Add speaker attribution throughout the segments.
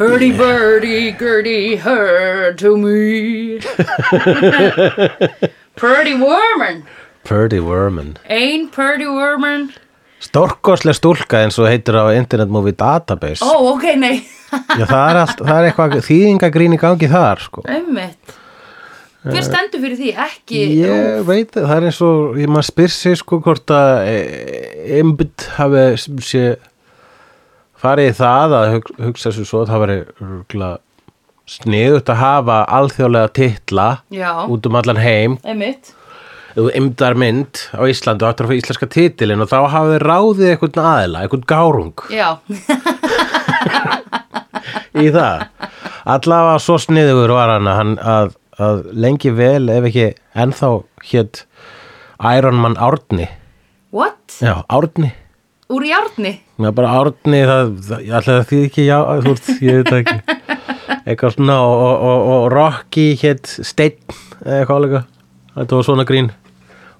Speaker 1: Birdie, birdie, Gertie, her to me. Purdy Worman.
Speaker 2: Purdy Worman
Speaker 1: Ein Purdy Worman.
Speaker 2: Stórkoslega stúlka eins og heitir á Internet Movie Database
Speaker 1: Ó, ok, nei.
Speaker 2: Já, það er, allt, það er eitthvað þýðingagrín í gangi þar sko.
Speaker 1: Einmitt. Hver stendur fyrir því? Ekki.
Speaker 2: Ég veit, það er eins og ég maður spyr sig sko hvort að e, einbytt hafi sé farið í það að hug, hugsa sér svo að það veri sniðut að hafa alþjóðlega titla
Speaker 1: Já.
Speaker 2: út um allan heim
Speaker 1: Einmitt.
Speaker 2: ef þú imdar mynd á Íslandu áttur að fá íslenska titilin og þá hafið þið ráðið einhvern aðila, einhvern gárung
Speaker 1: Já.
Speaker 2: í það allavega svo sniðugur var hann, að hann að, að lengi vel ef ekki ennþá hétt Iron Man Árni
Speaker 1: What?
Speaker 2: já, Árni
Speaker 1: Úr járni?
Speaker 2: Já, bara Árni, það, það, ég ætla að því ekki já, þú veist, ég veit það ekki eitthvað svona og, og, og, og Rocky hétt Steinn eða eitthvað álega, þetta var svona grín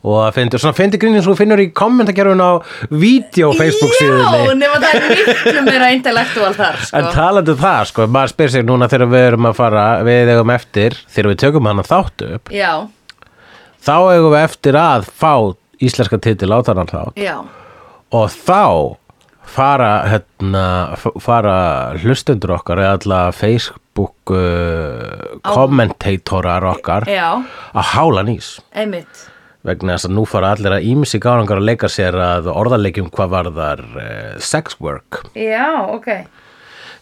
Speaker 2: og það finnir, svona finnir grínin sem þú finnur í kommentakerfinu á vídeo Facebook síðunni
Speaker 1: Já, nema það er miklu meira intellektual þar, sko.
Speaker 2: En talandi um það, sko, maður spyr sig núna þegar við erum að fara, við eigum eftir, þegar við tökum hann að þáttu upp,
Speaker 1: Já,
Speaker 2: þá eigum við eftir að fá íslenska titil á þannan þátt
Speaker 1: já.
Speaker 2: og þá fara, hérna, f- fara hlustendur okkar eða alla Facebook uh, kommentatorar okkar
Speaker 1: Já.
Speaker 2: að hála nýs
Speaker 1: Einmitt.
Speaker 2: vegna þess að nú fara allir að ímsi gárangar að leika sér að orðarleikjum hvað varðar uh, sex work.
Speaker 1: Já, ok.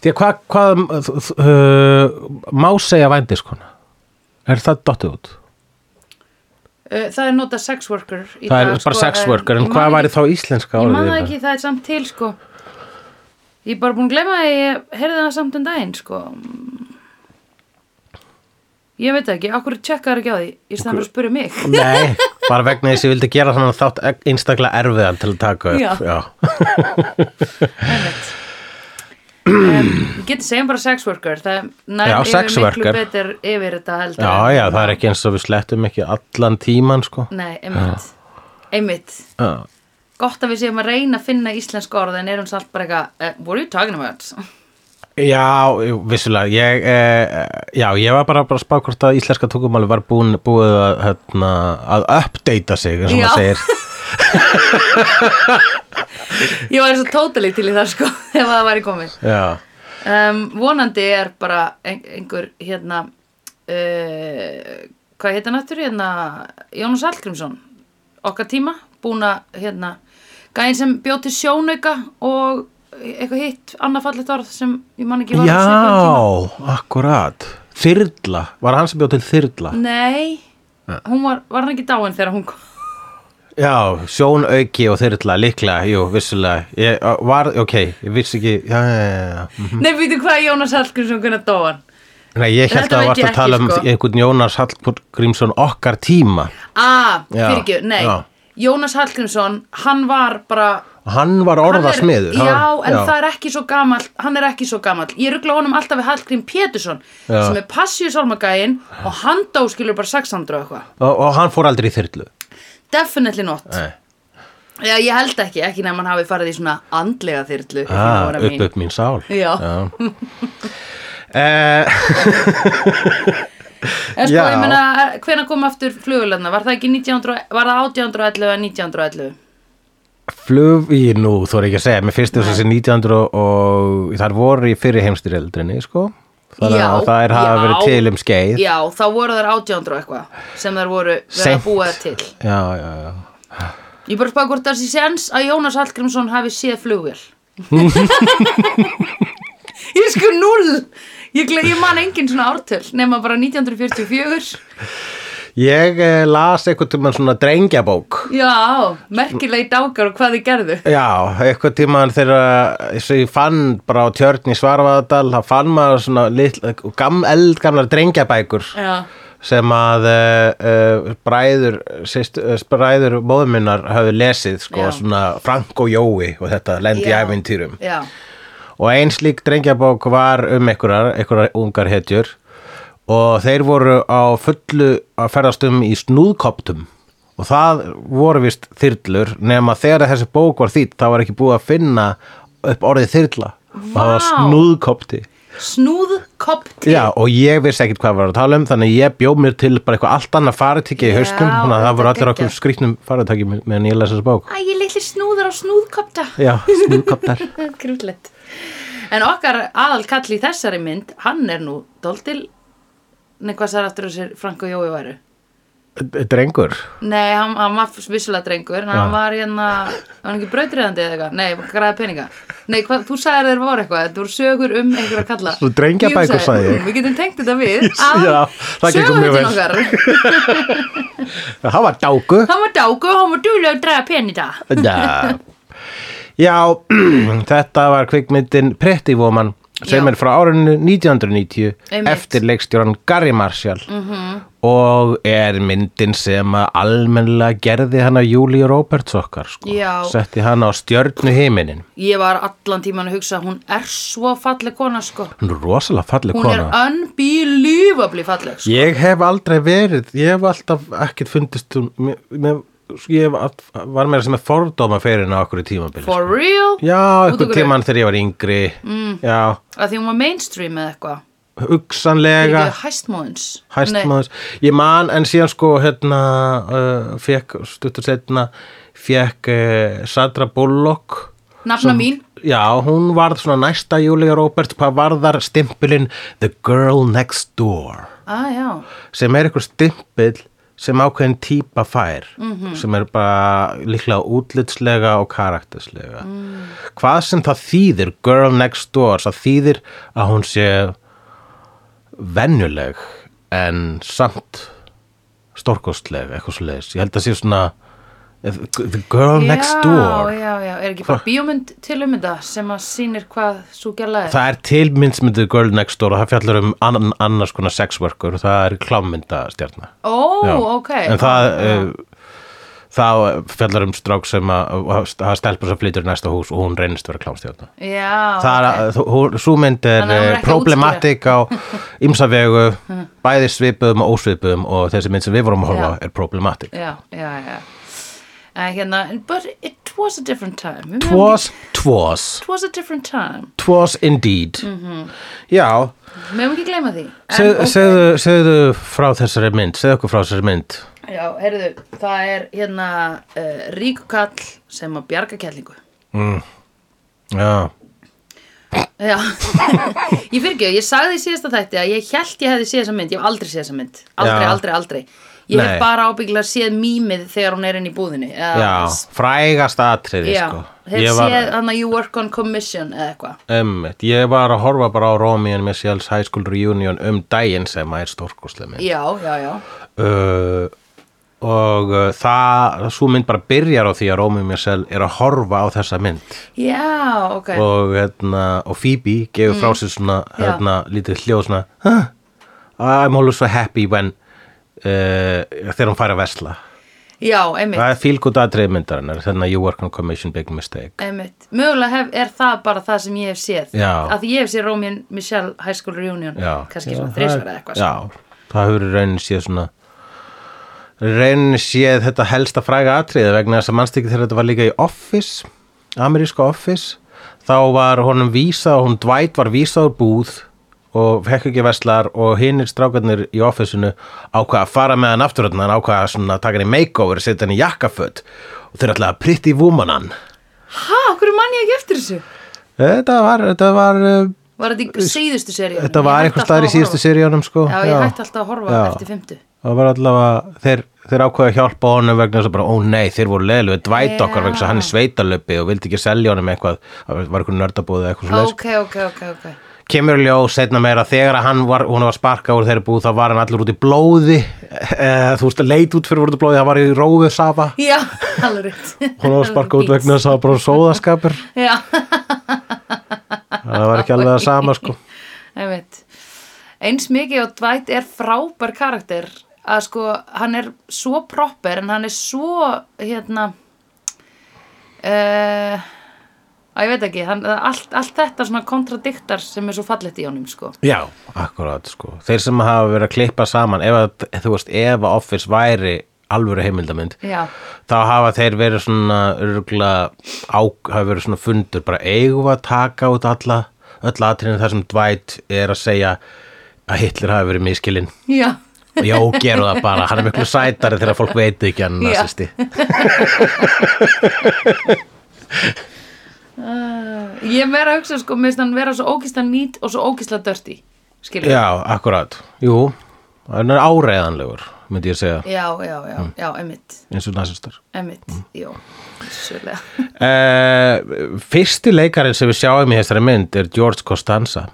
Speaker 2: Því að hvað hva, uh, má segja vændiskona? Er það dottið út?
Speaker 1: Uh, Það er nota sex worker í
Speaker 2: Það er
Speaker 1: dag,
Speaker 2: bara
Speaker 1: sko,
Speaker 2: sex worker, en
Speaker 1: ég
Speaker 2: hvað
Speaker 1: man
Speaker 2: væri
Speaker 1: ekki-
Speaker 2: þá íslenska
Speaker 1: Ég
Speaker 2: orðið?
Speaker 1: man það
Speaker 2: yfir
Speaker 1: ekki, það er samt til, sko. Ég er bara búin að glemma að ég heyrði það samt um daginn, sko. Ég veit það ekki, okkur tjekkar ekki á því, ég stæðan bara að spyrja mig.
Speaker 2: Nei, bara vegna þess að ég vildi gera þannig að þátt einstaklega erfiðan til að taka upp.
Speaker 1: Já.
Speaker 2: Já.
Speaker 1: um, ég geti segjum bara sex worker, það nær
Speaker 2: Já, sex
Speaker 1: yfir miklu
Speaker 2: worker.
Speaker 1: betur yfir þetta heldur.
Speaker 2: já,
Speaker 1: en-
Speaker 2: já, það er ekki eins og við slettum ekki allan tíman, sko.
Speaker 1: Nei, einmitt. Einmitt.
Speaker 2: Já.
Speaker 1: Gott að við séum að reyna að finna íslensk orð en erum samt bara eitthvað, eh, what are you talking about?
Speaker 2: Já, jú, vissulega, ég, eh, já, ég var bara, bara að spá hvort að íslenska tungumáli var búin, búið að, hérna, að uppdata sig, eins og
Speaker 1: Já.
Speaker 2: maður segir.
Speaker 1: Ég var eins og totally til í það sko, ef það væri komið.
Speaker 2: Já,
Speaker 1: Um, vonandi er bara ein einhver hérna, uh, hvað heita náttúr, hérna, Jónus Hallgrímsson, okkar tíma, búin að, hérna, gæðin sem bjó til sjónauka og eitthvað hitt, annað fallegt orð sem ég man ekki var á svipuðum um tíma.
Speaker 2: já, akkurat. Þyrla, var hann sem bjóð til þyrla?
Speaker 1: Nei, hún var, var hann ekki dáin þegar hún kom?
Speaker 2: Já, sjón auki og þyrla líklega, jú, vissulega ég, uh, var, ok, ég vissi ekki já, já, já, já. Mhm.
Speaker 1: Nei, veitum hvað Jónas Hallgrímsson kunna dóan?
Speaker 2: Nei, ég held
Speaker 1: Þetta
Speaker 2: að það
Speaker 1: veit
Speaker 2: varst
Speaker 1: ég
Speaker 2: að tala
Speaker 1: ekki,
Speaker 2: um
Speaker 1: sko.
Speaker 2: einhvern Jónas Hallgrímsson okkar tíma
Speaker 1: Ah,
Speaker 2: Já,
Speaker 1: fyrir ekki, nei.
Speaker 2: já.
Speaker 1: Jónas Hallgrímsson, hann var bara...
Speaker 2: Hann var
Speaker 1: hann er-
Speaker 2: orðasmiður
Speaker 1: Já,
Speaker 2: hann-
Speaker 1: en það er ekki svo gamall, hann er ekki svo gamall. Ég ruggla honum alltaf við Hallgrím Pétursson,
Speaker 2: Já.
Speaker 1: sem er passíusolmagæinn og hann dó skilur bara 600 og eitthvað.
Speaker 2: og, og hann fór aldrei í þyrlu
Speaker 1: Definitely not.
Speaker 2: Nei.
Speaker 1: Já, ég held ekki, ekki nefn hann hafi farið í svona andlega þyrlu. if you know
Speaker 2: ah,
Speaker 1: what I
Speaker 2: upp
Speaker 1: mean.
Speaker 2: upp mín sál
Speaker 1: Já.
Speaker 2: Eh,
Speaker 1: En sko,
Speaker 2: Já.
Speaker 1: ég meina, hvena kom aftur flugulöfna? Var það ekki 1900, var það 1811 eða 1911?
Speaker 2: flug í nú, þú er ekki að segja mér finnst þess að þessi 1900 og, og þar voru í fyrri heimstyrjöldrinni sko. þannig
Speaker 1: Já,
Speaker 2: að það er hafa
Speaker 1: já.
Speaker 2: verið til um skeið
Speaker 1: Já, þá voru þær 1800 og eitthvað sem þær voru verið
Speaker 2: Seint.
Speaker 1: að búa þær til.
Speaker 2: já, já, já
Speaker 1: Ég bara spáði hvort það sé sens að Jónas Hallgrímsson hafi séð flugvél. ég sko null! Ég, gle- ég man engin svona ártöl nema bara 1944.
Speaker 2: Ég eh, las eitthvað tímann svona drengjabók.
Speaker 1: Já, merkilegi dágar og hvað þið gerðu.
Speaker 2: Já, eitthvað tímann þegar eins og ég fann bara á tjörn í Svarfaðardal, það fann maður svona litla, gam, eldgamlar drengjabækur
Speaker 1: Já,
Speaker 2: sem að uh, uh, bræður, sýst, uh, bræður móðuminnar hafi lesið sko,
Speaker 1: Já.
Speaker 2: svona Frank og Jói og þetta lendi í
Speaker 1: Já.
Speaker 2: ævintýrum.
Speaker 1: já,
Speaker 2: Og einn slík drengjabók var um einhverjar, einhverjar ungar hetjur og þeir voru á fullu að ferðast um í snúðkoptum og það voru vist þyrlur nema þegar þessi bók var þýtt þá var ekki búið að finna upp orðið þyrla og það var
Speaker 1: Vá.
Speaker 2: snúðkopti
Speaker 1: Snúð kopp te
Speaker 2: Já, og ég vissi ekkert hvað var að tala um þannig að ég bjóð mér til bara eitthvað allt annað faratæki í
Speaker 1: Já,
Speaker 2: haustum, þannig að það voru
Speaker 1: þetta
Speaker 2: allir okkur
Speaker 1: geggjað.
Speaker 2: skrýtnum faratæki meðan ég lesa þessa bók
Speaker 1: Æ, ég litli snúður á snúðkopta
Speaker 2: Já, snúðkoptar
Speaker 1: Grútlegt En okkar aðal kall í þessari mynd Hann er nú dóldil Nei, hvað sagði aftur þessir Frank og Jói væru?
Speaker 2: Drengur
Speaker 1: Nei, hann, hann var vissulega drengur en hann var hérna, hann var ekki brautriðandi eða eitthvað, nei, græða peninga Nei, hvað, þú sagðir þeir voru eitthvað, þetta voru sögur um einhverja kalla
Speaker 2: Svo drengjabækur
Speaker 1: Jú,
Speaker 2: sagði ég.
Speaker 1: "Hm, Við getum tengt þetta við
Speaker 2: Yes, já, það gengur mjög
Speaker 1: söguhetjun
Speaker 2: vel.
Speaker 1: okkar
Speaker 2: Það var dágu
Speaker 1: Hann var dágu og hann var duglega að draga peninga
Speaker 2: Já, Já þetta var kvikmyndin Pretty Woman sem
Speaker 1: Já.
Speaker 2: er frá árunnu 1990
Speaker 1: Einmitt. Mhm.
Speaker 2: eftir leikstjóran Gary Marshall -hmm. og er myndin sem að almennlega gerði hana Júlíu Roberts okkar sko.
Speaker 1: Já.
Speaker 2: setti hana á stjörnu heiminin
Speaker 1: Ég var allan tíman að hugsa, hún er svo falleg kona, sko
Speaker 2: hún er rosalega falleg
Speaker 1: Hún
Speaker 2: kona
Speaker 1: er unbelievably falleg, sko
Speaker 2: Ég hef aldrei verið, ég hef alltaf ekkert fundist um- hún, mér- mér- sko, ég hef, allt- var meira sem er fordóma fyrir henni á okkur tímabili. sko.
Speaker 1: For real,
Speaker 2: Já,
Speaker 1: Út og
Speaker 2: einhver
Speaker 1: gröf.
Speaker 2: tíman þegar ég var yngri, mm. já,
Speaker 1: að því hún var mainstream eða eitthvað
Speaker 2: hugsanlega,
Speaker 1: Fyrirgefðu, Hæstmóðins Nei,
Speaker 2: hæstmaður, ég man en síðan sko hérna, uh, fekk, stuttur setna, fekk uh, Sandra Bullock,
Speaker 1: Nafna mín
Speaker 2: já, hún varð svona næsta Júlia Roberts, hvað varðar stimpulinn The Girl Next Door.
Speaker 1: Ah, já
Speaker 2: sem er einhver stimpill sem ákveðin típa fær
Speaker 1: Mhm.
Speaker 2: sem er bara líklega útlitslega og karakterslega
Speaker 1: Mm.
Speaker 2: hvað sem það þýðir girl next door, það þýðir að hún sé venjuleg en samt stórkostleg, eitthvað svo leiðis ég held að sé svona eh, the girl next door
Speaker 1: Já, já, já, er ekki bara bíómynd til um þetta sem að sýnir hvað svo gæla er?
Speaker 2: Það er tilmyndsmyndið Girl Next Door og það fjallar um annan, annars konar sexworkur og það er klámyndastjarnar.
Speaker 1: Ó,
Speaker 2: Já.
Speaker 1: ok.
Speaker 2: en það
Speaker 1: Já.
Speaker 2: uh, það fjallar um strák sem að að- að stelpur sem flytur í næsta hús og hún reynist vera klámstjórna
Speaker 1: Já,
Speaker 2: það er
Speaker 1: Ah, ok.
Speaker 2: að, hún- sú mynd er
Speaker 1: Þannig að hún er ekki að
Speaker 2: problematik á ymsavegu, bæði svipuðum og ósvipuðum og þessi mynd sem við vorum að horfa á
Speaker 1: Já.
Speaker 2: er problematik
Speaker 1: Já, já, já. En hérna, but it was a different time. Við megum
Speaker 2: Twas, twas,
Speaker 1: ekki- It was a different time.
Speaker 2: twas indeed Já,
Speaker 1: Við hefum ekki gleyma því. Mhm. En,
Speaker 2: seg,
Speaker 1: ok.
Speaker 2: segðu, segðu frá þessari mynd, segðu okkur frá þessari mynd
Speaker 1: Já, heyrðu, það er hérna uh, ríkukall sem að bjarga kællingu.
Speaker 2: Já,
Speaker 1: Já, ég fyrir ekki, ég sagði í síðasta þætti að ég held ég hefði séð þessa mynd, ég hef aldrei séð þessa mynd, aldrei,
Speaker 2: Já.
Speaker 1: aldrei, aldrei. Ég
Speaker 2: Nei.
Speaker 1: hef bara ábyggla séð mýmið þegar hún er inn í búðinni. eða-
Speaker 2: já, frægast atriði
Speaker 1: já,
Speaker 2: sko Ég
Speaker 1: hef
Speaker 2: var-
Speaker 1: séð hann að you work on commission eða eitthvað.
Speaker 2: Emmitt, ég var að horfa bara á Romy and Michelle's High School Reunion um daginn sem að er stórkoslega mynd
Speaker 1: Já, já, já,
Speaker 2: uh, og uh, það, svo mynd bara byrjar á því að Romy og Michelle er að horfa á þessa mynd
Speaker 1: já, ok,
Speaker 2: og, hérna, og Phoebe gefur frá sér svona hérna, lítið hljóð svona huh, I'm always so happy when uh, þegar hún fær að vesla
Speaker 1: já, einmitt,
Speaker 2: það er fílgóta aðtrið myndarinnar þannig að you work on commission big mistake
Speaker 1: einmitt. Mögulega hef, er það bara það sem ég hef séð,
Speaker 2: Já.
Speaker 1: að því ég hef séð Romy and Michelle High School Reunion,
Speaker 2: já,
Speaker 1: kannski
Speaker 2: já,
Speaker 1: svona
Speaker 2: það er-
Speaker 1: þrísvara eitthvað. sko.
Speaker 2: já, það hefur í raunin séð svona raunin séð þetta helsta fræga atriði vegna þess að mannstíki þegar þetta var líka í Office ameríska Office þá var honum vísað, hún Dwight var vísað úr búð og fekk ekki veslar og hinnir strákarnir í officeinu ákvað að fara með hann aftur þarna, hann ákvað að svona taka hann í makeover setja hann í jakkaföt og þeir ætlaði að pritti vúmanan
Speaker 1: Ha, okkur mann ég ekki eftir þessu?
Speaker 2: þetta var, þetta var uh,
Speaker 1: Var þetta í síðustu seríunum?
Speaker 2: þetta var einhver staðar í síðustu seríunum sko
Speaker 1: Já, ég hætti alltaf að horfa
Speaker 2: Já.
Speaker 1: eftir fymtu.
Speaker 2: það var allavega, þeir, þeir ákveða hjálpa honum vegna þess að bara, ó nei, þeir voru leðlu við dvæt
Speaker 1: Já.
Speaker 2: okkar vegna þess að hann er sveitalöpi og vildi ekki selja honum eitthvað, það var eitthvað nördabúð eða eitthvað svo
Speaker 1: Ok, ok, ok, ok.
Speaker 2: kemur í ljós setna meira þegar að hann var, hún var sparkað úr þeirri búð þá var hann allur út í blóði eða, þú veist, leit út fyrir út í blóði, það var í róðu safa,
Speaker 1: Já, alveg rétt.
Speaker 2: hún var sparkað út vegna þess að það var bara sóðaskapur,
Speaker 1: Já,
Speaker 2: það var ekki alveg að sama sko.
Speaker 1: einmitt. Eins mikið og Dwight er frábær karakter að sko, hann er svo proper en hann er svo, hérna, uh, að ég veit ekki, hann, allt, allt þetta svona kontradiktar sem er svo fallegt í honum, sko.
Speaker 2: Já, akkurat sko. Þeir sem hafa verið að klippa saman ef að, þú veist, ef að Office væri alvöru heimildamönd
Speaker 1: Já.
Speaker 2: þá hafa þeir verið svona örgla, á, hafa verið svona fundur bara eigum við að taka út alla öll atriðin þar sem Dwight er að segja að Hitler hafi verið miskilinn
Speaker 1: já,
Speaker 2: Já, gerum það bara, hann er miklu sætari þegar fólk veit ekki hann
Speaker 1: Já.
Speaker 2: nazisti
Speaker 1: uh, ég er meira að hugsa sko, minnst hann vera svo ógisla nýtt og svo ógisla dörti, skilur
Speaker 2: Já, akkurát, jú, hann er áreiðanlegur, myndi ég segja,
Speaker 1: já, já, já, já, emitt
Speaker 2: eins og nazistar
Speaker 1: emitt, já, svolítið
Speaker 2: uh, Fyrsti leikarinn sem við sjáum í þessari mynd er George Costanza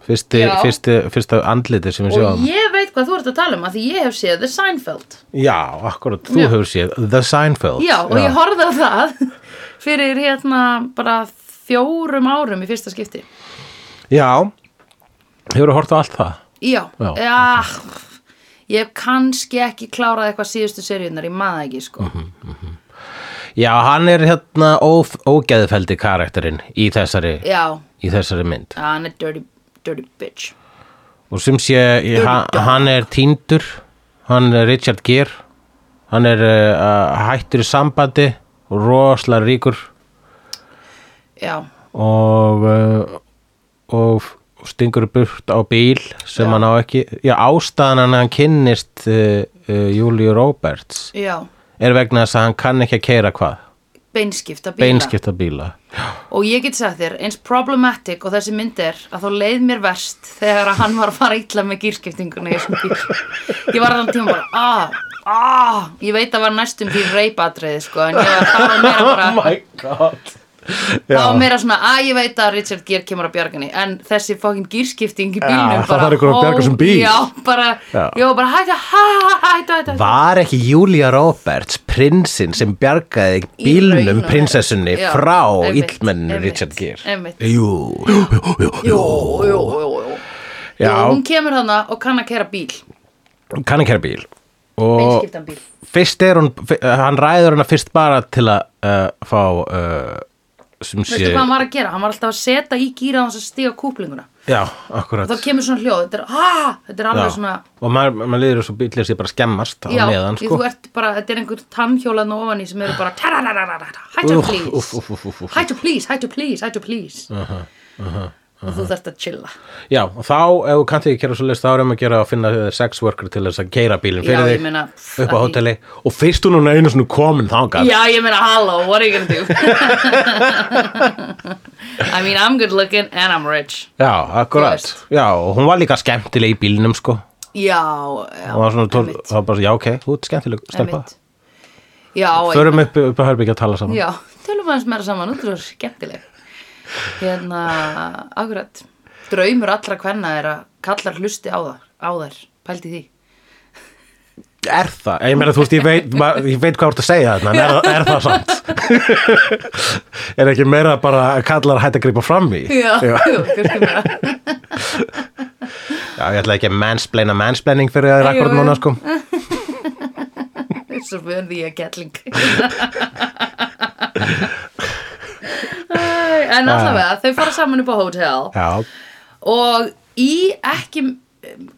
Speaker 2: Fyrsti,
Speaker 1: Já.
Speaker 2: fyrsti, fyrsta andliti sem við
Speaker 1: og
Speaker 2: sjáum
Speaker 1: ég veit hvað þú ert að tala um að því ég hef séð The Seinfeld
Speaker 2: Já, akkurat, þú
Speaker 1: Já.
Speaker 2: hefur séð The Seinfeld
Speaker 1: já, og ég horfði á það fyrir hérna bara fjórum árum í fyrsta skipti
Speaker 2: Já, hefur hort á allt það
Speaker 1: já,
Speaker 2: Já.
Speaker 1: já ég hef kannski ekki klárað eitthvað síðustu seríunar, ég maða ekki sko
Speaker 2: Mhm. Já, hann er hérna óf, ógeðfeldi karakterinn í þessari,
Speaker 1: já,
Speaker 2: í þessari mynd
Speaker 1: já, hann er dirty, dirty bitch
Speaker 2: og sem sé, ég, hann,
Speaker 1: dog.
Speaker 2: hann er týndur hann er Richard Gere hann er uh, hættur í sambandi og rosalega ríkur
Speaker 1: já,
Speaker 2: og uh, og f- stingur burt á bíl sem
Speaker 1: Já.
Speaker 2: hann á ekki já, ástæðan hann að hann kynnist uh, uh, Júlíu Roberts
Speaker 1: já
Speaker 2: er vegna þess að hann kann ekki að keira hvað
Speaker 1: beinskipta bíla
Speaker 2: beinskipta bíla
Speaker 1: og ég get sagt þér, eins problematic og þessi mynd er að þá leið mér verst þegar að hann var að fara illa með gýrskiptinguna í þessum bíl ég var allan tíma bara ah, ah, ég veit að var næstum því reypatriði sko, en ég var, það var meira bara
Speaker 2: my god
Speaker 1: það var meira svona, að ég veit að Richard Gere kemur að bjarga henni, en þessi fokkin gýrskipting í bílnum
Speaker 2: það þarf einhver að bjarga
Speaker 1: ó,
Speaker 2: þessum bíl.
Speaker 1: já, bara, já.
Speaker 2: Já.
Speaker 1: bara hættu, hæ, hæ, hæ, hættu, hættu
Speaker 2: Var ekki Julia Roberts prinsinn sem bjargaði
Speaker 1: raun
Speaker 2: bílnum
Speaker 1: og veru.
Speaker 2: prinsessunni
Speaker 1: Já,
Speaker 2: frá
Speaker 1: einmitt,
Speaker 2: illmenninu
Speaker 1: einmitt,
Speaker 2: Richard Gere?
Speaker 1: einmitt.
Speaker 2: Jú, jú, jú, jú.
Speaker 1: Jú, jú, jú, jú.
Speaker 2: Já.
Speaker 1: Jú, hún kemur hana og kann að kera bíl
Speaker 2: Kann ekki hér bíl. Og
Speaker 1: Beinskiptan bíl.
Speaker 2: fyrst er hún, fyr- hann ræður hana fyrst bara til að uh, fá, uh, sem sé,
Speaker 1: veistu hvað hann var að gera, hann var alltaf að setja í gíra hans að stiga kúplinguna
Speaker 2: já,
Speaker 1: og
Speaker 2: akkurat.
Speaker 1: þá kemur svona hljóð, þetta er, ah, þetta er alveg svona
Speaker 2: Og maður, maður liður svo bílir sér bara skemmast á
Speaker 1: já,
Speaker 2: meðan,
Speaker 1: því
Speaker 2: sko.
Speaker 1: þú ert bara, þetta er einhver tannhjólan ofan í sem eru bara tararararara, hættu
Speaker 2: Úff, úff,
Speaker 1: please
Speaker 2: úff, úff, úff, úff.
Speaker 1: hættu please, hættu please, hættu please og þú þarft að chilla
Speaker 2: Já, og þá, ef þú kannt ekki kera svo leist, þá erum að gera að finna eh, sex worker til þess að keira bílinn
Speaker 1: Já,
Speaker 2: fyrir
Speaker 1: ég
Speaker 2: þig
Speaker 1: meina, pff,
Speaker 2: upp á
Speaker 1: ekki.
Speaker 2: hóteli og fyrst hún er einu svona komin þangað
Speaker 1: já, ég meina, hello, what are you gonna do I mean, I'm good looking and I'm rich
Speaker 2: Já,
Speaker 1: Þú
Speaker 2: akkurat
Speaker 1: veist.
Speaker 2: Já, og hún var líka skemmtileg í bílnum, sko
Speaker 1: já, já,
Speaker 2: Hún var svona, tól,
Speaker 1: einmitt,
Speaker 2: það var bara, svo, já, ok, þú ert skemmtileg stelpa
Speaker 1: einmitt. já, einmitt.
Speaker 2: Förum upp, upp að herbyggja að tala saman
Speaker 1: Já, tölum aðeins meira saman, þú er skemmtileg. Hérna, akkurat, draumur allra kvenna er að kallar hlusti á þær, á þær, pældi því.
Speaker 2: Er það? Ég meina, þú veist, ég veit, ma, ég veit hvað þú ert að segja þarna en er, það- er það samt? er ekki meira bara að kallar hætt að grípa fram í?
Speaker 1: Já,
Speaker 2: Já,
Speaker 1: jú, kannski meira.
Speaker 2: ég ætla ekki að mansplaina mansplaining fyrir þér
Speaker 1: Jú,
Speaker 2: akkurat
Speaker 1: jú.
Speaker 2: núna, sko
Speaker 1: Svo fyrir því að gelling. en allavega, þau fara saman upp á hótel
Speaker 2: Já,
Speaker 1: og í ekki,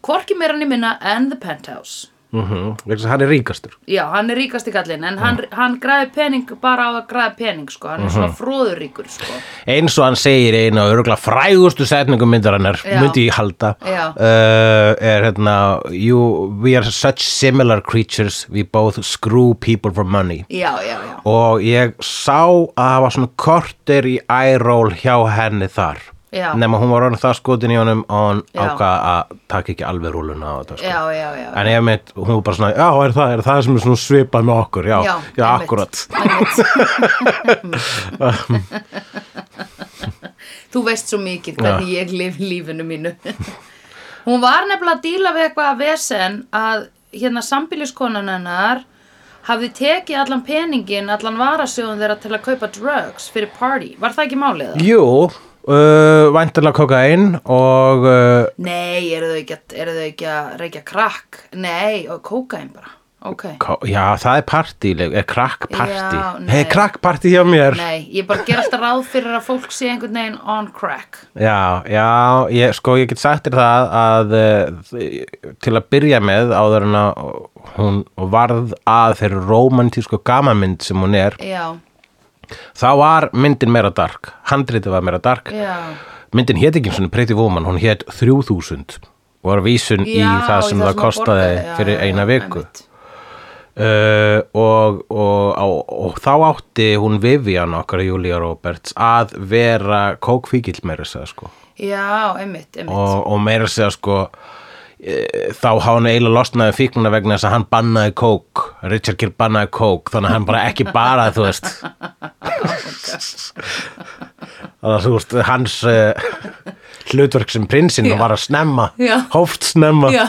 Speaker 1: hvorki meira niður minna en The Penthouse.
Speaker 2: mhm, vegna þess að hann er ríkastur
Speaker 1: Já, hann er ríkasti kallinn, en hann, hann græði pening bara á að græða pening, sko. Hann er svona fróðuríkur, sko.
Speaker 2: eins og hann segir í einu og örgulega frægustu setningum myndarinnar
Speaker 1: Já.
Speaker 2: myndi ég halda
Speaker 1: Já.
Speaker 2: uh, er hérna you, we are such similar creatures we both screw people for money
Speaker 1: Já, já, já.
Speaker 2: og sko. ég sá að það var svona korter í eye-roll hjá henni þar
Speaker 1: Já.
Speaker 2: nema hún var orðin það skotin í honum og hann
Speaker 1: Já.
Speaker 2: ákvað að taka ekki alveg rúluna á þetta sko.
Speaker 1: Já, já, já.
Speaker 2: en ég meitt, hún var bara svona já, er það, er það sem er svona svipað með okkur já, já, já
Speaker 1: einmitt,
Speaker 2: akkurat
Speaker 1: einmitt. Þú veist svo mikið hvernig ég lif lífinu mínu Hún var nefnilega að díla við eitthvað að vesen að hérna sambiliskonan hennar hafði tekið allan peningin, allan varasjóðum þeirra til að kaupa drugs fyrir party Var það ekki málið það?
Speaker 2: Jú, uh, væntanlega kokain og uh,
Speaker 1: Nei, eru þau ekki, að- eru þau ekki að reykja krakk? Nei, og kókain bara Ok
Speaker 2: ko- já, það er partí, er
Speaker 1: Já,
Speaker 2: krakkpartí
Speaker 1: nei.
Speaker 2: Hei, krakkpartí hjá mér
Speaker 1: Nei, ég bara ger alltaf ráð fyrir að fólk sé einhvern veginn on crack
Speaker 2: Já, já, ég, sko, ég get sagt þér það að uh, til að byrja með áður en að hún varð að þeirri rómantísku gamamynd sem hún er
Speaker 1: Já,
Speaker 2: þá var myndin meira dark, handritið var meira dark
Speaker 1: já
Speaker 2: myndin hét ekki svona Pretty Woman, hún hét 3000 og var vísun í
Speaker 1: Já,
Speaker 2: það sem það
Speaker 1: hann
Speaker 2: kostaði
Speaker 1: borgaði, já,
Speaker 2: fyrir
Speaker 1: já,
Speaker 2: eina
Speaker 1: já,
Speaker 2: viku
Speaker 1: einmitt.
Speaker 2: uh, og, og, og, og þá átti hún Vivian okkar Julia Roberts að vera kókfíkil meira að segja sko
Speaker 1: Já, einmitt, einmitt
Speaker 2: og, og meira að segja sko e, þá hafa hann eiginlega losnaði fíknuna vegna þess að hann bannaði kók Richard Gere bannaði kók þannig að hann bara ekki bara þú veist það þú veist hans uh, hlutverk sem prinsinn
Speaker 1: Já.
Speaker 2: var að snemma
Speaker 1: Já.
Speaker 2: hóft snemma
Speaker 1: Já,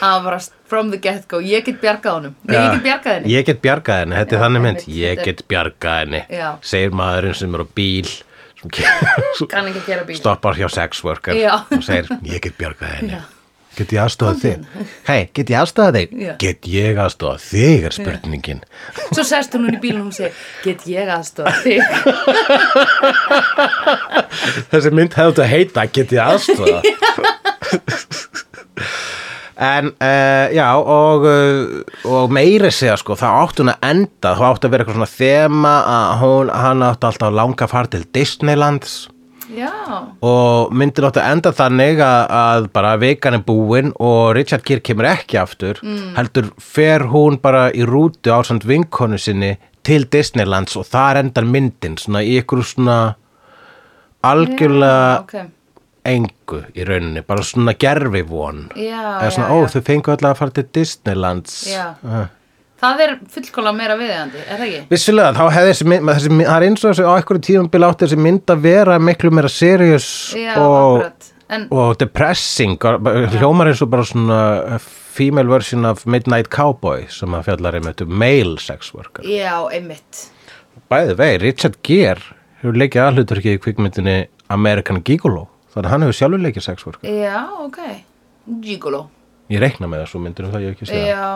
Speaker 1: það var bara from the get go Ég get bjargað honum, nei, ég get bjargað henni
Speaker 2: Ég get bjargað henni, þetta
Speaker 1: Já,
Speaker 2: er þannig mynd
Speaker 1: einmitt,
Speaker 2: Ég
Speaker 1: þetta er-
Speaker 2: get bjargað henni
Speaker 1: Já.
Speaker 2: segir maðurinn sem er á bíl sem kemur,
Speaker 1: Kann ekki að gera bíl
Speaker 2: stoppar hjá sex worker
Speaker 1: Já.
Speaker 2: og segir, ég get bjargað henni get ég aðstofað þig? hei, get ég aðstofað þig?
Speaker 1: Já.
Speaker 2: get ég aðstofað þig er spurningin
Speaker 1: Svo sest hún hún í bílun og hún segir Get ég aðstofa þig?
Speaker 2: þessi mynd hefði þetta að heita get ég aðstofað en uh, já og, uh, og meiri segja sko það átti hún að enda, þá átti að vera eitthvað svona þema að hún, hann átti alltaf langa far til Disneylands
Speaker 1: Já,
Speaker 2: og myndir átti að enda þannig að, að bara vikan er búin og Richard Gere kemur ekki aftur heldur fer hún bara í rútu á samt vinkonu sinni til Disneylands og þar endar myndin svona í ykkur svona algjörlega
Speaker 1: ok
Speaker 2: engu í rauninni, bara svona gerfi von
Speaker 1: Já,
Speaker 2: eða svona,
Speaker 1: já,
Speaker 2: ó,
Speaker 1: já.
Speaker 2: þau fengu alltaf að fara til Disneylands
Speaker 1: Já.
Speaker 2: Ah.
Speaker 1: Það er fullkóla meira viðeigandi, er það ekki?
Speaker 2: Vissulega, þá hefði þessi mynd, þessi, mynd- það er eins og þessi á einhverju tíðum bila átti þessi mynd að vera miklu meira serious
Speaker 1: Já,
Speaker 2: og,
Speaker 1: akkurat. En-
Speaker 2: og depressing, og bara- hljómar eins og bara svona eh, female version of Midnight Cowboy sem að fjallar einmitt um male sex worker.
Speaker 1: Já, einmitt
Speaker 2: Bæði vei, Richard Gere hefur leikið aðhluturki í kvikmyndinni American Gigolo, þannig að hann hefur sjálfur leikið sex worker.
Speaker 1: Já, ok Gigolo
Speaker 2: Ég reikna með þessu myndinum það ég hef ekki séð.
Speaker 1: Já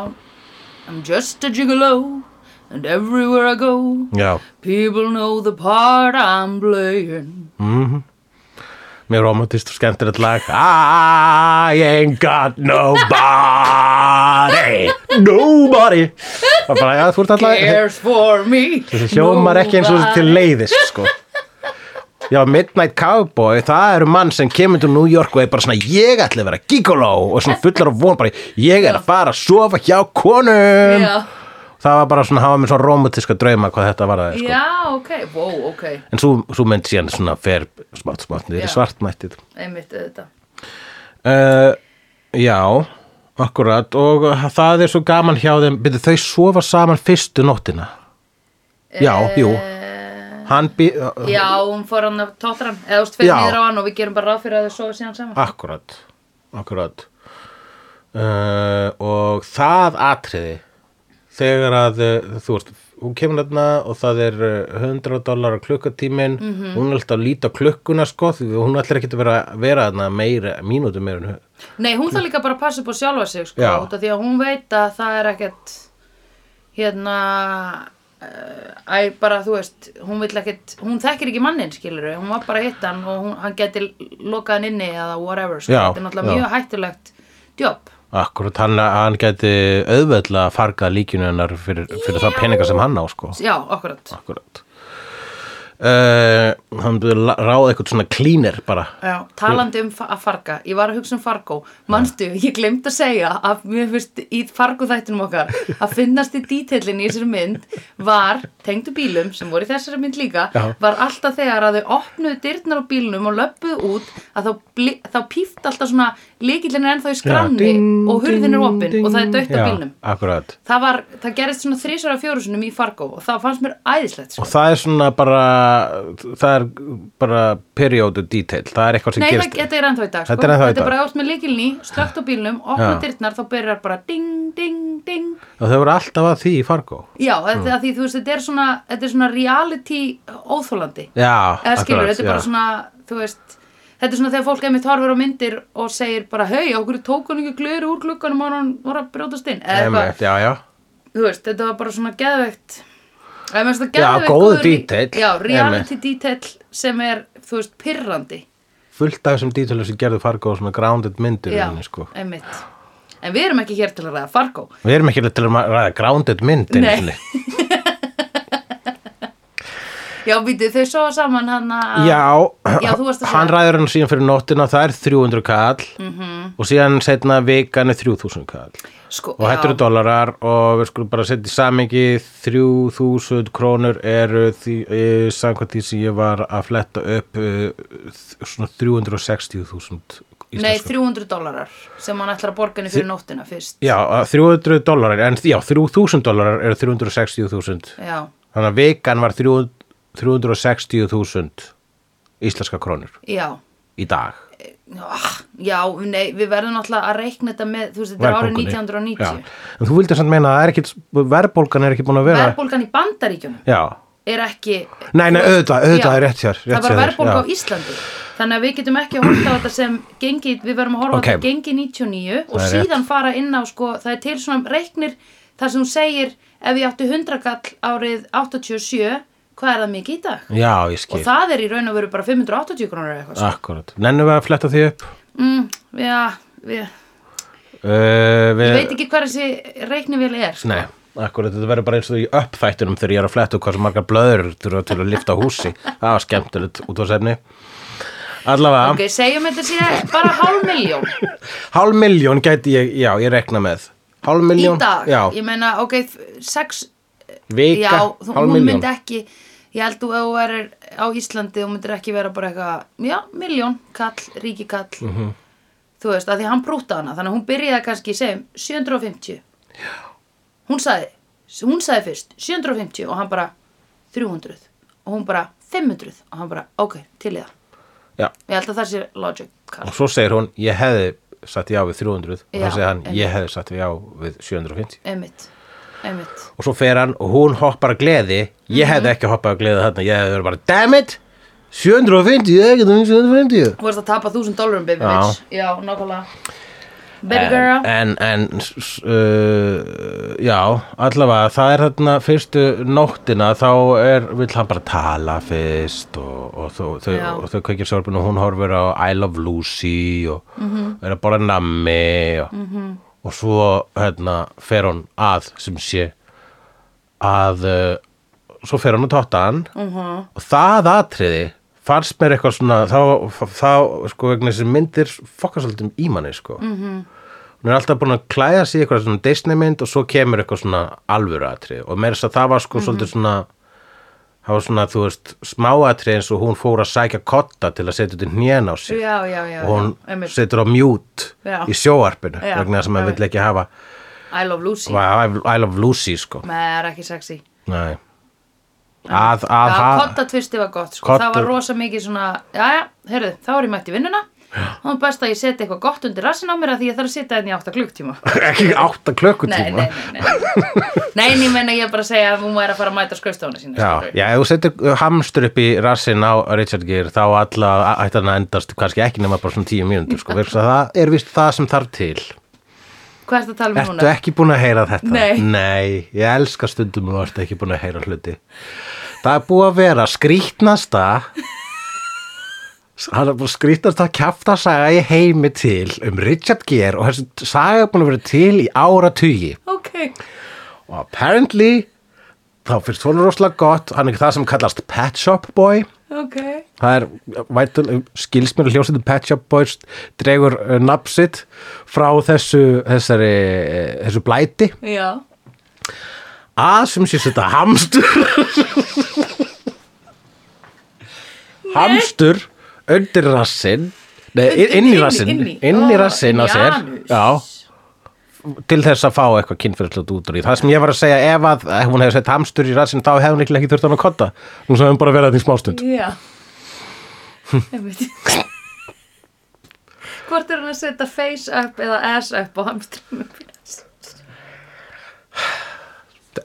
Speaker 1: I'm just a gigolo And everywhere I go
Speaker 2: Já. Já.
Speaker 1: People know the part I'm playing
Speaker 2: Mér romantist og skemmtilegt lag I ain't got nobody Nobody Það er bara, já, þú ert alltaf
Speaker 1: Cares for me
Speaker 2: Þessi hljómar ekki eins og þessi til
Speaker 1: Nobody.
Speaker 2: leiðist, sko Já, Midnight Cowboy, það eru mann sem kemur til New York og er bara svona Ég ætla að vera gigolo og svona fullar af von bara Ég er að fara að sofa hjá konum
Speaker 1: Já,
Speaker 2: Það var bara svona, hafa mér svona romantiska drauma hvað þetta var það, sko
Speaker 1: já, ok, wow, ok
Speaker 2: En svo, svo mynd síðan svona fer smátt smátt niður
Speaker 1: Já.
Speaker 2: í svartmættið
Speaker 1: einmitt auðvitað
Speaker 2: Uh, já, akkurat og það er svo gaman hjá þeim byrju þau sofa saman fyrstu nóttina Já, jú
Speaker 1: Eh,
Speaker 2: Hann bý...
Speaker 1: Já, hún fór hann að tóttra hann eða þú veist fyrir
Speaker 2: Já.
Speaker 1: niður á hann og við gerum bara ráð fyrir að þau sofa síðan saman
Speaker 2: Akkurat, akkurat uh, og það atriði þegar að uh, þú veist, hún kemur þarna og það er uh, 100 dólar klukkatímin mm -hmm. hún er alltaf að líta á klukkuna sko því hún ætlar ekki að vera, vera þarna meira, mínútu meira en
Speaker 1: Nei, hún þarf líka bara að passa upp á sjálfa sig sko,
Speaker 2: Já.
Speaker 1: út af því að hún veit að það er ekkert hérna uh, æ, bara þú veist hún vill ekkert, hún þekkir ekki mannin skilur hún var bara að hitta hann og hún, hann geti lokað hann inni eða whatever sko.
Speaker 2: Já,
Speaker 1: þetta er náttúrulega
Speaker 2: já.
Speaker 1: mjög hættulegt jobb
Speaker 2: Akkurat, hann, hann gæti auðveldlega að farga líkinu hennar fyrir, fyrir það peninga sem hann á, sko.
Speaker 1: Já, akkurat
Speaker 2: Akkurat. Uh, hann byrði að la- ráða eitthvað svona klínir bara.
Speaker 1: Já, talandi um fa- að farga, ég var að hugsa um Fargo Manstu, ég glemt að segja að mér finnst í Fargo þættinum okkar að finnast í dítillin í þessari mynd var, tengdu bílum sem voru í þessari mynd líka,
Speaker 2: Já.
Speaker 1: var alltaf þegar að þau opnuðu dyrnar á bílnum og löppuðu út að þá, bli- þá píft alltaf svona líkillin er ennþá í skranni
Speaker 2: ding,
Speaker 1: og hurðin er
Speaker 2: ding,
Speaker 1: opin og það er dögt á
Speaker 2: Já,
Speaker 1: bílnum
Speaker 2: Akkurat.
Speaker 1: Það, var, það gerist svona þrísvara fjórusunum í Fargo og það fannst mér æðislegt sko.
Speaker 2: Og það er svona bara, það er bara periodu detail, það er eitthvað sem
Speaker 1: Nei, það,
Speaker 2: gerist.
Speaker 1: þetta er ennþá í dag, sko.
Speaker 2: Þetta er ennþá í dag.
Speaker 1: bara átt með leikilni, slögt á bílnum, opna
Speaker 2: Já.
Speaker 1: dyrnar, þá byrjar bara ding, ding, ding.
Speaker 2: Og þau voru alltaf að því í Fargo.
Speaker 1: Já, mm. að því þú veist, þetta er svona, þetta er svona reality óþólandi.
Speaker 2: Já,
Speaker 1: Eða skilur, þetta er bara
Speaker 2: já.
Speaker 1: svona, þú veist, þetta er svona þegar fólk einmitt horfur á myndir og segir bara, hei, okkur tók hann ekki glöru úr glugganum og hann var að brjótast inn. Eða
Speaker 2: Einmitt,
Speaker 1: eitthvað,
Speaker 2: Já, já.
Speaker 1: þú veist, þetta var bara svona geðveikt. Eða mér finnst það
Speaker 2: Já,
Speaker 1: geðveikt
Speaker 2: góður
Speaker 1: góður í-
Speaker 2: detail.
Speaker 1: Já, reality detail sem er, þú veist, pirrandi.
Speaker 2: Fullt af þessum detailu sem gerðu Fargo svona grounded myndir.
Speaker 1: Já,
Speaker 2: henni, sko.
Speaker 1: einmitt. En við erum ekki hér til að ræða Fargo.
Speaker 2: Við erum ekki til að ræða grounded mynd einu
Speaker 1: Nei.
Speaker 2: sinni.
Speaker 1: Já, býtið, þau sofa saman hann að...
Speaker 2: Já,
Speaker 1: Já, þú varst að segja.
Speaker 2: hann ræður hann síðan fyrir nóttina, það er 300 kall
Speaker 1: Mhm.
Speaker 2: og síðan setna vikan er 3000 kall
Speaker 1: Sko,
Speaker 2: og þetta eru
Speaker 1: já,
Speaker 2: dólarar og við skulum bara setja í samingi 3000 krónur eru því, e, samkvæmt því sem ég var að fletta upp e, svona 360.000
Speaker 1: Nei,
Speaker 2: íslensku.
Speaker 1: 300 dólarar sem hann ætlar að borga henni fyrir nóttina fyrst.
Speaker 2: Já, að 300 dólarar, en já, 3000 dólarar eru 360.000
Speaker 1: Já,
Speaker 2: þannig að vikan var 300 360.000 íslenska krónur
Speaker 1: já.
Speaker 2: í dag
Speaker 1: Ah, Já, nei, við verðum náttúrulega að reikna þetta með, þú veist, þetta er árið
Speaker 2: Verðbólgunni.
Speaker 1: 1990.
Speaker 2: Já. En þú vildir samt meina að það er ekkit, verðbólgan er ekki búin að vera
Speaker 1: Verðbólgan í bandaríkjunum
Speaker 2: Já,
Speaker 1: er ekki...
Speaker 2: Nei, nei, auðvitað- auðvitað
Speaker 1: Já.
Speaker 2: er rétt hjá þér,
Speaker 1: Það er
Speaker 2: rétt
Speaker 1: bara
Speaker 2: hjá þér,
Speaker 1: verðbólga á
Speaker 2: já.
Speaker 1: Íslandi. Þannig að við getum ekki að horfa á þetta sem gengi, við verðum að horfa
Speaker 2: Ok.
Speaker 1: á þetta gengi 99 og
Speaker 2: Það er rétt.
Speaker 1: síðan fara inn á, sko, það er til svona reiknir þar sem hún segir ef ég átti 100 kall árið 87, hvað er það mikið í dag?
Speaker 2: já,
Speaker 1: Og
Speaker 2: ég skil
Speaker 1: það er í raun og veru bara 580 krónur eða eitthvað.
Speaker 2: Akkurat, nennum við að fletta því upp
Speaker 1: sko. Mm, já, við,
Speaker 2: uh, við...
Speaker 1: ég veit ekki hvað þessi reiknivél er. sko.
Speaker 2: Nei, akkurat, þetta verður bara eins og í uppþættunum þegar ég er að fletta upp hvað sem margar blöður þurfa til að lifta á húsi Það var skemmtilegt út á sefni Allavega,
Speaker 1: Ok, segjum þetta sé bara hálf miljón
Speaker 2: hálf miljón gæti ég, já, ég rekna með Hálf
Speaker 1: í
Speaker 2: miljón,
Speaker 1: dag.
Speaker 2: já,
Speaker 1: Ég meina, ok, f- sex,
Speaker 2: vika,
Speaker 1: já, þú, hún
Speaker 2: hálf miljón
Speaker 1: myndi ekki, ég held þú ef þú verir á Íslandi, hún myndir ekki vera bara eitthvað, já, miljón, kall, ríkikall.
Speaker 2: Mhm.
Speaker 1: Þú veist, að því hann brúta hana, þannig að hún byrjaði kannski, segjum, 750. Já. Hún sagði, hún sagði fyrst, 750 og hann bara 300 og hún bara 500 og hann bara, ok, til í það.
Speaker 2: Já,
Speaker 1: Ég held að það sé logical.
Speaker 2: og svo segir hún, ég hefði satt já við 300 og
Speaker 1: Já,
Speaker 2: þá segir hann,
Speaker 1: einmitt.
Speaker 2: ég hefði satt já við 750
Speaker 1: Einmitt, einmitt.
Speaker 2: og svo fer hann og hún hoppar að gleði ég hefði
Speaker 1: Mhm.
Speaker 2: ekki hoppað að gleði þarna ég hefði verið bara, damn it 750, ég hefði 750
Speaker 1: Þú ert að tapa 1000 dólarum, baby
Speaker 2: Já.
Speaker 1: bitch. Já, nákvæmlega. Baby girl.
Speaker 2: en, en s- s- uh, já, allavega það er þarna fyrstu nóttina þá er, vill hann bara tala fyrst og, og, þau, þau,
Speaker 1: Já.
Speaker 2: og þau kveikir sorfin og hún horfir á I Love Lucy og
Speaker 1: Mhm.
Speaker 2: er að borða nammi og, og svo hérna fer hún að sem sé að uh, svo fer hún að totta hann
Speaker 1: Mhm.
Speaker 2: og það atriði fannst mér eitthvað svona þá, þá sko vegna þessi myndir fokkar svolítið um ímanni sko
Speaker 1: Mhm.
Speaker 2: hún er alltaf búin að klæða sig í eitthvað svona Disney mynd og svo kemur eitthvað svona alvöru atrið og meira þess að það var
Speaker 1: Mhm.
Speaker 2: sko svolítið svona það var svona þú veist smáatrið eins og hún fór að sækja kotta til að setja út í hnjén á sig
Speaker 1: Já, já, já.
Speaker 2: og hún
Speaker 1: já. Einmitt.
Speaker 2: setur á mjút
Speaker 1: Já.
Speaker 2: í sjóarpinu
Speaker 1: Já,
Speaker 2: vegna þess að maður
Speaker 1: einmitt.
Speaker 2: vill ekki hafa
Speaker 1: I love Lucy.
Speaker 2: I love Lucy sko
Speaker 1: Með er ekki sexy.
Speaker 2: Nei. að, að
Speaker 1: Já,
Speaker 2: ha-
Speaker 1: kotta tvisti var gott, sko.
Speaker 2: Kodda-
Speaker 1: Það var rosa mikið svona, já, já, heyrðu, þá er ég mætt í vinnuna. Og hún best að ég seti eitthvað gott undir rassin á mér að því ég þarf að setja henni í 8 klukktíma.
Speaker 2: ekki átta
Speaker 1: Nei, nei,
Speaker 2: klökkutíma
Speaker 1: nei, nei. nei, en ég menna ég er bara að segja að hún væri að fara að mæta skrifstofuna sína.
Speaker 2: Já,
Speaker 1: skilurðu.
Speaker 2: já, ef þú setur hamstur upp í rassin á Richard Gere þá alla ætti hann að endast kannski ekki nema bara svona tíu mínútur sko, vegna þess að það er vist það sem þarf til
Speaker 1: Hvað ertu að tala um
Speaker 2: Ertu
Speaker 1: núna?
Speaker 2: ekki búin að heyra þetta?
Speaker 1: Nei.
Speaker 2: ég elska stundum og ertu ekki búin að heyra hluti Það er búið að vera skrýtnasta hann er búin að skrýtast að kjafta saga í heimi til um Richard Gere og þessi saga er búin að vera til í áratugi
Speaker 1: Ok,
Speaker 2: og apparently þá finnst hún rosalega gott hann er það sem kallast Pet Shop Boy
Speaker 1: ok.
Speaker 2: það er vætul, skilsmjör hljósetu Pet Shop Boys dregur uh, napsitt frá þessu, þessari, eh, þessu blæti
Speaker 1: Já.
Speaker 2: að sem sé þetta hamstur hamstur undir rassinn nei, inn, inn í rassinn
Speaker 1: Inn í,
Speaker 2: inn í
Speaker 1: Ó,
Speaker 2: rassinn á sér
Speaker 1: Janus.
Speaker 2: já, til þess að fá eitthvað kynfyrirlega út úr í það sem ég var að segja ef að ef hún hefði sett hamstur í rassinn þá hefði hún ekki þurft hann að kotta nú sem hún bara verið að því smástund
Speaker 1: Já Einmitt Hvort er hann að setja face up eða ass up á hamstrinu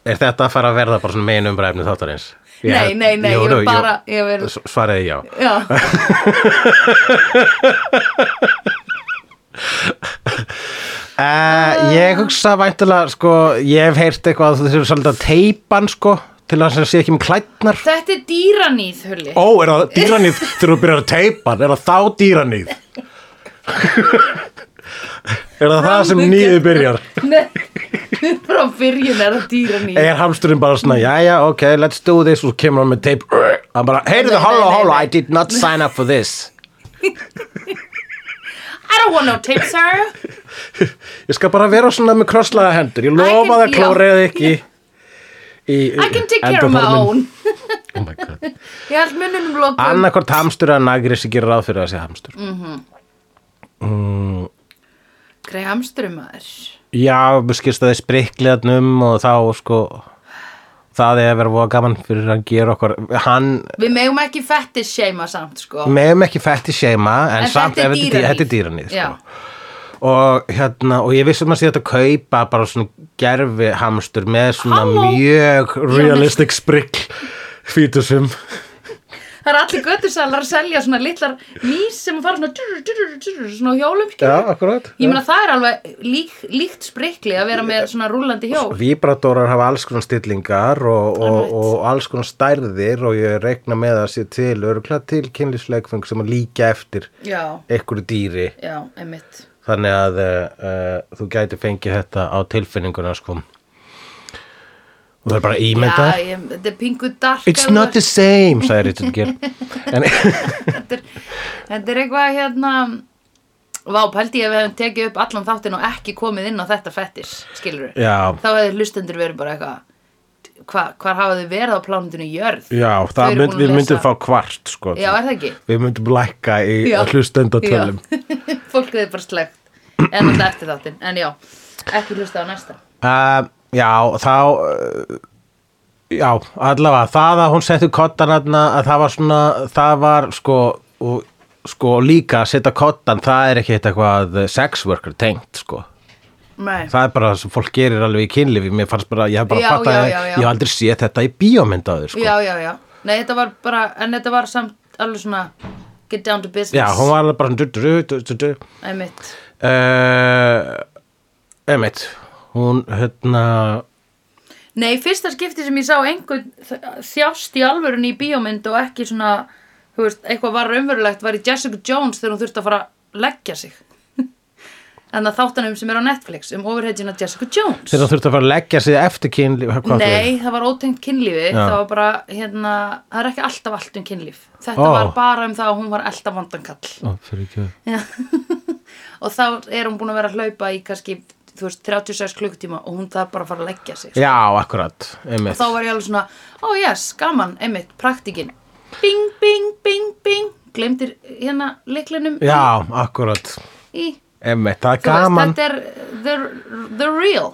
Speaker 2: er þetta að fara að verða bara svona megin umbræfni þáttarins Ég-
Speaker 1: Nei, nei, nei, ég
Speaker 2: Jú, jú,
Speaker 1: vil
Speaker 2: jú.
Speaker 1: bara ég vil,
Speaker 2: S- svaraði já
Speaker 1: Já, Ah.
Speaker 2: Uh, ég hugsa væntulega, sko, ég hef heyrt eitthvað að þú þurfum svolítið að teipan, sko, til að það sé ekki með klætnar.
Speaker 1: þetta er dýranýð hulli
Speaker 2: Ó, er það dýranýð þegar þú byrjar að teipan? Er það þá dýranýð? er það það sem nýðu byrjar?
Speaker 1: Nei, frá byrjun er það dýranýð
Speaker 2: Er hamsturinn bara svona, jæja, ok, let's do this og svo kemur hann með teip hann bara,
Speaker 1: Nei,
Speaker 2: heyrðu,
Speaker 1: nei,
Speaker 2: halló,
Speaker 1: nei,
Speaker 2: halló,
Speaker 1: nei.
Speaker 2: I did not sign up for this
Speaker 1: I don't want no tip, sir
Speaker 2: Ég skal bara vera svona með krosslaða hendur Ég lofa
Speaker 1: can-
Speaker 2: það klóriðið ekki í,
Speaker 1: I can take care of my own
Speaker 2: oh my God.
Speaker 1: Ég held mununum lokum
Speaker 2: Annarkvort hamstur eða nagri sem gerir ráð fyrir að sé hamstur
Speaker 1: Grey hamsturum maður
Speaker 2: Já, mér skilst að þið sprikliðanum og þá sko það er að vera voða gaman fyrir að gera okkur hann,
Speaker 1: Við megum ekki fettis seima samt sko
Speaker 2: meðum ekki fætti seima en,
Speaker 1: En
Speaker 2: samt,
Speaker 1: þetta er
Speaker 2: ef þetta er dý-
Speaker 1: dýraníð.
Speaker 2: þetta er dýranýð
Speaker 1: Já.
Speaker 2: sko. og hérna, og ég vissi að maður sé þetta að kaupa bara svona gerfi hamstur með svona
Speaker 1: Halló?
Speaker 2: mjög realistic sprikl fítusum
Speaker 1: Það er allir göttusalar að selja svona litlar mís sem fara svona durr, durr, durr, svona á hjólum skilur.
Speaker 2: Já, akkurat
Speaker 1: Ég meina það er alveg lík, líkt sprikli að vera með svona rúlandi
Speaker 2: Sko,
Speaker 1: hjól
Speaker 2: Vibratórar hafa alls konar stillingar og, og,
Speaker 1: Alright.
Speaker 2: og alls konar stærðir og ég reikna með að sé til örgla til kynlífsleikfeng sem að líka eftir
Speaker 1: Já,
Speaker 2: einhverju dýri
Speaker 1: já, einmitt
Speaker 2: þannig að uh, uh, þú gæti fengið þetta á tilfinninguna sko og það er bara ímynda
Speaker 1: Já, ég, þetta er pingu dark
Speaker 2: It's
Speaker 1: alveg.
Speaker 2: not the same, sagði Richard Gere en
Speaker 1: Þetta er eitthvað hérna Vá, pældi ég að við hefum tekið upp allan þáttinn og ekki komið inn á þetta fettis, skilur við
Speaker 2: já,
Speaker 1: Þá hefði hlustendur verið bara eitthvað hva, Hvar hafa þau verið á plánundinu jörð?
Speaker 2: já það
Speaker 1: eru búin að
Speaker 2: mynd, við myndum
Speaker 1: lesa-
Speaker 2: fá kvart sko
Speaker 1: Já, er það ekki?
Speaker 2: við myndum lækka í
Speaker 1: Já.
Speaker 2: hlustendatölum
Speaker 1: Já. Fólk hefði bara slegt En alltaf eftir þáttinn, en já Ekki hlusta á næsta
Speaker 2: Uh, já, þá uh, Já, allavega Það að hún settu kottan aðna að það var svona, það var sko og, sko líka að setja kottan það er ekki eitthvað sex worker tengt sko,
Speaker 1: Nei
Speaker 2: það er bara það sem fólk gerir alveg í kynlífi, mér fannst bara ég hef bara
Speaker 1: Já,
Speaker 2: fattað
Speaker 1: já,
Speaker 2: að
Speaker 1: já, já.
Speaker 2: ég hef aldrei séð þetta í bíómyndaður sko
Speaker 1: Já, já, já Nei, þetta var bara, en þetta var samt alveg svona Get down to business
Speaker 2: Já, hún var alveg bara du, du, du, du, du, du.
Speaker 1: Einmitt
Speaker 2: Uh, emitt hún hérna
Speaker 1: Nei, fyrsta skipti sem ég sá einhvern þ- þjást í alvörunni í bíómynd og ekki svona, þú veist, eitthvað var raunverulegt var í Jessica Jones þegar hún þurfti að fara að leggja sig. en það þáttanum sem er á Netflix um overheadina Jessica Jones.
Speaker 2: þegar hún þurfti að fara að leggja sig eftir kynlífi hvað- hvað fyrir?
Speaker 1: Nei, það var ótengt kynlífi,
Speaker 2: Já.
Speaker 1: það var bara, hérna, það er ekki alltaf allt um kynlíf. Þetta
Speaker 2: Ó.
Speaker 1: var bara um það að hún var alltaf vandankall.
Speaker 2: Ó, fyrir ekki það
Speaker 1: Og þá er hún búin að vera að hlaupa í kannski, þú veist, 36 klukkutíma og hún þarf bara að fara að leggja sig.
Speaker 2: Já, akkurat, einmitt.
Speaker 1: þá var ég alveg svona, oh yes, gaman, einmitt, praktikinn. Bing, bing, bing, bing, glemdir hérna leiklinum
Speaker 2: Já, akkurat,
Speaker 1: í,
Speaker 2: einmitt. Það er
Speaker 1: þú
Speaker 2: gaman
Speaker 1: veist, þetta er the, the real.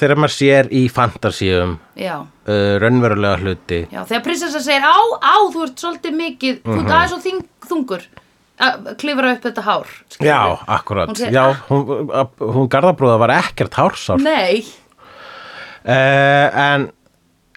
Speaker 2: þegar maður sér í fantasíum
Speaker 1: Já,
Speaker 2: uh, raunverulega hluti.
Speaker 1: já, þegar prinsessa segir, á, á, þú ert svolítið mikið, þú
Speaker 2: Mhm.
Speaker 1: ert aðeins og þing, þungur að klifra upp þetta hár. skilurðu.
Speaker 2: Já, akkurat.
Speaker 1: Hún segir,
Speaker 2: Já,
Speaker 1: "Ah."
Speaker 2: hún, að- hún garðabrúða var ekkert hársár.
Speaker 1: Nei,
Speaker 2: Uh, en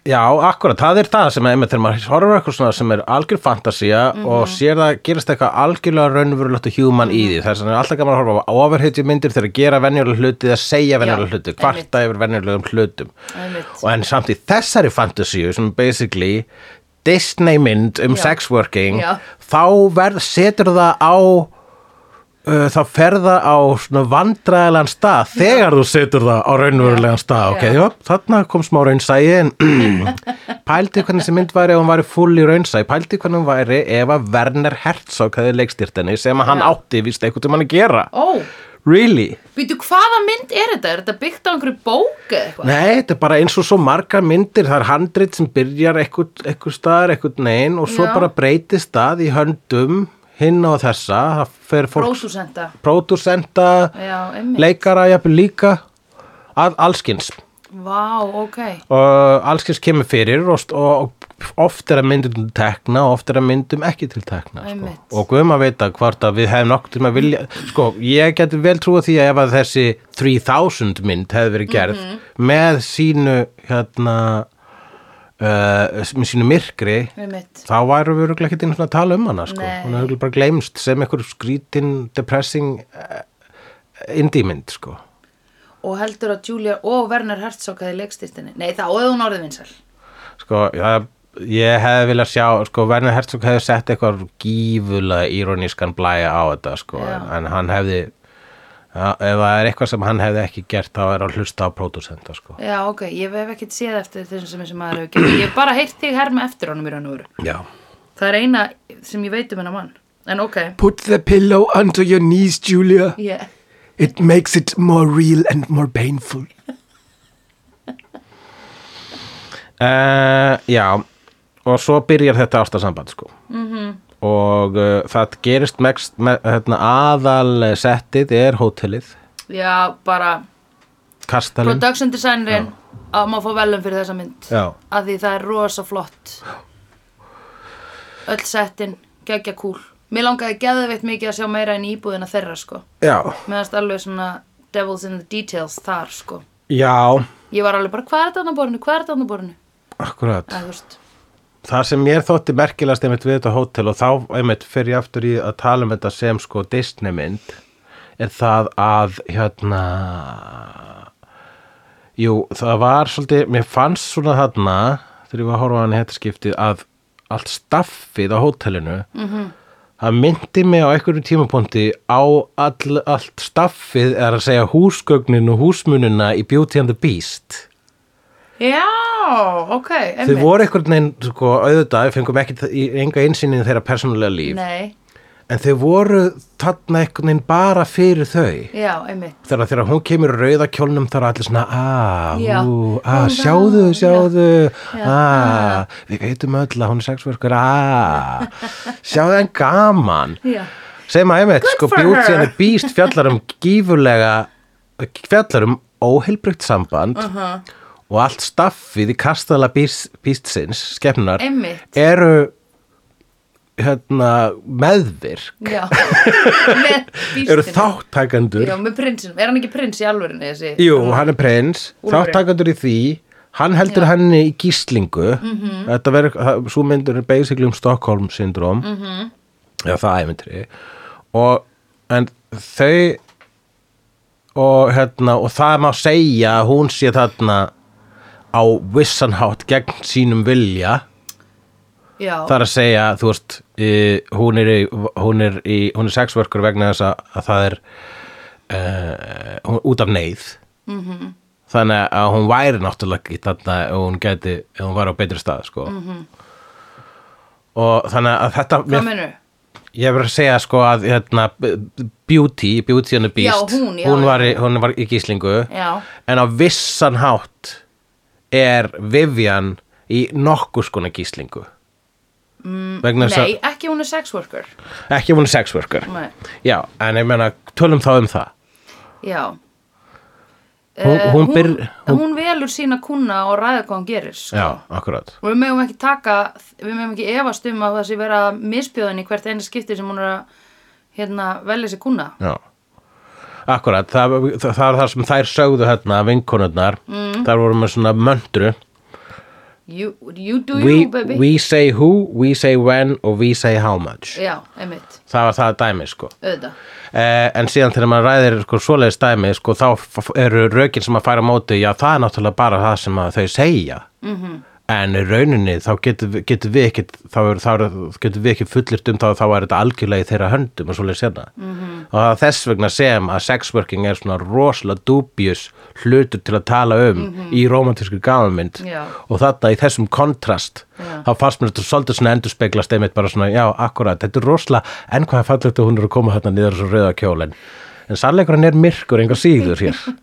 Speaker 2: já, akkurat, það er það sem einmitt þegar maður horfur eitthvað svona sem er algjör fantasía og
Speaker 1: Mhm.
Speaker 2: sér það gerist eitthvað algjörlega raunverulegt og human í því. Þess að er alltaf gaman að horfa á overhitju myndir þegar að gera venjulega hluti eða segja venjulega
Speaker 1: Já,
Speaker 2: hluti, kvarta yfir venjulegum hlutum.
Speaker 1: einmitt,
Speaker 2: og en samt í þessari fantasíu sem er basically Disney mynd um
Speaker 1: Já.
Speaker 2: sex working
Speaker 1: Já.
Speaker 2: þá verð, setur það á uh, þá fer það á svona vandræðilegan stað þegar þú setur það á raunverulegan stað ok,
Speaker 1: Já.
Speaker 2: já, þarna kom smá raunsæi en pældi hvernig þessi mynd væri ef hún væri full í raunsæi, pældi hvernig hún væri ef að Werner Herzog hefði leikstýrt henni sem að hann
Speaker 1: Já.
Speaker 2: átti víst eitthvað til hann að gera
Speaker 1: ó,
Speaker 2: really?
Speaker 1: býtu, hvaða mynd er þetta? Er þetta byggt á einhverju bók eða eitthvað?
Speaker 2: Nei, þetta er bara eins og svo margar myndir, það er handrit sem byrjar eitthvað, eitthvað staðar, eitthvað negin og svo
Speaker 1: Já.
Speaker 2: bara breytist það í höndum hinn á þessa, það fer fólk
Speaker 1: Prósúsenda,
Speaker 2: pródúsenda,
Speaker 1: já, einmitt,
Speaker 2: leikara, jafnvel líka, að allskins
Speaker 1: vá, ok.
Speaker 2: og allskins kemur fyrir og, st- og oft er að myndum til tekna og oft er að myndum ekki til tekna sko.
Speaker 1: Einmitt.
Speaker 2: og guðum að vita hvort að við hefum nokkuð til að vilja sko, ég geti vel trúa því að ef að þessi 3000 mynd hefði verið gerð
Speaker 1: Mhm.
Speaker 2: með sínu hérna uh, með sínu myrkri
Speaker 1: Einmitt.
Speaker 2: þá væru við örugglega ekkert einu svona að tala um hana sko.
Speaker 1: Nei.
Speaker 2: hún er örugglega bara gleymst sem einhver skrítin depressing uh, indie mynd sko.
Speaker 1: og heldur að Julia og Werner Herzog hefði leikstýrtinni. Nei, þá hefði hún orðið vinsæl.
Speaker 2: sko, það, ég hefði viljað sjá, sko, Werner Herzog hefði sett eitthvað gífulega íronískan blæja á þetta, sko,
Speaker 1: Já.
Speaker 2: en, en hann hefði ja, ef það er eitthvað sem hann hefði ekki gert þá er að hlusta á pródusenda sko.
Speaker 1: Já, ok, ég hef ekkert séð eftir þessum sem þessi maður hefur gert. Ég hef bara heyrt þig herma eftir honum í raun og veru.
Speaker 2: já
Speaker 1: Það er eina sem ég veit um hennar mann. En ok,
Speaker 3: Put the pillow under your knees, Julia.
Speaker 1: ég...
Speaker 3: It makes it more real and more painful.
Speaker 2: Uh, já, og svo byrjar þetta ástarsamband sko -hmm. og uh, það gerist mest, me, hérna, aðal settið er hótelið,
Speaker 1: Já, bara
Speaker 2: kastalinn
Speaker 1: production designerin að maður fá velum fyrir þessa mynd
Speaker 2: Já.
Speaker 1: að því það er rosa flott öll settin geggja kúl mér langaði geðveitt mikið að sjá meira en íbúðina þeirra sko
Speaker 2: Já,
Speaker 1: meðast alveg svona devils in the details þar sko
Speaker 2: já,
Speaker 1: ég var alveg bara hvað er þetta á borinu, hvað er þetta á borinu
Speaker 2: akkurat
Speaker 1: að, þú veist,
Speaker 2: Það sem mér þótti merkilegast einmitt við þetta hótel og þá einmitt fer ég aftur í að tala um þetta sem sko Disney mynd er það að hérna Jú, það var svolítið, mér fannst svona þarna þegar ég var að horfa á hann í þetta skiptið að allt staffið á hótelinu -hmm. það myndi mig á einhverjum tímapunkti á all, allt staffið er að segja húsgögnin og húsmununa í Beauty and the Beast
Speaker 1: já, ok
Speaker 2: Þau
Speaker 1: einmitt.
Speaker 2: voru einhvern veginn, sko, auðvitað, við fengum ekki í enga einsýnin þeirra persónulega líf,
Speaker 1: nei,
Speaker 2: en þau voru þarna einhvern veginn bara fyrir þau.
Speaker 1: já, einmitt
Speaker 2: Þegar, þegar hún kemur í rauða kjólnum þá er allir svona, að,
Speaker 1: Já.
Speaker 2: ú,
Speaker 1: Ó,
Speaker 2: að,
Speaker 1: vá,
Speaker 2: sjáðu,
Speaker 1: já.
Speaker 2: sjáðu,
Speaker 1: Já, Ah.
Speaker 2: að, við veitum öll að hún er sexverkur, að, sjáðu en gaman.
Speaker 1: já,
Speaker 2: Segð maður einmitt,
Speaker 1: Good
Speaker 2: sko,
Speaker 1: for
Speaker 2: Beauty
Speaker 1: her.
Speaker 2: and the Beast fjallar um gífurlega, fjallar um óheilbrygt samband
Speaker 1: Uh-huh.
Speaker 2: og allt staffið í kastala býst, býstsins, skepnunar,
Speaker 1: einmitt
Speaker 2: eru hérna, meðvirk,
Speaker 1: já, með
Speaker 2: eru
Speaker 1: býstinni.
Speaker 2: þáttakendur.
Speaker 1: já, með prinsinum, er hann ekki prins í alvörinu þessi
Speaker 2: Jú, hann er prins,
Speaker 1: Úlfurinn.
Speaker 2: þáttakendur í því, hann heldur henni í gíslingu, mm -hmm. þetta verður, svo myndur er basically um Stockholm syndrom, mm -hmm. já það æfintri, og en þau og hérna og það má segja að hún sé þarna á vissanhátt gegn sínum vilja
Speaker 1: já,
Speaker 2: Það er að segja, þú veist, í, hún, er í, hún, er í, hún er sexworker vegna þess að, að það er uh, hún, út af neyð.
Speaker 1: Mhm.
Speaker 2: -hmm. Þannig að hún væri náttúrulega ekki þarna ef hún geti, ef hún var á betri stað, sko. -hmm. Og þannig að þetta,
Speaker 1: Mhm. hvað mennur?
Speaker 2: ég verður að segja sko að hérna, b- b- Beauty, Beauty and the Beast,
Speaker 1: Já, hún, já, já.
Speaker 2: var, í, hún var í gíslingu,
Speaker 1: Já.
Speaker 2: en á vissan hátt er Vivian í nokkus konar gíslingu. Mm, vegna þess
Speaker 1: Nei,
Speaker 2: að
Speaker 1: ekki hún er sex worker
Speaker 2: ekki ef hún er sex worker
Speaker 1: Nei.
Speaker 2: já, en ég meina, tölum þá um það
Speaker 1: Já
Speaker 2: Hún-
Speaker 1: Eh,
Speaker 2: hún byr-
Speaker 1: hún, hún velur sína kuna og ræða hvað hún gerir sko.
Speaker 2: já, akkurat
Speaker 1: og við megum ekki taka við megum ekki efast um að það sé vera misbjöðin í hvert einu skipti sem hún er að hérna, velja sér kuna
Speaker 2: já. akkurat, það, það, það er það sem þær sögðu hérna, vinkonurnar mm. þar voru með svona möndru
Speaker 1: You, you do
Speaker 2: we,
Speaker 1: you baby
Speaker 2: we say who, we say when og we say how much
Speaker 1: Já, einmitt,
Speaker 2: það var það dæmi sko
Speaker 1: auðvitað
Speaker 2: eh, en síðan þegar maður ræðir sko, svoleiðis dæmi sko, þá f- eru rökin sem að færa á móti já það er náttúrulega bara það sem að þau segja -hmm. en í rauninni þá getum við, getum við ekki þá, er, þá er, getum við ekki fullirt um þá þá er þetta algjörlega í þeirra höndum og svoleiðis hérna mm -hmm. og það er þess vegna sem að sexworking er svona rosalega dubjus hlutur til að tala um í romantísku gafamynd
Speaker 1: Já.
Speaker 2: og þarna í þessum kontrast þá fannst mér þetta svolítið svona endurspeglast einmitt bara svona, já, akkurat, þetta er rosalega en hvað er fallegt að hún er að koma hérna niður svo rauða kjólin en sannleikurinn er myrkur enga síður hér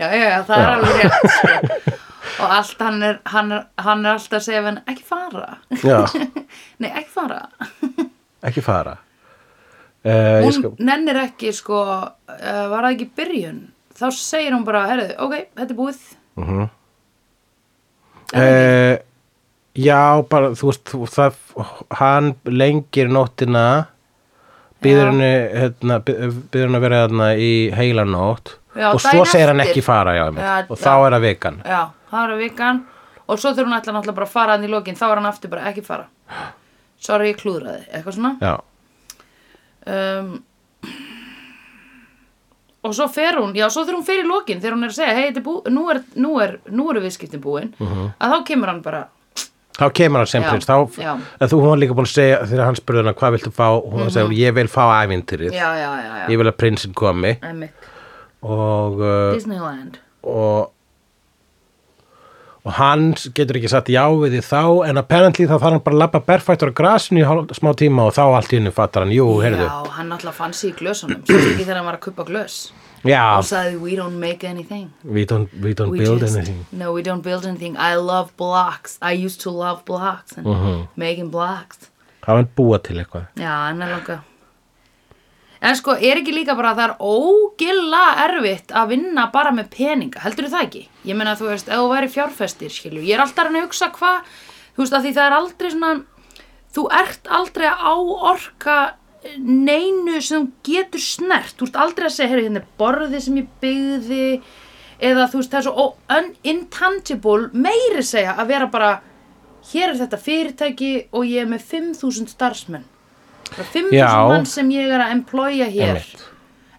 Speaker 1: Já, já, já, það er alveg rétt sko. og allt hann er, hann, er, hann er alltaf að segja við hann ekki fara
Speaker 2: já,
Speaker 1: Nei, ekki fara
Speaker 2: ekki fara uh,
Speaker 1: hún
Speaker 2: ég skal,
Speaker 1: nennir ekki sko, uh, var það ekki í byrjun þá segir hún bara, herðu, ok, þetta er búið
Speaker 2: uh, já, bara þú veist, þú- það hann lengir nóttina
Speaker 1: Já.
Speaker 2: býður henni hérna, býður henni að vera hérna í heilanótt
Speaker 1: Já,
Speaker 2: og svo
Speaker 1: daginn
Speaker 2: segir hann
Speaker 1: eftir.
Speaker 2: ekki fara já, einmitt.
Speaker 1: Já,
Speaker 2: og
Speaker 1: já.
Speaker 2: þá er það vikan
Speaker 1: já, það er að vikan og svo þurfum hún ætla náttúrulega bara að fara hann í lokin þá er hann aftur bara, ekki fara sorry, ég klúðraði, eitthvað svona
Speaker 2: já,
Speaker 1: um, og svo fer hún, já, svo þurfum hún fer í lokin
Speaker 2: Mhm.
Speaker 1: þegar hún er að segja, hei, þetta er búið nú, er, nú, er, nú eru viðskiptin búin að þá kemur hann bara
Speaker 2: þá kemur hann sem
Speaker 1: Já,
Speaker 2: prins þá,
Speaker 1: já.
Speaker 2: en þú hún var líka búin að segja þegar hann spurði hana hvað viltu fá hún mm segja ég vil fá ævintýrið
Speaker 1: Mhm. já, já, já, já.
Speaker 2: ég vil að prinsinn komi
Speaker 1: Einmitt.
Speaker 2: og, uh,
Speaker 1: Disneyland
Speaker 2: og og hann getur ekki satt já við því þá en apparently þá þarf hann bara að labba berfættur á grasinu í hálf- smá tíma og þá allt í henni fattar hann, jú, heyrðu
Speaker 1: Já, hann alltaf fann sig í glösunum Svo ekki þegar hann var að kuppa glös
Speaker 2: já,
Speaker 1: Og sagði, we don't make anything
Speaker 2: we don't, we don't
Speaker 1: We
Speaker 2: build
Speaker 1: just-
Speaker 2: anything
Speaker 1: No, we don't build anything I love blocks I used to love blocks and
Speaker 2: Mhm.
Speaker 1: Making blocks
Speaker 2: hann vil búa til eitthvað
Speaker 1: Já, hann er langa En sko, er ekki líka bara að það er ógilla erfitt að vinna bara með peninga, heldur það ekki? Ég meina, þú veist, ef þú væri fjárfestir, skilju, ég er alltaf að reyna að hugsa hvað, þú veist, að því það er aldrei svona, þú ert aldrei að áorka neinu sem þú getur snert, þú ert aldrei að segja, heyrðu, hérna er borðið sem ég byggði, eða þú veist, það er svo ó- un- intangible, meiri segja að vera bara, hér er þetta fyrirtæki og ég er með 5.000 starfsmenn, bara 5.000
Speaker 2: Já.
Speaker 1: mann sem ég er að employa hér
Speaker 2: Einmitt.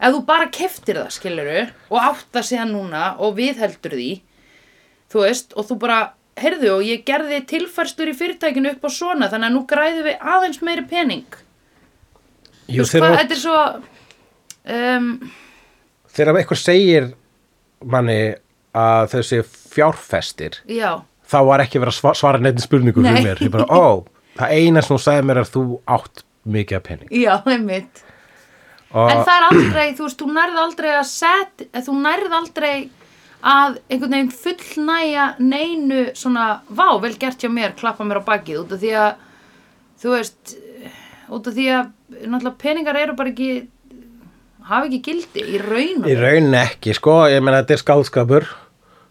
Speaker 1: ef þú bara keftir það skiluru og átt það síðan núna og viðheldur því þú veist og þú bara heyrðu og ég gerði tilfærstur í fyrirtækinu upp á svona þannig að nú græðum við aðeins meiri pening þú
Speaker 2: jú,
Speaker 1: veist hvað,
Speaker 2: þegar-
Speaker 1: þetta er svo um,
Speaker 2: þegar eitthvað segir manni að þessi fjárfestir
Speaker 1: já,
Speaker 2: þá var ekki verið að sva- svara neitt spurningu
Speaker 1: Nei.
Speaker 2: fyrir mér, ég bara, ó, það eina sem hún sagði mér er að þú átt mikið af pening
Speaker 1: já, einmitt en
Speaker 2: og
Speaker 1: það er aldrei, þú veist, þú nærð aldrei að set, eh, þú nærð aldrei að einhvern veginn fullnæja neinu svona, vá, vel gert hjá mér, klappa mér á bakið út af því að, þú veist, út af því að, náttúrulega peningar eru bara ekki, hafa ekki gildi í raun og
Speaker 2: í
Speaker 1: veru.
Speaker 2: raun ekki, sko, ég meina þetta er skálskapur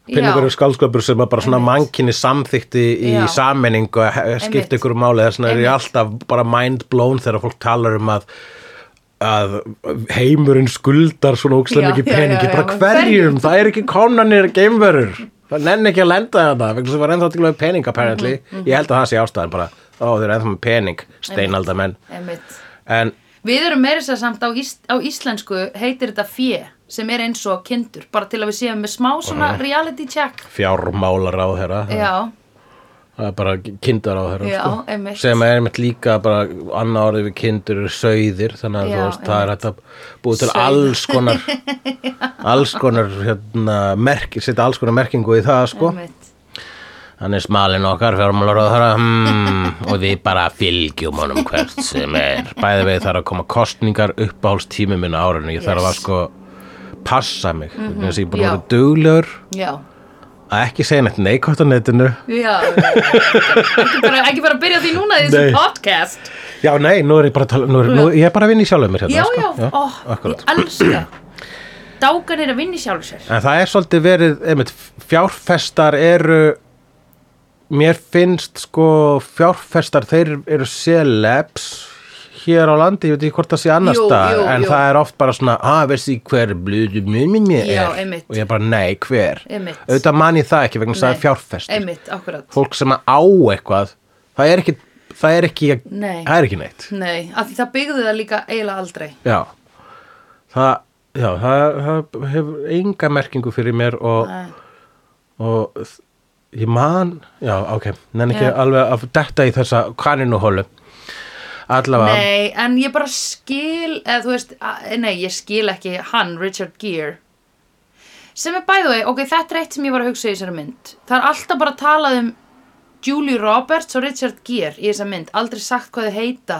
Speaker 2: peningur er skálskapur sem að bara svona
Speaker 1: Einmitt.
Speaker 2: mankinni samþykti í
Speaker 1: Já.
Speaker 2: sammenningu að
Speaker 1: Einmitt.
Speaker 2: skipta ykkur máli þess vegna er ég
Speaker 1: Einmitt.
Speaker 2: alltaf bara mind blown þegar fólk talar um að að heimurinn skuldar svona
Speaker 1: Já,
Speaker 2: ókslega mikið
Speaker 1: já, já,
Speaker 2: peningi
Speaker 1: já,
Speaker 2: bara
Speaker 1: já,
Speaker 2: hverjum, það er ekki konanir geimverur, það nenn ekki að lenda þetta vegna sem var ennþá til að pening apparently
Speaker 1: Mhm,
Speaker 2: ég held að það sé ástæðan bara ó þeir eru ennþá með pening, steinaldamenn
Speaker 1: Einmitt.
Speaker 2: en
Speaker 1: Við erum meira sér samt á, ís, á íslensku heitir þetta fjö sem er eins og kindur, bara til að við séum með smá svona reality check.
Speaker 2: fjármálar á þeirra
Speaker 1: Já,
Speaker 2: það er bara kindar á þeirra
Speaker 1: Já,
Speaker 2: sko.
Speaker 1: einmitt.
Speaker 2: sem er einmitt líka bara annað orðið við kindur eru sauðir þannig að
Speaker 1: Já,
Speaker 2: þú veist það er
Speaker 1: einmitt.
Speaker 2: hægt að búið til
Speaker 1: Sauð.
Speaker 2: alls konar alls konar hérna, merk, setja alls konar merkingu í það sko
Speaker 1: einmitt.
Speaker 2: hann er smalinn okkar fjármálar á þeirra hmm, og við bara fylgjum honum hvert sem er bæði við þarf að koma kostningar uppáhaldstími minn á árinu ég þarf að
Speaker 1: Yes.
Speaker 2: sko passa mig mm -hmm. ég er búin að
Speaker 1: já.
Speaker 2: vera duglegur
Speaker 1: Já.
Speaker 2: að ekki segja neitt neikvæmt á netinu
Speaker 1: Já, ekki bara, ekki bara byrja á því núna í þessu
Speaker 2: Nei.
Speaker 1: podcast
Speaker 2: Já, nei, nú er ég bara að tala, um- nú er, nú, ég er bara að vinna í sjálfum mér hérna.
Speaker 1: Já,
Speaker 2: sko.
Speaker 1: já, ó,
Speaker 2: akkurat.
Speaker 1: ég elska Dákan er að vinna í sjálf sér
Speaker 2: En það er svolítið verið, einmitt, fjárfestar eru, mér finnst sko fjárfestar, þeir eru celebs hér á landi, ég veit ekki hvort það sé annar
Speaker 1: Jú,
Speaker 2: staðar,
Speaker 1: jú,
Speaker 2: en
Speaker 1: jú.
Speaker 2: það er oft bara svona, að veistu í hver blödu mjög minn mér
Speaker 1: Já,
Speaker 2: er,
Speaker 1: einmitt.
Speaker 2: og ég bara, nei, hver,
Speaker 1: Einmitt.
Speaker 2: auðvitað man ég það ekki vegna þess að það er fjárfestar,
Speaker 1: Einmitt, akkurat
Speaker 2: fólk sem á eitthvað, það er ekki, það er ekki,
Speaker 1: Nei.
Speaker 2: það er ekki neitt.
Speaker 1: Nei, af því það byggði það líka eiginlega aldrei
Speaker 2: Já, það, já, það, það hefur enga merkingu fyrir mér og,
Speaker 1: Nei.
Speaker 2: og þ- ég man, já, ok, nenni ekki
Speaker 1: Já.
Speaker 2: alveg að detta í þessa kaninuhólu. Allavega,
Speaker 1: Nei, en ég bara skil eða þú veist, að- nei, ég skil ekki hann, Richard Gere sem er bæðu vei, ok, þetta er eitt sem ég var að hugsa í þessari mynd það er alltaf bara talað um Julie Roberts og Richard Gere í þessari mynd, aldrei sagt hvað þau heita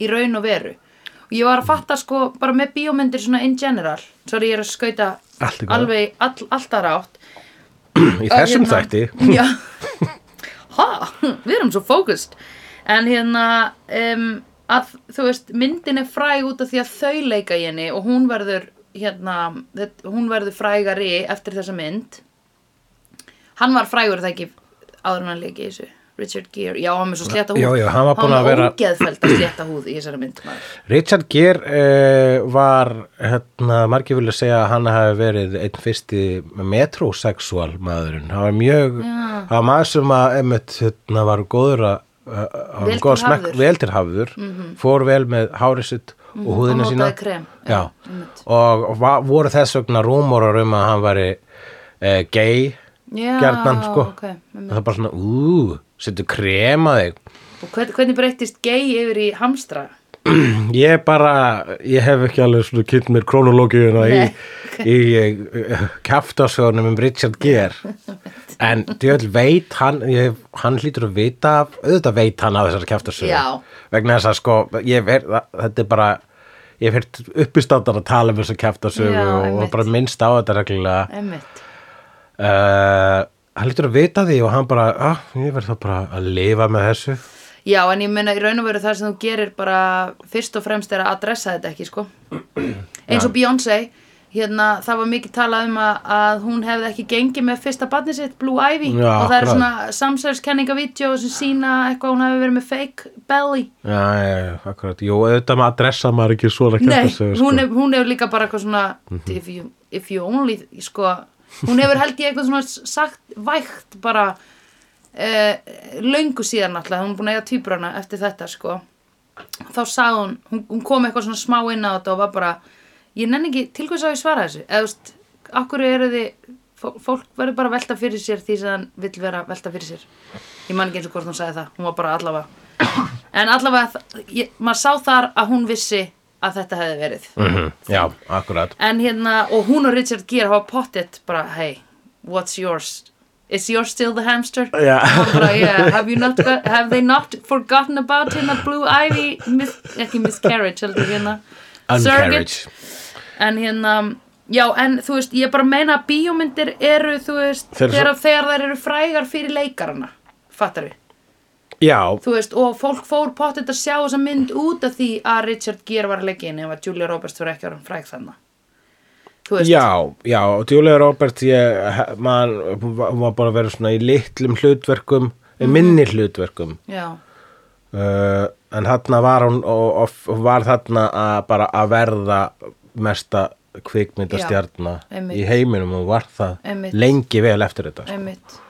Speaker 1: í raun og veru og ég var að fatta sko, bara með bíómyndir svona in general, sorry, ég er að skauta
Speaker 2: Allt í góðu.
Speaker 1: alveg, all, alltaf rátt
Speaker 2: í þessum
Speaker 1: hérna-
Speaker 2: þætti,
Speaker 1: Já Ha, við erum svo fókust En hérna um, að, Þú veist, myndin er fræg út af því að þau leika í henni og hún verður hérna, þet- hún verður frægari eftir þessa mynd Hann var frægur það ekki áður en hann leika í þessu Richard Gere, já, hann er svo slétta húð
Speaker 2: Já, já, hann var búinn að vera-
Speaker 1: ógeðfellt að slétta húð í þessari mynd maður.
Speaker 2: Richard Gere eh, var, hérna, margir vilja segja að hann hafi verið einn fyrsti metrosexual maðurinn. Hann var mjög, hann var maður sem að, einmitt, hérna, var góður að, að- að-
Speaker 1: Vel til
Speaker 2: góð smekk-
Speaker 1: hafður.
Speaker 2: vel til hafður, fór vel með hárið sitt og húðina
Speaker 1: og
Speaker 2: sína.
Speaker 1: notaði krem, já,
Speaker 2: Já,
Speaker 1: einmitt.
Speaker 2: og va- voru þess vegna rúmorar um að hann væri eh, gay,
Speaker 1: Já,
Speaker 2: gjarnan, sko.
Speaker 1: ok, einmitt.
Speaker 2: það er bara svona, úúú. setur krem að þig
Speaker 1: Og hvern, hvernig breyttist gay yfir í hamstra?
Speaker 2: Ég bara, ég hef ekki alveg svona kynnt mér krónológiuna í, í, í kjaftasögunum um Richard Gere en djöðl veit hann, ég, hann hlýtur að vita af- auðvitað veit hann af þessar
Speaker 1: Já.
Speaker 2: kjaftasögur vegna þess að sko, ég ver, þetta er bara ég hef hirt uppistáttar að tala um þessar kjaftasögu
Speaker 1: Já,
Speaker 2: og
Speaker 1: einmitt.
Speaker 2: bara minnst á þetta reglulega
Speaker 1: Einmitt.
Speaker 2: uh, hann hlýtur að vita því og hann bara, ah, ég verð þá bara að lifa með þessu
Speaker 1: Já, en ég meina í raun og veru það sem þú gerir bara fyrst og fremst er að adressa þetta ekki, sko. Eins og Beyoncé, hérna, það var mikið talað um að, að hún hefði ekki gengið með fyrsta barni sitt, Blue Ivy,
Speaker 2: Já,
Speaker 1: og það
Speaker 2: akkurat.
Speaker 1: eru svona samsæðiskenningavídeó sem sína eitthvað að hún hefði verið með fake belly.
Speaker 2: Já, já, já, akkurat, jú, auðvitað maður adressa maður ekki svona
Speaker 1: Nei,
Speaker 2: kjaftasögur,
Speaker 1: hún, hef, hún hefur líka bara eitthvað svona if, you, if you only sko, hún hefur held ég eitthvað svona s- sagt vægt bara uh, löngu síðan náttúrulega hún er búin að eiga tvíbrana eftir þetta sko. þá sagði hún, hún hún kom eitthvað svona smá inn á þetta og var bara ég nenni ekki, til hvers að ég svara þessu eða þú veist, akkur eru þið fó- fólk verður bara að velta fyrir sér því sem hann vill vera að velta fyrir sér ég man ekki eins og hvort hún sagði það, hún var bara allavega En allavega, þa- ég, maður sá þar að hún vissi að þetta hefði verið.
Speaker 2: -hmm. Já, akkurat
Speaker 1: En hérna, og hún og Richard Gere hafa pottet bara, hey, what's yours? Is yours still the hamster?
Speaker 2: Já.
Speaker 1: Hann Bara, yeah, have, you not, got- have they not forgotten about him at Blue Ivy? Mis, ekki miscarriage, heldur hérna. Surrogate.
Speaker 2: Uncarriage
Speaker 1: En hérna, já, en þú veist, ég bara meina að bíómyndir eru, þú veist,
Speaker 2: Þeir
Speaker 1: þegar,
Speaker 2: eru
Speaker 1: þegar þær eru frægar fyrir leikarana, fattar við?
Speaker 2: Já,
Speaker 1: þú veist, og fólk fór pottet að sjá þessa mynd út af því að Richard Gere var leggin ef að Julia Roberts voru ekki orðin fræg þannig þú veist,
Speaker 2: já, já og Julia Roberts ég, man, hún var- hún var bara að vera svona í litlum hlutverkum
Speaker 1: Mhm.
Speaker 2: minni hlutverkum
Speaker 1: já,
Speaker 2: uh, en þarna var hún og, og, og var þarna að bara að verða mesta kvikmyndastjarna
Speaker 1: Já, einmitt.
Speaker 2: í heiminum og var það
Speaker 1: Einmitt.
Speaker 2: lengi vel eftir þetta sko.
Speaker 1: einmitt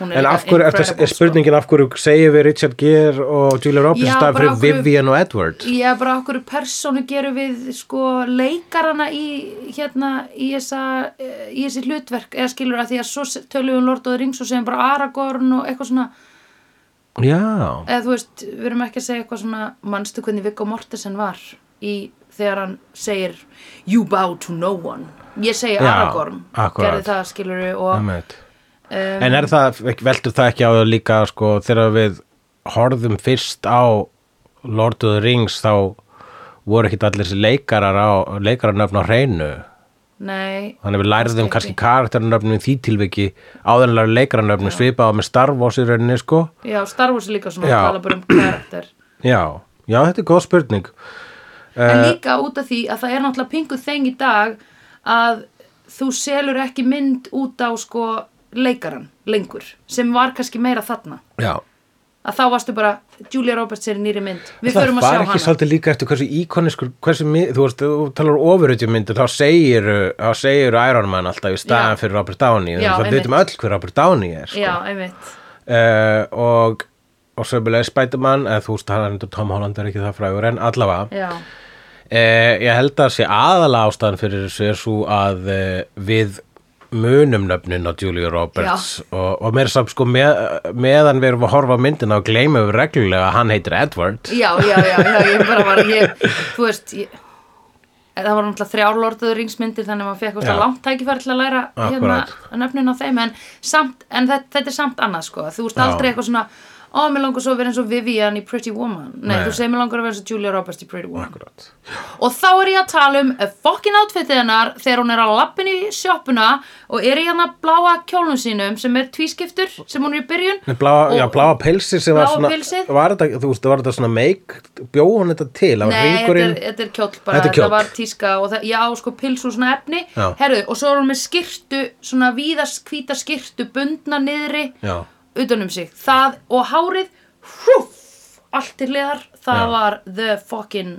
Speaker 1: Hún
Speaker 2: En
Speaker 1: líka
Speaker 2: af hverju, er,
Speaker 1: incredible, sko.
Speaker 2: er spurningin af hverju segjum við Richard Gere og Julia Roberts
Speaker 1: Já, bara
Speaker 2: stað fyrir
Speaker 1: af hverju-
Speaker 2: Vivian og Edward?
Speaker 1: sko. ég bara okkur personu gerum við sko leikarana í hérna í, þessa, eh, í þessi hlutverk eða skilur að því að svo se- tölum við um Lord of the Rings og segjum bara Aragorn og eitthvað svona
Speaker 2: Já,
Speaker 1: eða þú veist, við erum ekki að segja eitthvað svona manstu hvernig Viggo Mortensen var í þegar hann segir you bow to no one ég segi
Speaker 2: Já,
Speaker 1: Aragorn,
Speaker 2: akkurat.
Speaker 1: gerði það skilur og
Speaker 2: einmitt.
Speaker 1: um,
Speaker 2: En er það, veldur það ekki á það líka sko, þegar við horfðum fyrst á Lord of the Rings þá voru ekkit allir þessi leikarar á, leikararnöfn á hreinu
Speaker 1: nei,
Speaker 2: þannig við lærðum
Speaker 1: Kannski
Speaker 2: kannski
Speaker 1: ekki.
Speaker 2: karakterarnöfnum í því tilviki áðanlega leikararnöfnum svipaða með Star Wars í rauninni sko
Speaker 1: já, Star Wars er líka svona
Speaker 2: Já.
Speaker 1: að tala bara um karakter
Speaker 2: Já, já þetta er góð spurning Eh,
Speaker 1: en líka út af því að það er náttúrulega pingu þeng í dag að þú selur ekki mynd út á sko leikaran lengur sem var kannski meira þarna
Speaker 2: Já
Speaker 1: að þá varstu bara Julia Roberts er í nýri mynd við
Speaker 2: Það
Speaker 1: förum að sjá
Speaker 2: var
Speaker 1: hana
Speaker 2: ekki svolítið líka eftir hversu íkoniskur, hversu, mi- þú veist, þú talar ofurutjumyndir, þá segir, þá segir Iron Man alltaf í staðan
Speaker 1: Já.
Speaker 2: fyrir Robert Downey,
Speaker 1: Já,
Speaker 2: þannig að við
Speaker 1: einmitt.
Speaker 2: veitum öll hver Robert Downey er, sko.
Speaker 1: já, einmitt
Speaker 2: uh, og og sömulega Spiderman, eða þú veist hann er endur Tom Holland er ekki það frægur en allavega
Speaker 1: Já,
Speaker 2: uh, ég held að sé aðalega ástæðan fyrir þessu er svo að uh, við munum nöfnin á Julia Roberts og, og mér samt sko með, meðan við erum að horfa á myndina og gleyma við reglulega að hann heitir Edward
Speaker 1: já, já, já, já, ég bara var, ég, þú veist, ég, en það var náttúrulega þrjár lortuður ringsmyndir þannig að maður fekk
Speaker 2: Já.
Speaker 1: eitthvað langt tækifæri til að læra hérna
Speaker 2: Akkúrat.
Speaker 1: nöfnin á þeim en, samt, en þetta, þetta er samt annað sko, þú veist
Speaker 2: Já.
Speaker 1: aldrei eitthvað svona, ó, mér langar svo að vera eins og Vivian í Pretty Woman, nei,
Speaker 2: Nei.
Speaker 1: þú segir mér langar að vera eins og Julia Roberts í Pretty Woman
Speaker 2: Akkurat.
Speaker 1: og þá er ég að tala um fokkin outfitið hennar þegar hún er að lappin í sjoppuna og er í hérna bláa kjólum sínum sem er tvískiptur sem hún er í byrjun
Speaker 2: Nei, Bláa,
Speaker 1: Og-
Speaker 2: já, bláa pilsi sem var
Speaker 1: Bláa
Speaker 2: svona,
Speaker 1: pilsið?
Speaker 2: var þetta, þú veist, var þetta svona meik, bjóð hún þetta til, það var
Speaker 1: Nei, þetta er,
Speaker 2: hringurinn,
Speaker 1: þetta er kjóll bara,
Speaker 2: Þetta er
Speaker 1: þetta,
Speaker 2: kjóll.
Speaker 1: var tíska og það, já, sko, pils og svona efni
Speaker 2: Já.
Speaker 1: Herðu, og svo er hún með skirtu, svona víðas hvíta skirtu bundna niðri
Speaker 2: Já.
Speaker 1: utan um sig, það og hárið húf, allt til liðar það
Speaker 2: Já.
Speaker 1: var the fucking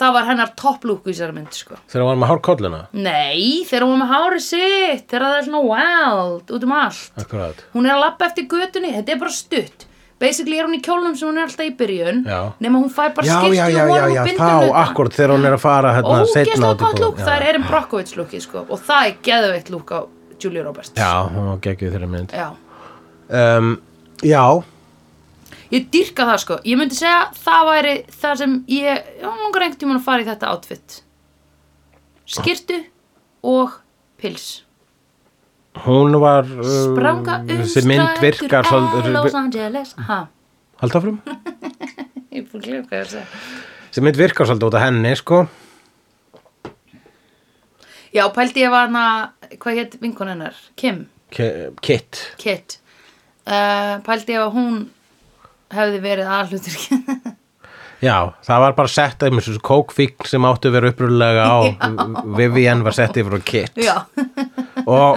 Speaker 1: það var hennar topplúk í þessari mynd, sko
Speaker 2: þegar hún var með hárkolluna,
Speaker 1: Nei, þegar hún var með hárið sitt þegar það er svona wild, út um allt
Speaker 2: akkurat,
Speaker 1: hún er að labba eftir götunni, þetta er bara stutt basically er hún í kjólnum sem hún er alltaf í byrjun
Speaker 2: Já.
Speaker 1: nema hún fær bara
Speaker 2: já,
Speaker 1: skirtu
Speaker 2: já, já,
Speaker 1: og
Speaker 2: já,
Speaker 1: honum
Speaker 2: já,
Speaker 1: og bindur
Speaker 2: þá akkurat þegar hún er að fara hérna
Speaker 1: ógeðslega
Speaker 2: út í
Speaker 1: gott
Speaker 2: búð,
Speaker 1: lúk,
Speaker 2: já.
Speaker 1: það er Erin Brockovich lúkið sko og það er geðveitt lúk á Julia Roberts
Speaker 2: já, hún var geggjuð þeirra mynd
Speaker 1: Já.
Speaker 2: um, já,
Speaker 1: Ég dyrka það sko. Ég myndi segja að það væri það sem ég, já, langar einhvern tímann að fara í þetta outfit. Skirtu og pils.
Speaker 2: hún var uh,
Speaker 1: Spranga um
Speaker 2: þessi mynd virkar
Speaker 1: strætur Los
Speaker 2: svolítið
Speaker 1: Angeles. Ha,
Speaker 2: halda frum
Speaker 1: ég er búin að glemja hvað ég er að segja.
Speaker 2: þessi mynd virkar svolítið út af henni sko
Speaker 1: Já, pældi ég var hana, hvað hétt vinkon hennar? Kim,
Speaker 2: Ke- Kit
Speaker 1: Kit. Uh, pældi ég að hún hefði verið aðhlutur.
Speaker 2: Já, það var bara sett um þessu kókfíkn sem áttu að vera upprúlega á Vivian var sett yfir á Kit
Speaker 1: já,
Speaker 2: og,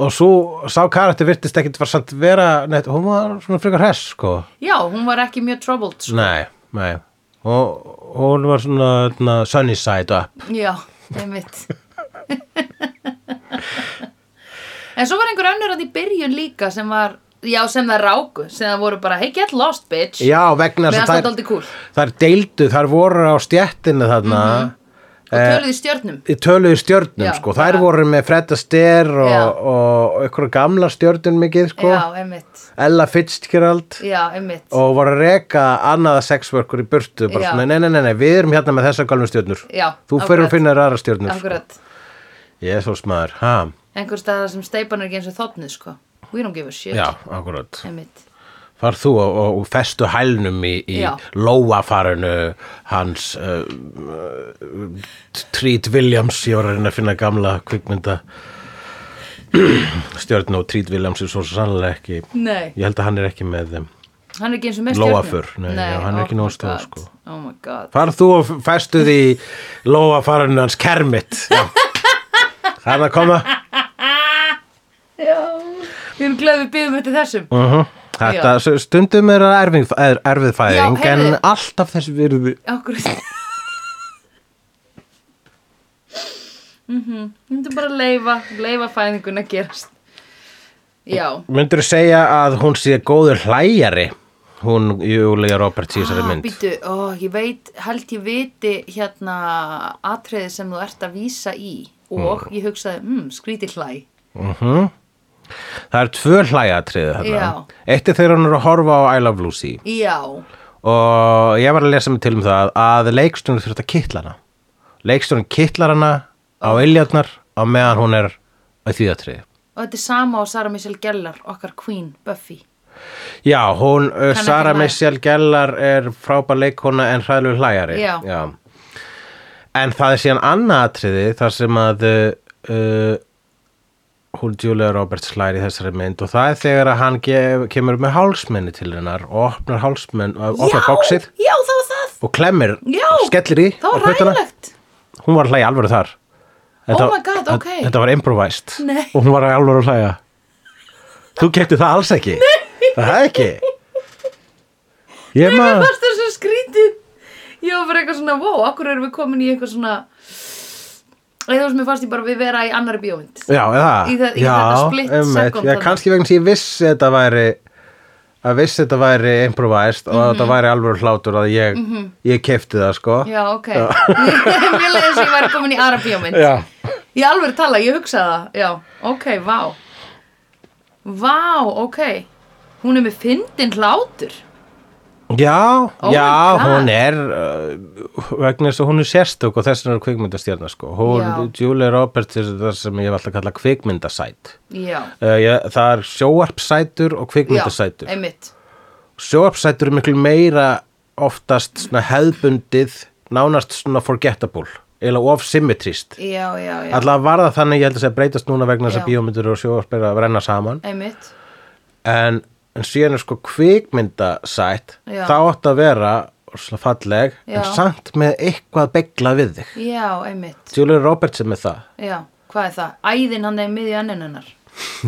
Speaker 2: og svo sá karakter virtist ekkit var samt vera neitt, hún var svona frekar hess sko
Speaker 1: já, hún var ekki mjög troubled. Sko.
Speaker 2: Nei, nei og og hún var svona na, sunny side up
Speaker 1: Já, einmitt En svo var einhver önnur að í byrjun líka sem var, já sem það ráku sem það voru bara, hey get lost bitch
Speaker 2: Já, vegna
Speaker 1: Mér
Speaker 2: þess
Speaker 1: fannst
Speaker 2: að
Speaker 1: þetta
Speaker 2: þær,
Speaker 1: aldrei cool
Speaker 2: þær deildu þær voru á stjættinu þarna
Speaker 1: og
Speaker 2: Eh,
Speaker 1: töluðu í stjörnum
Speaker 2: í töluðu stjörnum
Speaker 1: Mhm. Já,
Speaker 2: sko, þær
Speaker 1: bara-
Speaker 2: voru með Fredda Ster
Speaker 1: Já.
Speaker 2: og, og ykkur gamla stjörnum mikið sko,
Speaker 1: Já, einmitt
Speaker 2: Ella Fitzgerald
Speaker 1: Já, einmitt
Speaker 2: og voru að reka annaða sexworkur í burtu bara
Speaker 1: Já.
Speaker 2: svona, nei, nei, nei, nei, við erum hérna með þessar galvum stjörnur
Speaker 1: Já,
Speaker 2: þú
Speaker 1: akkurat.
Speaker 2: fyrir að finna þér aðra stjörnur
Speaker 1: Akkurat,
Speaker 2: ég er svo smaður, ha,
Speaker 1: einhver staðar sem steipan er ekki eins og þotnuð sko We don't give a shit
Speaker 2: já, akkurat
Speaker 1: Einmitt
Speaker 2: far þú og, og, og festu hælnum í, í
Speaker 1: Já.
Speaker 2: lóafarinu hans uh, uh, Treat Williams ég var að reyna að finna gamla kvikmynda stjörn og Treat Williams er svo sannlega ekki
Speaker 1: Nei,
Speaker 2: ég held að hann er ekki með þeim
Speaker 1: hann er ekki eins og með stjörnum
Speaker 2: Lóaför, nei, já, hann er ekki
Speaker 1: oh
Speaker 2: nógu
Speaker 1: my
Speaker 2: stór,
Speaker 1: god.
Speaker 2: sko.
Speaker 1: Oh my god
Speaker 2: Far þú og festu því lóafarinu hans Kermit Það er að koma
Speaker 1: Já, við erum glöð við byggum eftir þessum
Speaker 2: uh Þetta s- stundum er það erfing, er, erfið fæðing
Speaker 1: Já, heyrðu.
Speaker 2: en alltaf þessi virði
Speaker 1: Akkurat Mhm, Þetta er bara að leifa, leifa fæðingun að gerast Já,
Speaker 2: Myndur segja að hún sé góður hlæjari hún Júlia Roberts í þessari
Speaker 1: ah,
Speaker 2: mynd
Speaker 1: býtu, ó, ég veit, held ég viti hérna atriði sem þú ert að vísa í og ég hugsaði, mm, skríti hlæ
Speaker 2: Mhm. Það er tvö hlæjatriði þarna
Speaker 1: Já.
Speaker 2: Eitt er þegar hún er að horfa á I Love Lucy
Speaker 1: Já,
Speaker 2: og ég var að lesa mig til um það að leikstjórn þurft að kittla hana leikstjórn kittlar hana á iljarnar á meðan hún er á þvíðatriði
Speaker 1: og þetta er sama á Sara Michelle Gellar, okkar queen, Buffy
Speaker 2: Já, hún, uh,
Speaker 1: ekki
Speaker 2: Sara
Speaker 1: hlæja.
Speaker 2: Michelle Gellar er frábær leikona en hræðlur hlæjari.
Speaker 1: Já.
Speaker 2: En það er síðan annað atriði þar sem að uh, hún Julia Roberts hlæri þessari mynd og það er þegar að hann gef, kemur með hálsmenni til hennar og opnar hálsmenn, uh, opnar bóksið
Speaker 1: Já, já, það var það
Speaker 2: og klemmir,
Speaker 1: Já,
Speaker 2: skellir í
Speaker 1: Það
Speaker 2: á
Speaker 1: var
Speaker 2: puttana.
Speaker 1: ræðilegt
Speaker 2: Hún var að hlæja alvöru þar.
Speaker 1: Oh my God, ok.
Speaker 2: þetta- Þetta var improvised
Speaker 1: Nei.
Speaker 2: og hún var að alvöru að hlæja. Þú kefti það alls ekki. Nei. Það er ekki. Ég
Speaker 1: Mér
Speaker 2: maður.
Speaker 1: fannst það svo skrítið Ég var bara eitthvað svona, wow, akkur erum við komin í eitthvað svona Eða þú veist, mér fannst ég bara við vera í annari bíómynd
Speaker 2: Já, eða.
Speaker 1: Í það- í
Speaker 2: já,
Speaker 1: þetta split
Speaker 2: einmitt.
Speaker 1: second
Speaker 2: Já,
Speaker 1: þarna.
Speaker 2: kannski vegna sem ég vissi þetta væri að vissi þetta væri improvised og að þetta væri alvöru hlátur að ég, ég kefti það sko.
Speaker 1: Mhm. Já, ok Mér leiði þess að ég væri komin í aðra bíómynd
Speaker 2: Já.
Speaker 1: Ég alveg tala, ég hugsaði það Já, ok, vá Vá, ok Hún er með fyndin hlátur
Speaker 2: Já,
Speaker 1: Oh my
Speaker 2: já,
Speaker 1: God.
Speaker 2: hún er uh, vegna þess að hún er sérstök og þess vegna er kvikmyndastjarnar sko. Hún,
Speaker 1: Já.
Speaker 2: Julia Roberts er það sem ég hef alltaf kallað kvikmyndasæt.
Speaker 1: Já,
Speaker 2: Uh, ég, það er sjóarpsætur og
Speaker 1: já,
Speaker 2: kvikmyndasætur.
Speaker 1: einmitt
Speaker 2: Sjóarpsætur er miklu meira oftast svona hefðbundið, nánast svona forgettable, eða of-symmetrist.
Speaker 1: Já, já, já,
Speaker 2: Alltaf var það þannig, ég held að það breytast núna vegna þess að
Speaker 1: Já.
Speaker 2: bíómyndur og sjóarp er að renna saman
Speaker 1: einmitt
Speaker 2: en, en síðan er sko kvikmyndasætt
Speaker 1: Já.
Speaker 2: þá átt að vera svona falleg
Speaker 1: Já.
Speaker 2: en samt með eitthvað begla við þig
Speaker 1: Já, einmitt
Speaker 2: Julia Roberts er með það
Speaker 1: Já, hvað er það? Æðin hann er miðið enninunnar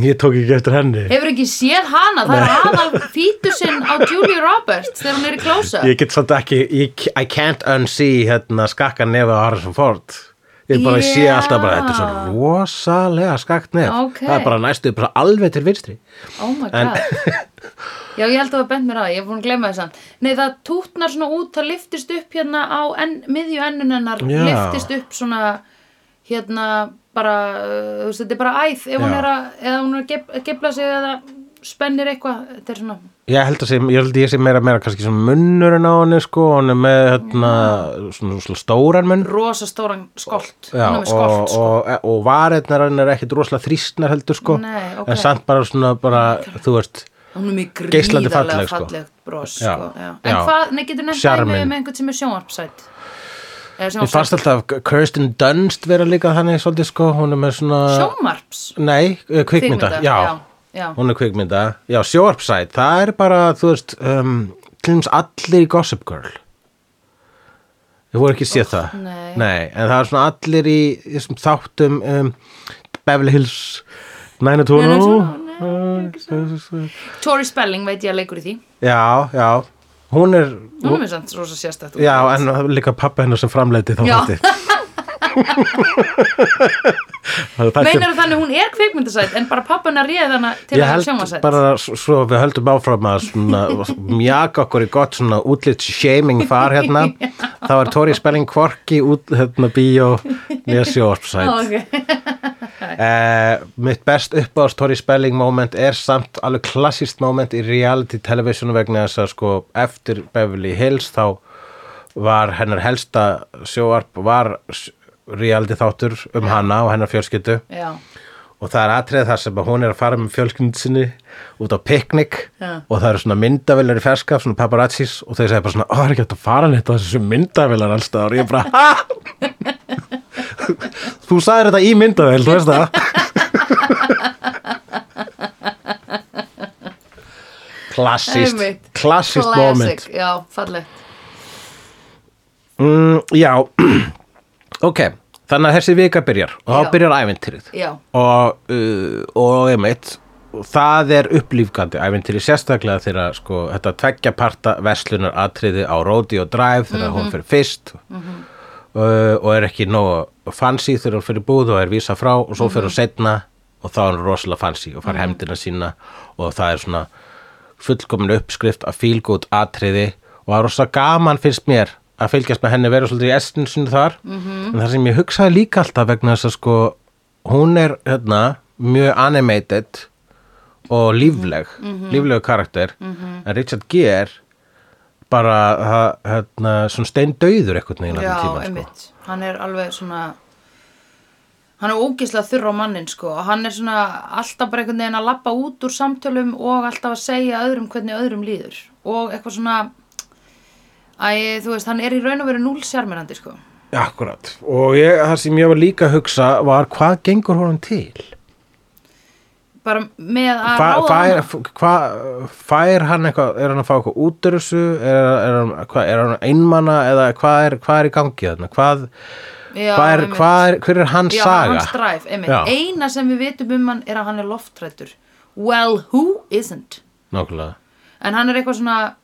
Speaker 2: ég tók ekki eftir henni
Speaker 1: Hefur ekki séð hana, það er aðal fítusinn á Julia Roberts þegar hún er í klósa.
Speaker 2: ég get svolítið ekki ég, I can't unsee hérna skakka nefa á Harrison Ford ég bara sé
Speaker 1: Já.
Speaker 2: alltaf bara þetta er svo rosalega skakt nef
Speaker 1: Ókei.
Speaker 2: það er bara næstu bara alveg til vinstri
Speaker 1: Oh my
Speaker 2: En-
Speaker 1: god. Já, ég held að það bent mér að, ég er búin að gleyma þess að. Nei, það tútnar svona út, það liftist upp hérna á en, miðju ennunennar,
Speaker 2: Já.
Speaker 1: liftist upp svona hérna bara, uh, þú veist, þetta er bara æð ef hún
Speaker 2: Já.
Speaker 1: er að, eða hún er að gef- gefla sig eða spennir eitthvað þetta er svona
Speaker 2: Ég held að sé, ég held að ég sé meira meira kannski svona munnurinn á henni sko, hann er með hérna, svona, svona stóran munn
Speaker 1: rosa stóran skolt,
Speaker 2: Já,
Speaker 1: hún er með
Speaker 2: og,
Speaker 1: skolt sko.
Speaker 2: og, e, og varirnar hann er ekkit rosalega þrýstnar heldur sko
Speaker 1: Nei, ok.
Speaker 2: en samt bara svona bara, þú veist
Speaker 1: hún er mjög
Speaker 2: Geislandi
Speaker 1: gríðarlega
Speaker 2: falleg,
Speaker 1: falleg,
Speaker 2: sko.
Speaker 1: bros
Speaker 2: Já,
Speaker 1: sko. já.
Speaker 2: já.
Speaker 1: en hvað, nei getur nefnt
Speaker 2: Sjarminn.
Speaker 1: dæmi með einhvern sem er sjónvarpsætt eða
Speaker 2: Mér fannst
Speaker 1: sjónvarpsætt
Speaker 2: alltaf Kirsten Dunst vera líka þannig svolítið sko, hún er með svona
Speaker 1: sjónvarps
Speaker 2: Nei, eh, kvikmynda,
Speaker 1: Kvikmynda,
Speaker 2: já,
Speaker 1: já, já.
Speaker 2: Hún er kvikmynda, já, sjóarpsæt Það er bara, þú veist um, Klims allir í Gossip Girl Ég voru ekki séð það
Speaker 1: nei.
Speaker 2: en það er svona allir í í þessum þáttum um, Beverly Hills 90210
Speaker 1: Tori Spelling veit ég að leikur í því
Speaker 2: Já, já Hún er,
Speaker 1: hún er með samt rosa sérstætt
Speaker 2: já, en það er líka pappa hennar sem framleiti þá
Speaker 1: Já.
Speaker 2: Meinar
Speaker 1: meinar þannig hún er kvikmyndasætt en bara pappana réð hana til
Speaker 2: Ég
Speaker 1: að
Speaker 2: held
Speaker 1: sjónvarpsætt
Speaker 2: bara s- svo við höldum áfram að svona, mjaka okkur í gott svona útlits shaming far hérna þá er Tóri Spelling Kvorki út hérna bíó með sjóarpsæt okay.
Speaker 1: okay.
Speaker 2: Eh, mitt best uppáðs Tóri Spelling moment er samt alveg klassist moment í reality television vegna þess að sko eftir Beverly Hills þá var hennar helsta sjóarp var s- reality þáttur um hana og hennar fjölskyldu
Speaker 1: já,
Speaker 2: og það er atrið þar sem að hún er að fara með fjölskyldin sinni út á piknik
Speaker 1: Já.
Speaker 2: og það eru svona myndavillar í ferska svona paparazzis og þau segja bara svona "Ó, það er ekki hægt að fara neitt á þessu myndavillar allstað og ég bara ha? þú sagðir þetta í myndavill, þú veist það klassist
Speaker 1: Einmitt.
Speaker 2: klassist moment
Speaker 1: classic, já, fallegt
Speaker 2: mm, já, ok þannig að þessi vika byrjar og
Speaker 1: Já.
Speaker 2: þá byrjar æventýrið
Speaker 1: já,
Speaker 2: og, uh, og einmitt og það er upplýfgandi ævintýri sérstaklega þegar sko, þetta tveggja parta verslunar atriði á Rodeo Drive þegar
Speaker 1: Mhm.
Speaker 2: hún fyrir fyrst uh, og er ekki nóg fancy þegar hún fyrir búð og er vísa frá og svo
Speaker 1: Mhm.
Speaker 2: fyrir hún setna og þá er hún rosalega fancy og fær hefndina sína og það er svona fullkomin uppskrift af feel good atriði og það er rosalega gaman finnst mér að fylgjast með henni vera svolítið í estinsinu þar
Speaker 1: Mhm.
Speaker 2: en það sem ég hugsaði líka alltaf vegna þess að sko hún er hérna mjög animated og lífleg
Speaker 1: Mhm.
Speaker 2: líflegu karakter en Richard Gere bara ha- hérna, svona steindauður einhvern veginn
Speaker 1: já,
Speaker 2: allan tímann, sko.
Speaker 1: einmitt hann er alveg svona hann er ógislega þurr á mannin sko og hann er svona alltaf bara einhvern veginn að lappa út úr samtölum og alltaf að segja öðrum hvernig öðrum líður og eitthvað svona Æ, þú veist, hann er í raun og veru núl sjarmirandi, sko.
Speaker 2: Akkurat, og ég, það sem ég var líka að hugsa var hvað gengur honum til?
Speaker 1: Bara með að
Speaker 2: Hva,
Speaker 1: ráða
Speaker 2: fær,
Speaker 1: hana.
Speaker 2: f- hva, fær hann eitthvað, er hann að fá eitthvað út úr þessu, er, er, hann, hva, er hann einmana eða hvað er, hvað er í gangi þarna? Hvað,
Speaker 1: Já,
Speaker 2: hvað er,
Speaker 1: einmitt.
Speaker 2: hvað er, hver er hans
Speaker 1: Já,
Speaker 2: saga?
Speaker 1: hans drive, einmitt.
Speaker 2: Já.
Speaker 1: Eina sem við vitum um hann er að hann er loftrættur. Well, who isn't?
Speaker 2: Nákvæmlega.
Speaker 1: En hann er eitthvað svona,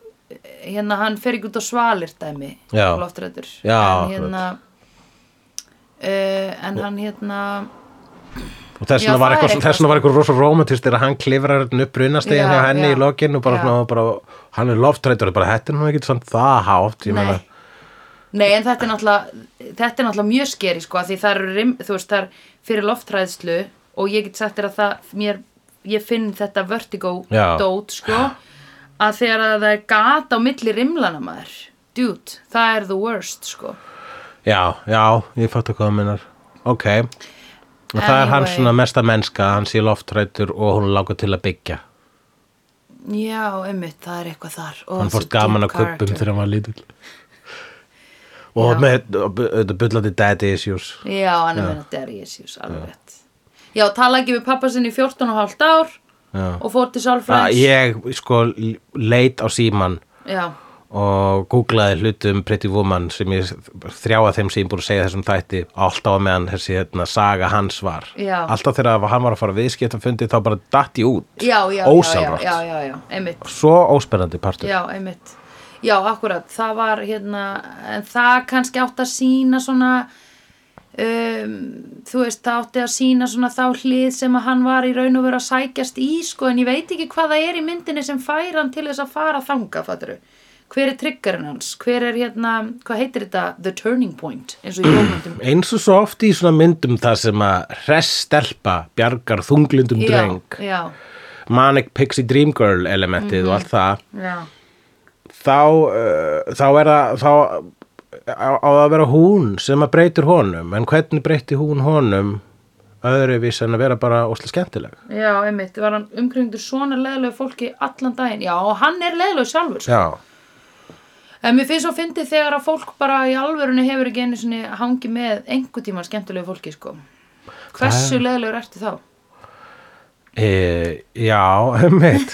Speaker 1: hérna, hann fer ekki út á svalir dæmi,
Speaker 2: Já.
Speaker 1: loftrættur.
Speaker 2: Já,
Speaker 1: En hérna, uh, en hann hérna,
Speaker 2: og þess
Speaker 1: Já,
Speaker 2: vegna var
Speaker 1: það er
Speaker 2: eitthvað,
Speaker 1: eitthvað
Speaker 2: þess vegna var eitthvað rosa romantist þegar hann klifrar hérna upp brunastegin
Speaker 1: Já,
Speaker 2: hjá henni
Speaker 1: já,
Speaker 2: í lokin og bara,
Speaker 1: já.
Speaker 2: svona, bara hann er loftrættur og bara þetta er nú ekki samt það hátt ég
Speaker 1: nei.
Speaker 2: meina,
Speaker 1: Nei, en þetta er náttúrulega, þetta er náttúrulega mjög skeri, sko, af því það eru, rim- þú veist, það er fyrir loftræðslu og ég get sagt þér að það, mér, ég finn þetta vertigo
Speaker 2: Já.
Speaker 1: dót, sko, að þegar að það er gat á milli rimlana maður, dude, það er the worst, sko.
Speaker 2: já, já, ég fatt að hvað það minnar ok, og það er hann
Speaker 1: Anyway.
Speaker 2: svona mesta mennska, hann sé loftrættur og hún lágur til að byggja
Speaker 1: Já, einmitt, það er eitthvað þar. Ó,
Speaker 2: hann
Speaker 1: þessi
Speaker 2: fórst gaman
Speaker 1: deep
Speaker 2: að kuppum
Speaker 1: character.
Speaker 2: þegar hann var lítill og
Speaker 1: Já.
Speaker 2: með og bu- auðvitað bullandi daddy issues
Speaker 1: Já, hann er meina Derry Jesus, alveg rétt. Já, tala ekki við pappa sinni í 14 og hálft ár
Speaker 2: Já.
Speaker 1: og fór til
Speaker 2: Að
Speaker 1: sálfræðs.
Speaker 2: ég sko leit á síman
Speaker 1: Já,
Speaker 2: og googlaði hluti um Pretty Woman sem ég þrjá að þeim sem ég búið að segja þessum þætti alltaf á meðan þessi hérna, saga hans var
Speaker 1: Já.
Speaker 2: alltaf þegar hann var að fara viðskipt að fundi þá bara datt ég út
Speaker 1: já, já, já, já,
Speaker 2: Ósjálfrátt.
Speaker 1: já, já, já, einmitt.
Speaker 2: svo óspennandi partur
Speaker 1: Já, einmitt. Já, akkurat, það var hérna, en það kannski átti að sína svona, um, þú veist, það átti að sína svona þá hlið sem að hann var í raun og veru að sækjast í, sko, en ég veit ekki hvað það er í myndinni sem fær hann til þess að fara þanga, fatturu. Hver er triggerinn hans? Hver er hérna, hvað heitir þetta? The Turning Point, eins og í bókmyndum.
Speaker 2: eins og svo oft í svona myndum þar sem að hress stelpa bjargar þunglindum dreng
Speaker 1: Já, já,
Speaker 2: Manic Pixie Dream Girl elementið og allt það
Speaker 1: já,
Speaker 2: þá, uh, þá er það þá á, á að vera hún sem að breytir honum en hvernig breyti hún honum öðruvís en að vera bara óslega skemmtileg
Speaker 1: já, einmitt, var hann umkringdur svona leðilegu fólki allan daginn, já, og hann er leðilegu sjálfur, sko.
Speaker 2: já,
Speaker 1: En mér finnst svo fyndið þegar að fólk bara í alvörunni hefur ekki einu sinni hangi með einhver tíma skemmtilegu fólki, sko. Hversu leðilegur ertu þá?
Speaker 2: e, já einmitt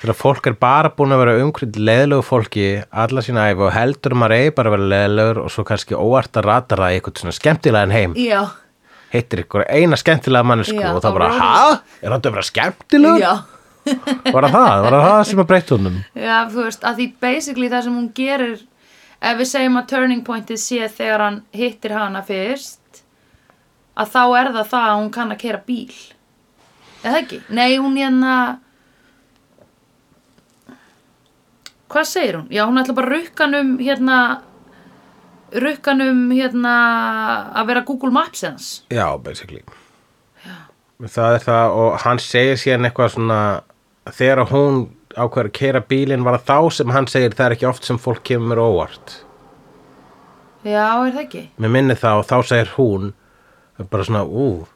Speaker 2: þegar fólk er bara búin að vera umkrynd leðlegu fólki alla sína æfi og heldur maður eigi bara að vera leðlegur og svo kannski óvart að rata það í eitthvað svona skemmtilegan heim
Speaker 1: Já,
Speaker 2: hittir ykkur eina skemmtilega mannesku
Speaker 1: Já,
Speaker 2: og
Speaker 1: þá
Speaker 2: það bara,
Speaker 1: verður-
Speaker 2: hæ? Er þetta að vera skemmtilegur?
Speaker 1: já.
Speaker 2: Var það það? Var það það sem að breyta honum?
Speaker 1: Já, þú veist, að því basically það sem hún gerir, ef við segjum að turning pointið sé þegar hann hittir hana fyrst, að þá er það það að hún kann að kera bíl. Eða ekki? Nei, hún hérna... Hvað segir hún? Já, hún ætla bara rukkanum hérna rukkanum hérna að vera Google Maps hans.
Speaker 2: Já, basically Það er það og hann segir síðan eitthvað svona þegar hún ákveður að keira bílinn var það þá sem hann segir það er ekki oft sem fólk kemur óvart
Speaker 1: Já, er það ekki?
Speaker 2: Mér minni það og þá segir hún bara svona, ú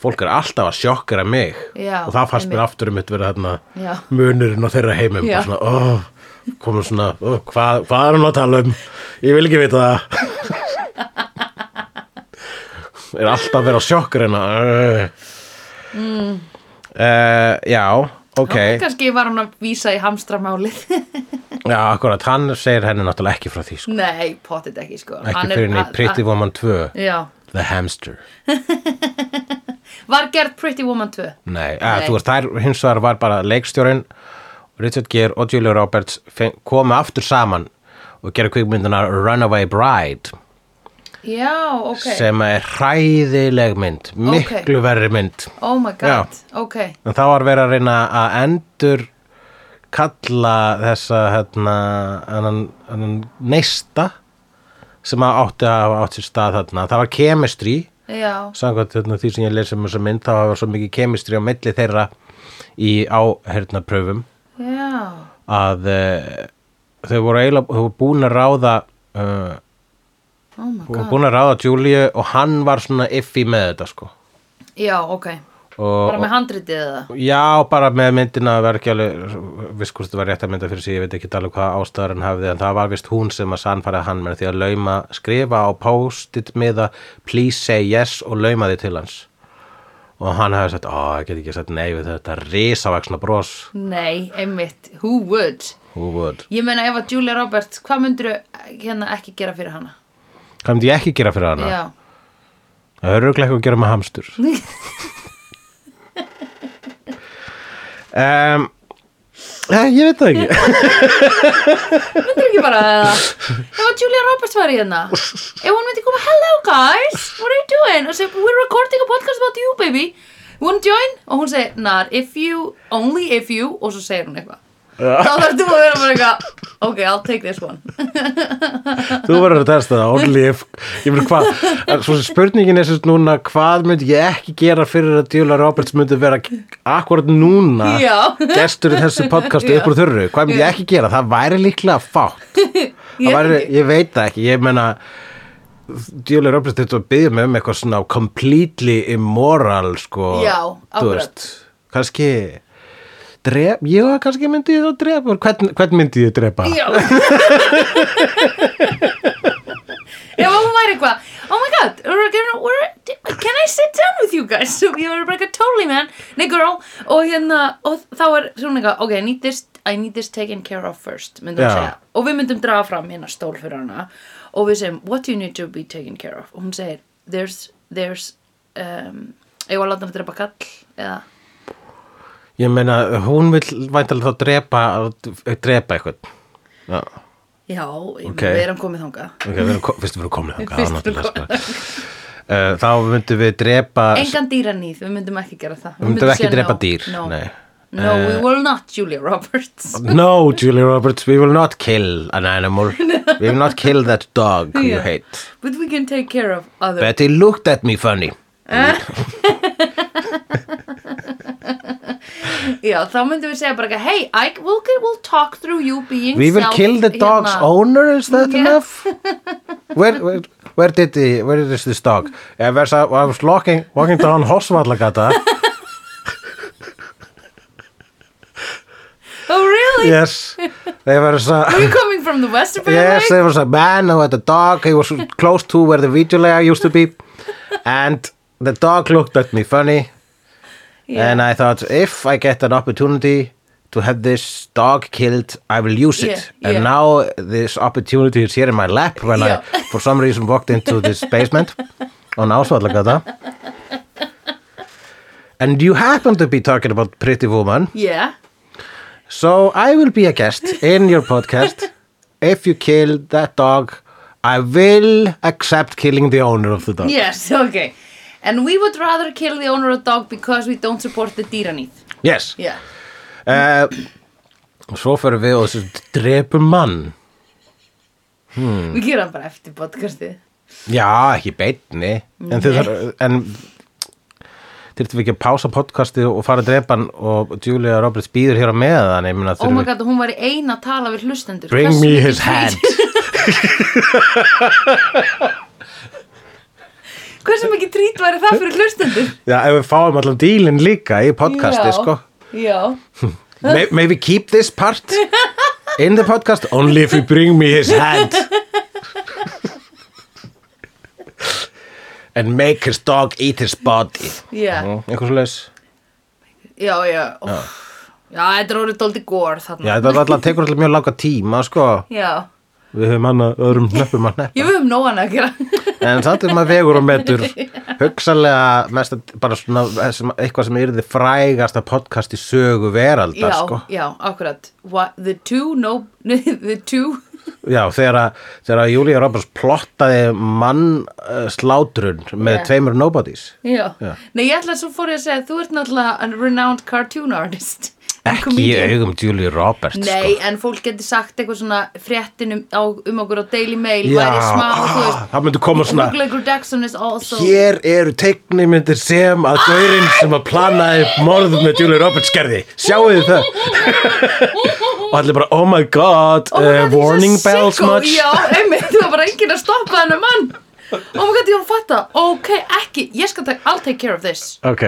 Speaker 2: fólk er alltaf að sjokkera mig
Speaker 1: Já,
Speaker 2: og það fannst mér
Speaker 1: einmitt.
Speaker 2: aftur um mitt vera þarna
Speaker 1: Já.
Speaker 2: munurinn á þeirra heimum
Speaker 1: Já.
Speaker 2: bara svona, ó, komum svona ó, hvað, hvað er hann að tala um? Ég vil ekki vita það er alltaf að vera á sjokkur hérna mm.
Speaker 1: Mm.
Speaker 2: Já, ok
Speaker 1: Og kannski var hún að vísa í hamstramálið.
Speaker 2: Já, akkurat, hann segir henni náttúrulega ekki frá því sko.
Speaker 1: Nei, pottit ekki, sko.
Speaker 2: ekki
Speaker 1: Hann er-
Speaker 2: fyrir henni
Speaker 1: að-
Speaker 2: Pretty
Speaker 1: að-
Speaker 2: Woman 2
Speaker 1: Já,
Speaker 2: The Hamster
Speaker 1: var gerð Pretty Woman 2
Speaker 2: Nei, að,
Speaker 1: Nei.
Speaker 2: þú veist, þær hins vegar var bara leikstjórinn, Richard Gere og Julia Roberts feng- komu aftur saman og gera kvikmyndina Runaway Bride
Speaker 1: Já, ok,
Speaker 2: sem er hræðileg mynd, miklu verri mynd.
Speaker 1: oh my god
Speaker 2: Já.
Speaker 1: Ok,
Speaker 2: En þá var verið að reyna að endur kalla þessa hérna, annan, annan neista sem að átti að hafa átt sér stað þarna. Það var chemistry
Speaker 1: já,
Speaker 2: samkvæmt hérna, því sem ég lesi um þessa mynd þá hafa svo mikið kemistri á milli þeirra í áherna pröfum
Speaker 1: já
Speaker 2: að uh, þau voru eiginlega þau voru búin að ráða uh,
Speaker 1: Oh my
Speaker 2: voru
Speaker 1: god,
Speaker 2: búin að ráða Júlíu og hann var svona iffi með þetta sko
Speaker 1: já, ok
Speaker 2: og,
Speaker 1: Bara með handritið eða
Speaker 2: Já, bara með myndina var ekki alveg, viss hvort það var rétt að mynda fyrir sig, ég veit ekki alveg hvað ástæður hann hafði, en það var vist hún sem að sannfæra hann með því að lauma, skrifa á post-it með að please say yes og lauma því til hans. Og hann hafði sagt, ó, ég get ekki sagt nei við þetta risavaksna bros.
Speaker 1: Nei, einmitt, who would
Speaker 2: Who would?
Speaker 1: Ég meina ef að Julia Roberts, hvað myndirðu hérna ekki gera fyrir hana?
Speaker 2: Hvað myndi ég ekki gera fyrir hana?
Speaker 1: Já,
Speaker 2: Það er röglega eitthvað að gera með hamstur. um, ég veit það ekki.
Speaker 1: myndirðu ekki bara það Ef að Julia Roberts var í hérna Ef hún myndi koma, hello guys, what are you doing? Og segi, we're recording a podcast about you baby Wanna join? Og hún segi, not if you, only if you Og svo segir hún eitthvað þá þarf þú að vera bara eitthvað ok, I'll take this one
Speaker 2: Þú verður að testa það, only if Ég meina hvað, en svo sem spurningin er sérst núna hvað myndi ég ekki gera fyrir að Djóla Roberts myndi vera akkurat núna
Speaker 1: Já.
Speaker 2: gestur í þessu podcastu upp úr þurru, hvað myndi ég ekki gera það væri líklega fátt
Speaker 1: Ég
Speaker 2: ég, væri,
Speaker 1: ekki.
Speaker 2: ég veit það ekki, ég meina Djóla Roberts þetta að byggja mig um eitthvað svona completely immoral sko,
Speaker 1: Já,
Speaker 2: þú
Speaker 1: akkurat.
Speaker 2: veist kannski drep, ég kannski myndi ég þá drepa hvern, hvern myndi ég drepa?
Speaker 1: já ef hún væri eitthvað oh my god, we're gonna, we're, can I sit down with you guys so ég var bara eitthvað totally man nei girl, og hérna og þá er svona eitthvað, ok, I need this I need this taken care of first, myndum
Speaker 2: Já.
Speaker 1: við segja og við myndum draga fram hérna stól fyrir hana og við segjum, what do you need to be taken care of og hún segir, there's there's, um, ég var að láta hann að drepa kall eða
Speaker 2: Ég meina, hún vil væntalega þá drepa, drepa eitthvað. Já,
Speaker 1: Já, ég
Speaker 2: Ok.
Speaker 1: okay. við erum komið þangað.
Speaker 2: ok, við erum, ko- fyrst við erum komin þangað.
Speaker 1: Fyrst
Speaker 2: þá
Speaker 1: við erum
Speaker 2: náttúrulega, sko. Eh, Þá myndum við drepa,
Speaker 1: Engan dýranýð, við myndum ekki gera það.
Speaker 2: við myndum ekki
Speaker 1: segja
Speaker 2: drepa
Speaker 1: no,
Speaker 2: dýr.
Speaker 1: No,
Speaker 2: Nei. Eh,
Speaker 1: no we will not, Julia Roberts.
Speaker 2: No, Julia Roberts, we will not kill an animal. We will not kill that dog you
Speaker 1: Yeah.
Speaker 2: hate.
Speaker 1: But we can take care of other...
Speaker 2: Betty looked at me funny.
Speaker 1: Já, þá myndum við segja bara eitthvað, hey, Ike, we'll, get- we'll talk through you being
Speaker 2: We will
Speaker 1: self-
Speaker 2: kill the dog's
Speaker 1: hérna.
Speaker 2: owner, is that
Speaker 1: Yeah.
Speaker 2: enough? Where, where, where did the, where is this dog? I was, I was walking, walking down Hosvallagata.
Speaker 1: Oh, really?
Speaker 2: Yes, there was
Speaker 1: Are you
Speaker 2: a,
Speaker 1: coming from the western family?
Speaker 2: yes, eh, there was a man who had a dog. He was close to where the video layer used to be. And the dog looked at me funny.
Speaker 1: yeah.
Speaker 2: And I thought, if I get an opportunity to have this dog killed, I will use it.
Speaker 1: Yeah, yeah.
Speaker 2: And now this opportunity is here in my lap when I,
Speaker 1: Yeah.
Speaker 2: for some reason, walked into this basement on Ásvallagata. And you happen to be talking about Pretty Woman.
Speaker 1: yeah.
Speaker 2: So I will be a guest in your podcast. if you kill that dog, I will accept killing the owner of the dog.
Speaker 1: Yes, okay. And we would rather kill the owner of dog because we don't support the dýranýtt.
Speaker 2: Yes.
Speaker 1: Yeah.
Speaker 2: Uh, svo fyrir við og þessu drepum mann. Hmm.
Speaker 1: Við gerum bara eftir podcastið.
Speaker 2: Já, ekki í beinni. En þið
Speaker 1: Nei.
Speaker 2: þarf, en þyrftum við ekki að pása podcastið og fara að drepa hann og Julia Roberts býður hér á meðan. ég meina,
Speaker 1: Oh my
Speaker 2: þurfum við-
Speaker 1: god, hún var ein að tala við hlustendur.
Speaker 2: Bring
Speaker 1: Hversu
Speaker 2: me
Speaker 1: mikið
Speaker 2: his
Speaker 1: tweet-
Speaker 2: hand.
Speaker 1: Hversu mikið trít væri það fyrir hlustendur?
Speaker 2: Já, ef við fáum allan dílinn líka í podcastið,
Speaker 1: Já,
Speaker 2: sko.
Speaker 1: Já.
Speaker 2: May, may we keep this part in the podcast only if you bring me his hand and make his dog eat his body
Speaker 1: Já,
Speaker 2: eitthvað svo leis
Speaker 1: já, já. Óff. Já, þetta er orðið dóldi gór
Speaker 2: já
Speaker 1: þarna.
Speaker 2: þetta var alltaf tekur alltaf mjög langa tíma sko
Speaker 1: Já.
Speaker 2: við höfum annað öðrum hnöppum
Speaker 1: Ég
Speaker 2: að hneppa
Speaker 1: við höfum nógan að gera.
Speaker 2: en samt er maður vegur og metur hugsalega mest bara svona sem, eitthvað sem yrði frægasta podcast í sögu veraldar
Speaker 1: já,
Speaker 2: sko
Speaker 1: já, akkurat. What, the two, no, the two,
Speaker 2: Já, þegar að, þegar að Júlía Roberts plottaði mann uh, slátrun með
Speaker 1: Já.
Speaker 2: tveimur nobodies.
Speaker 1: já.
Speaker 2: Já.
Speaker 1: Nei, ég ætla svo fór ég að segja, þú ert náttúrulega a renowned cartoon artist. and
Speaker 2: Ekki í
Speaker 1: comedian.
Speaker 2: augum Júlíu Roberts,
Speaker 1: Nei,
Speaker 2: sko.
Speaker 1: en fólk getur sagt eitthvað svona fréttin um, á, um okkur á Daily Mail
Speaker 2: Já,
Speaker 1: væri smá, þú
Speaker 2: ah,
Speaker 1: veist
Speaker 2: það myndi koma svona
Speaker 1: Hugleikur Jackson is also
Speaker 2: Hér eru teiknimyndir sem að gaurinn sem að planaði morð með Júlíu Roberts gerði. Sjáu þið það? Og allir bara, oh my god,
Speaker 1: my God,
Speaker 2: uh,
Speaker 1: he's a
Speaker 2: warning bells
Speaker 1: sicko.
Speaker 2: much.
Speaker 1: Já, einmitt, það var bara enginn að stoppa hennar mann Oh my god, ég var að fatta Ok, ekki, ég skal taka, I'll take care of this
Speaker 2: Ok,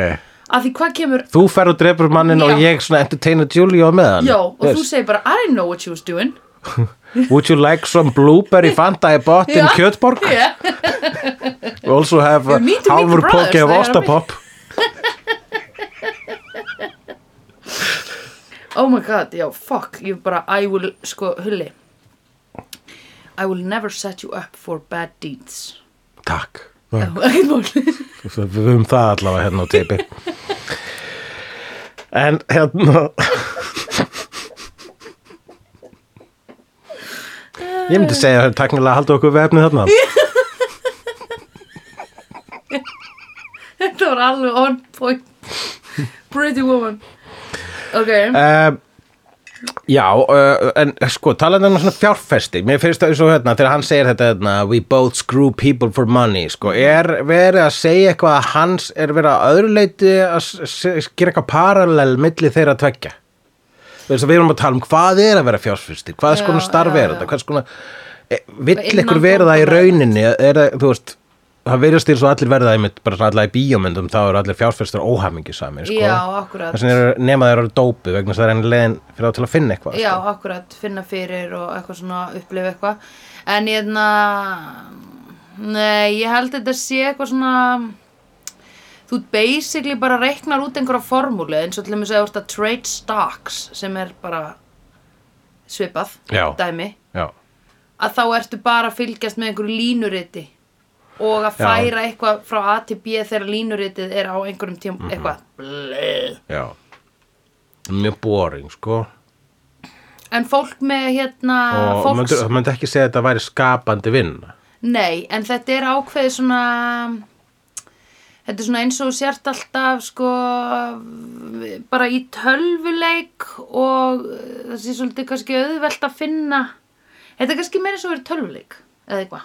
Speaker 1: Af því hvað kemur
Speaker 2: þú ferð og drefur mannin og
Speaker 1: Já.
Speaker 2: ég svona entertaina Júlíu á meðan.
Speaker 1: Já, og þú
Speaker 2: Yes.
Speaker 1: segir bara, I didn't know what she was doing
Speaker 2: Would you like some blueberry Fanta í botn
Speaker 1: Já.
Speaker 2: kjötborg?
Speaker 1: yeah.
Speaker 2: We also have uh, a
Speaker 1: You need to meet
Speaker 2: hálfur
Speaker 1: the
Speaker 2: poki
Speaker 1: brothers, they
Speaker 2: af
Speaker 1: are
Speaker 2: ostapopp
Speaker 1: Oh my god, já, fuck Ég bara, I will, sko, hulli I will never set you up for bad deeds
Speaker 2: Takk, Mm.
Speaker 1: Ekkert mál
Speaker 2: við höfum það allavega hérna á teipi En hérna Ég myndi segja að taknilega halda okkur við efnið þarna
Speaker 1: Þetta var alveg on point Pretty woman Ok,
Speaker 2: uh, Já, uh, en sko, talaði um svona fjárfesti Mér finnst það eins og hérna, þegar hann segir þetta hérna, We both screw people for money sko, Er verið að segja eitthvað að hans Er verið að öðru leiti að s- s- gera eitthvað parallel milli þeirra tveggja Þess að við erum að tala um hvað er að vera fjárfesti Hvað
Speaker 1: Já,
Speaker 2: skona starf
Speaker 1: já,
Speaker 2: er
Speaker 1: já.
Speaker 2: þetta Hvað skona, e, vill
Speaker 1: Innan
Speaker 2: ykkur vera það í
Speaker 1: bankanna.
Speaker 2: rauninni Er það, þú veist Það verðast til svo allir verða einmitt, bara svona allar í bíómyndum, þá eru allir fjárfestur óhamingi samin, sko.
Speaker 1: já, akkurat
Speaker 2: Þess vegna eru nema þeir eru dópu vegna þess að það er enn leiðin fyrir þá til að finna eitthvað.
Speaker 1: Já,
Speaker 2: sko.
Speaker 1: akkurat, finna fyrir og eitthvað svona upplifa eitthvað En ég hefna Nei, ég held þetta sé eitthvað svona Þú basically bara reiknar út einhverja formúlu eins og til dæmis að þú ert að trade stocks sem er bara svipað
Speaker 2: Já.
Speaker 1: dæmi
Speaker 2: Já.
Speaker 1: að þá ertu bara að fylgjast með einhverju línuriti og að
Speaker 2: Já.
Speaker 1: færa eitthvað frá A til B þegar línuritið er á einhverjum tíum
Speaker 2: Mhm.
Speaker 1: eitthvað Bleh.
Speaker 2: Já. Mjög boring, sko.
Speaker 1: en fólk með hérna
Speaker 2: og
Speaker 1: fólks,
Speaker 2: myndu, það myndi ekki segja að þetta væri skapandi vinna.
Speaker 1: nei, en þetta er ákveðið svona þetta er svona eins og þú sért alltaf sko bara í tölvuleik og eh, það sé svolítið kannski auðvelt að finna þetta er kannski meira eins og verið tölvuleik eða eitthvað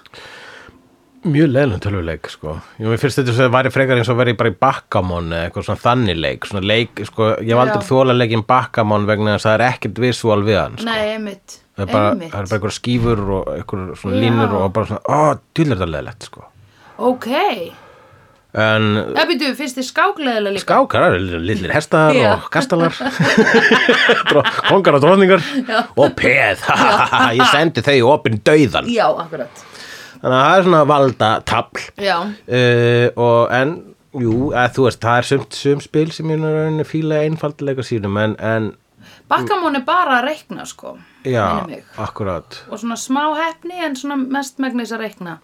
Speaker 2: mjög leðlum tölvuleik sko. Jú, mér finnst þetta sem væri frekar eins og verið bara í bakkamon eða eitthvað svona þannig leik, svona leik sko, ég hef aldrei
Speaker 1: Já.
Speaker 2: þóla leikinn bakkamon vegna þess að það er ekkert visual við hann sko.
Speaker 1: Nei, einmitt,
Speaker 2: það er bara,
Speaker 1: einmitt.
Speaker 2: það er bara einhver skífur og einhver svona
Speaker 1: Já.
Speaker 2: línur og bara svona, ó, djúlega þetta leðlegt sko.
Speaker 1: Ok,
Speaker 2: en
Speaker 1: það byrju, finnst þið skákleðilega líka?
Speaker 2: skákar, það eru lillir hestar
Speaker 1: Já.
Speaker 2: og kastalar Dró- kongar og dróningar og peð, ég sendi þau í opinn dauðan
Speaker 1: Já, akkurat
Speaker 2: þannig að það er svona valda tabl
Speaker 1: Já,
Speaker 2: uh, og en jú, að þú veist, það er sumt sum spil sem ég er að rauninni fíla einfaldilega sínum en, en
Speaker 1: bakkamón er bara að reikna sko
Speaker 2: já,
Speaker 1: minnir mig.
Speaker 2: akkurat
Speaker 1: og svona smá hefni en svona mest megnis að reikna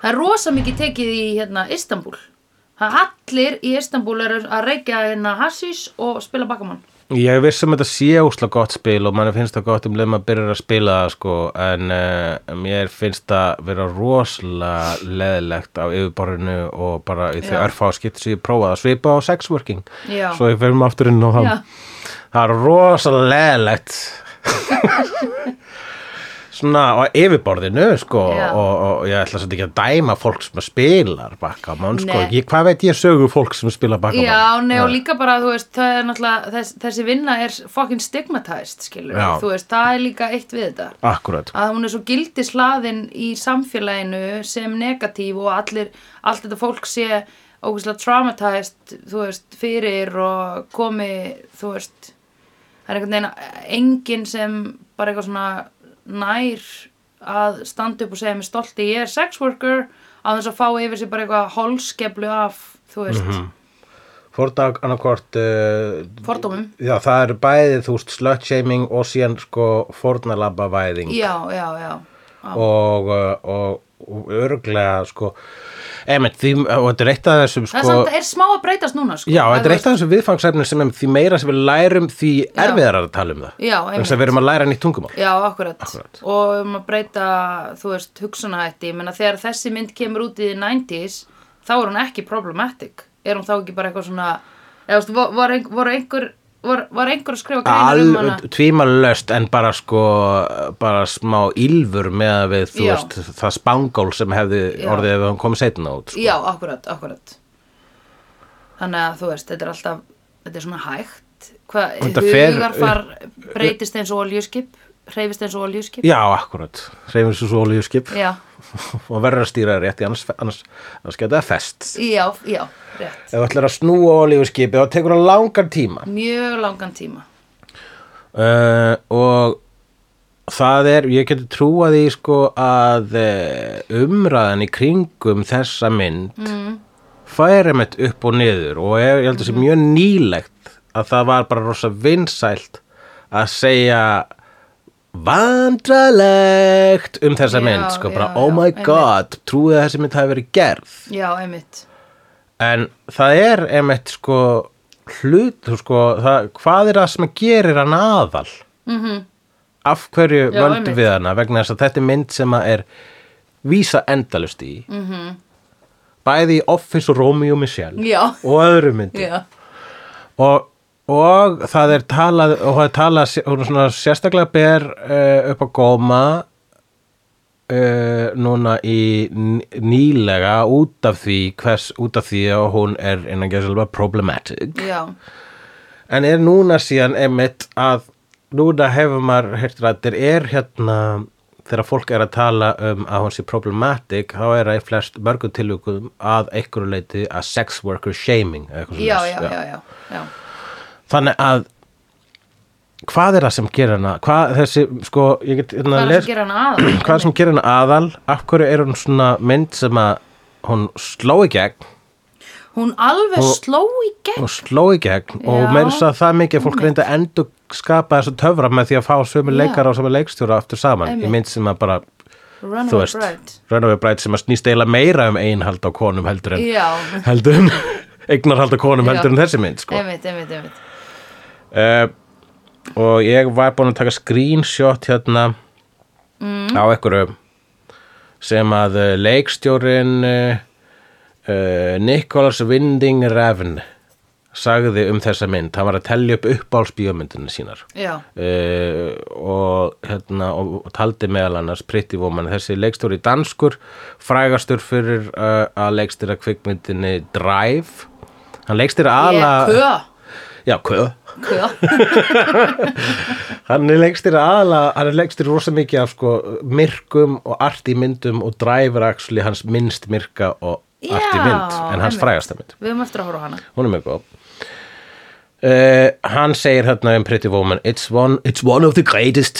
Speaker 1: Það er rosa mikið tekið í hérna Istanbul Það allir í Istanbul eru að reikja hérna hassís og spila bakkamón
Speaker 2: ég er viss um að þetta sé ósla gott spil og mann finnst það gott um leið maður byrjar að spila það sko, en uh, mér finnst það vera rosalega leðilegt á yfirborðinu og bara í þau
Speaker 1: Já.
Speaker 2: örfá skipt sem ég prófaði að svipa á sexworking
Speaker 1: Já.
Speaker 2: svo ég fyrir aftur inn á það
Speaker 1: Já.
Speaker 2: það er rosalega leðilegt svona á yfirborðinu sko
Speaker 1: Já.
Speaker 2: og, og ég ætla svolítið ekki að dæma fólk sem spilar bakkamón sko,
Speaker 1: Nei.
Speaker 2: ég, hvað veit ég sögu fólk sem spilar bakkamón
Speaker 1: Já, nei, og líka bara, þú veist, það er náttúrulega, þess, þessi vinna er fucking stigmatized, skilur
Speaker 2: Já.
Speaker 1: þú veist, það er líka eitt við þetta.
Speaker 2: akkurat,
Speaker 1: Að hún er svo gildislaðin í samfélaginu sem negatív og allir, allt þetta fólk sé ógæslega traumatized, þú veist, fyrir og komi, þú veist, það er einhvern veginn enginn sem bara eitthvað svona nær að standa upp og segja með stolti, ég er sex worker, á þess að fá yfir sér bara eitthvað holskeplu af, þú veist,
Speaker 2: Mhm. fórdag annarkvort uh,
Speaker 1: fordómum.
Speaker 2: já, það eru bæði þú veist slutshaming og síðan sko fórnalabavæðing
Speaker 1: já, já, já
Speaker 2: og, uh, og, og örglega sko, emitt, því, og þetta er eitt af þessum sko,
Speaker 1: það er samt, er smá að breytast núna sko.
Speaker 2: Já,
Speaker 1: Að
Speaker 2: þetta
Speaker 1: þú
Speaker 2: er eitt af þessum viðfangsefnum sem er því meira sem við lærum því erfiðar að tala um það.
Speaker 1: Já,
Speaker 2: Þannig að
Speaker 1: einmitt.
Speaker 2: við erum að læra nýtt tungumál.
Speaker 1: já, akkurat. og um að breyta, þú veist, hugsunahætti ég menna þegar þessi mynd kemur út í 90s þá er hún ekki problematic er hún þá ekki bara eitthvað svona eða, þú veist, vo- var, ein, voru einhver var, var einhver að skrifa greinar um hana
Speaker 2: Alveg tvímalöst en bara sko, bara smá ylfur með að við, þú
Speaker 1: Já.
Speaker 2: veist, það spangól sem hefði
Speaker 1: Já.
Speaker 2: orðið ef hann komið setna út. Sko.
Speaker 1: já, akkurat, akkurat þannig að þú veist, þetta er alltaf þetta er svona hægt hvað,
Speaker 2: Þetta fer-
Speaker 1: hugarfar breytist eins og oljuskip hreyfist eins og oljuskip
Speaker 2: Já, akkurat. Reifum svo svo olíuskip
Speaker 1: já,
Speaker 2: og verður að stýra rétt í annars, annars, annars geta það fest.
Speaker 1: já, já, rétt
Speaker 2: Ef þú ætlar að snúa olíuskipi þá tekur það langan tíma.
Speaker 1: mjög langan tíma
Speaker 2: uh, og það er, ég geti trúað því sko að eh, umræðan í kringum þessa mynd mm. færi mitt upp og niður og ég, ég held
Speaker 1: Mm.
Speaker 2: að það sé mjög nýlegt að það var bara rosa vinsælt að segja vandralegt um þessa
Speaker 1: Já,
Speaker 2: mynd sko, bara
Speaker 1: já,
Speaker 2: oh
Speaker 1: já,
Speaker 2: my
Speaker 1: einmitt.
Speaker 2: god, trúið að þessi mynd hafi verið gerð
Speaker 1: já, einmitt
Speaker 2: En það er einmitt sko hlut, þú sko, það, hvað er það sem gerir hann aðal? Mm -hmm. Af hverju
Speaker 1: Mhm. Já,
Speaker 2: völdum
Speaker 1: einmitt.
Speaker 2: við hana? Vegna þess að þetta er mynd sem að er vísa endalust í. Mm -hmm. Bæði í Office og Romeo og Michelle
Speaker 1: Mhm. Já.
Speaker 2: og öðru myndi.
Speaker 1: já,
Speaker 2: Og, og það er talað, og það er talað, sé- hún er svona sérstaklega ber uh, upp á góma uh, núna í n- nýlega út af því hvers, út af því að hún er innan geðsalva problematic
Speaker 1: já,
Speaker 2: en er núna síðan einmitt að núna hefur maður heyrt rættir er hérna þegar fólk er að tala um að hún sé problematic þá er það í flest mörgum tilvíkum að einhverju leiti að sex worker shaming eða eitthvað
Speaker 1: já,
Speaker 2: svoleiðis.
Speaker 1: já, já, já, já.
Speaker 2: þannig að hvað er það sem gerir hana hvað þessi sko ég get, hérna,
Speaker 1: hvað er það
Speaker 2: les-
Speaker 1: sem gera hana aðal
Speaker 2: hvað er sem gerir hana aðal af hverju er hún svona mynd sem að hún sló í gegn
Speaker 1: hún alveg
Speaker 2: Og-
Speaker 1: sló í gegn
Speaker 2: og sló í gegn og
Speaker 1: Já.
Speaker 2: meira svo það mikið að fólk reyndi að endur skapa þessu töfra með því að fá sömu
Speaker 1: Já.
Speaker 2: leikara og sömu leikstjóra aftur saman
Speaker 1: Einmitt.
Speaker 2: í mynd sem að bara þú
Speaker 1: Runaway
Speaker 2: veist, sko.
Speaker 1: Bride
Speaker 2: Runaway Bride sem að snýst eiginlega meira um einhald á konum heldur en
Speaker 1: já,
Speaker 2: heldur en eignarhald á konum
Speaker 1: Já.
Speaker 2: heldur en þessi mynd sko.
Speaker 1: einmitt, einmitt, einmitt
Speaker 2: uh, og ég var búin að taka screenshot hérna á einhverju sem að eh, uh, leikstjórin uh, uh, Nicholas Winding Refn sagði um þessa mynd hann var að tellja upp uppáhalsbíómyndinu sínar
Speaker 1: já,
Speaker 2: uh, og, hérna, og, og taldi meðal annars Pretty Woman, þessi leikstjóri danskur frægastur fyrir uh, að leikstýra kvikmyndinni Drive hann leikstýra aðla
Speaker 1: ég kvö,
Speaker 2: já, kvö.
Speaker 1: kvö
Speaker 2: hann er leikstýra aðla hann er leikstýra rosa mikið af sko, myrkum og arti myndum og Drive er actually hans minnst myrka og
Speaker 1: Já,
Speaker 2: arti mynd en hans
Speaker 1: einmitt.
Speaker 2: frægasta mynd
Speaker 1: við höfum eftir að horfa á hana
Speaker 2: hún er mjög góð Uh, hann segir hérna um Pretty Woman It's one, it's one of the greatest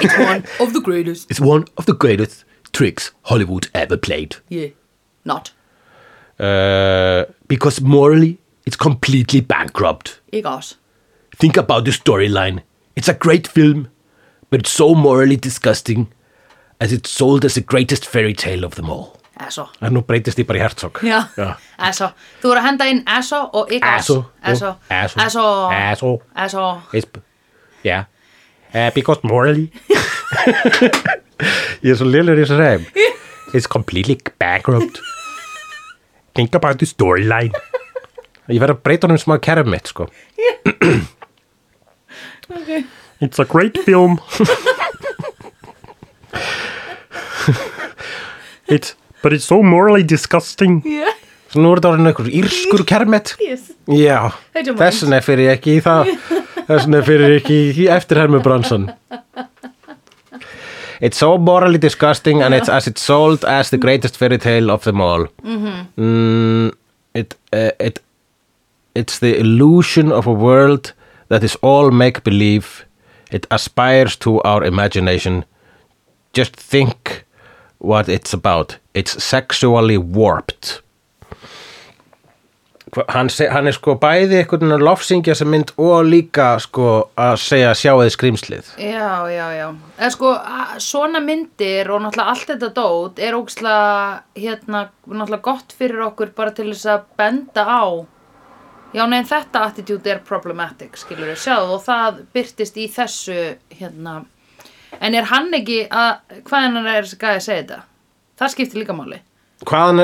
Speaker 1: it's one of the greatest,
Speaker 3: It's one of the greatest tricks Hollywood ever played.
Speaker 1: yeah, not
Speaker 2: uh,
Speaker 3: Because morally, it's completely bankrupt.
Speaker 1: ég ás,
Speaker 3: Think about the storyline. It's a great film, but it's so morally disgusting as it's sold as the greatest fairy tale of them all.
Speaker 1: eso
Speaker 2: En nú breytist ég bara í Herzog
Speaker 1: já, eso, þú voru að henda inn eso og ég ás,
Speaker 2: Eso,
Speaker 1: eso
Speaker 2: eso,
Speaker 1: eso,
Speaker 2: eso.
Speaker 1: eso
Speaker 2: It's, yeah uh, Because morally Ég er svo lillur í þessu reym It's completely bankrupt Think about the storyline Ég verð að breyta honum smá kerfum mitt sko
Speaker 1: ok,
Speaker 2: It's a great film
Speaker 4: It's but it's so morally disgusting.
Speaker 1: yeah,
Speaker 2: Svo nú er þetta orðin einhver írskur kermet
Speaker 1: yes
Speaker 2: Já,
Speaker 1: Þetta er
Speaker 2: þess vegna fyrir ég ekki í það þess vegna fyrir ég ekki í eftirhermu bransan It's so morally disgusting and it's as it's sold as the greatest fairy tale of them all mm it, uh, it, It's the illusion of a world that is all make-believe It aspires to our imagination Just think what it's about It's sexually warped Hva- hann, se- hann er sko bæði einhvern veginn að lofsingja sem mynd og líka sko að segja sjáuði skrýmslið
Speaker 1: Já, já, já. Eða sko, a- svona myndir og náttúrulega allt þetta dót er ógslag, hérna, náttúrulega gott fyrir okkur bara til þess að benda á. Já, nei, en þetta attitude er problematic, skilur við, sjáðu, og það byrtist í þessu, hérna. En er hann ekki að, hvaðan er þessi gæði að segja þetta? Það skiptir líka máli.
Speaker 2: hvaðan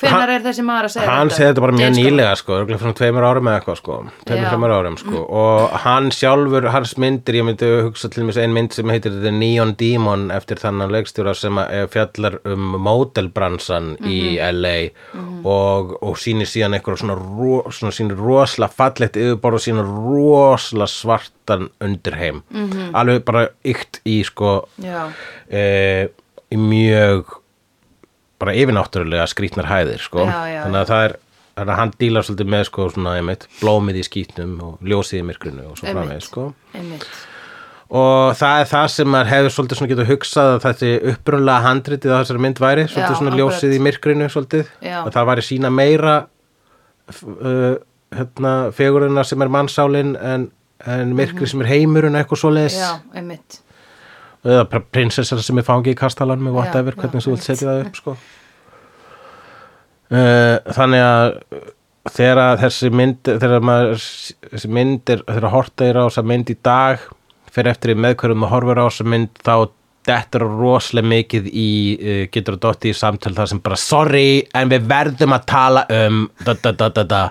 Speaker 1: Hvenar er þessi maður að segja
Speaker 2: hann
Speaker 1: þetta?
Speaker 2: segði þetta bara mjög
Speaker 1: James Cameron.
Speaker 2: nýlega sko, örugglega fyrir tveimur árum eða eitthvað sko, tveimur
Speaker 1: Já. Mm.
Speaker 2: tveimur árum sko og hann sjálfur, hans myndir, ég myndi hugsa til mér ein mynd sem heitir The Neon Demon eftir þannan leikstjóra sem að eh, fjallar um mótelbransan í
Speaker 1: Mhm.
Speaker 2: LA og, og sýnir síðan eitthvað svona, ro, svona sýnir rosla fallegt yfirborð og sýnir rosla svartan undirheim -hmm. alveg bara ykt í sko
Speaker 1: Mhm. Já.
Speaker 2: e, í mjög bara yfirnáttúrulega skrýtnar hæðir sko.
Speaker 1: Já, já,
Speaker 2: þannig að það er þannig að hann dílar svolítið með sko, svona, einmitt, blómið í skýtnum og ljósið í myrkrinu og svo
Speaker 1: Einmitt.
Speaker 2: framvegis sko.
Speaker 1: Einmitt.
Speaker 2: og það er það sem maður hefur svolítið svona getur hugsað að þessi upprunlega handritið á þessari mynd væri svolítið
Speaker 1: Já,
Speaker 2: svona
Speaker 1: akkurat.
Speaker 2: ljósið í myrkrinu svolítið
Speaker 1: Já.
Speaker 2: og það væri sína meira f- uh, hérna, fegurina sem er mannsálin en, en myrkri sem er heimurinn eitthvað svoleiðis
Speaker 1: Mhm. Já, einmitt.
Speaker 2: eða bara prinsessar sem er fangi í kastalanum og whatever,
Speaker 1: já,
Speaker 2: hvernig þú
Speaker 1: einmitt.
Speaker 2: vilt setja það upp sko. uh, þannig að uh, þegar að þessi mynd þegar maður, þessi mynd er þegar horta er á þessa mynd í dag fyrir eftir í með hverjum maður horfir á þessa mynd þá dettur rosalega mikið í uh, getur að dotti í samtöl það sem bara sorry, en við verðum að tala um da da da da da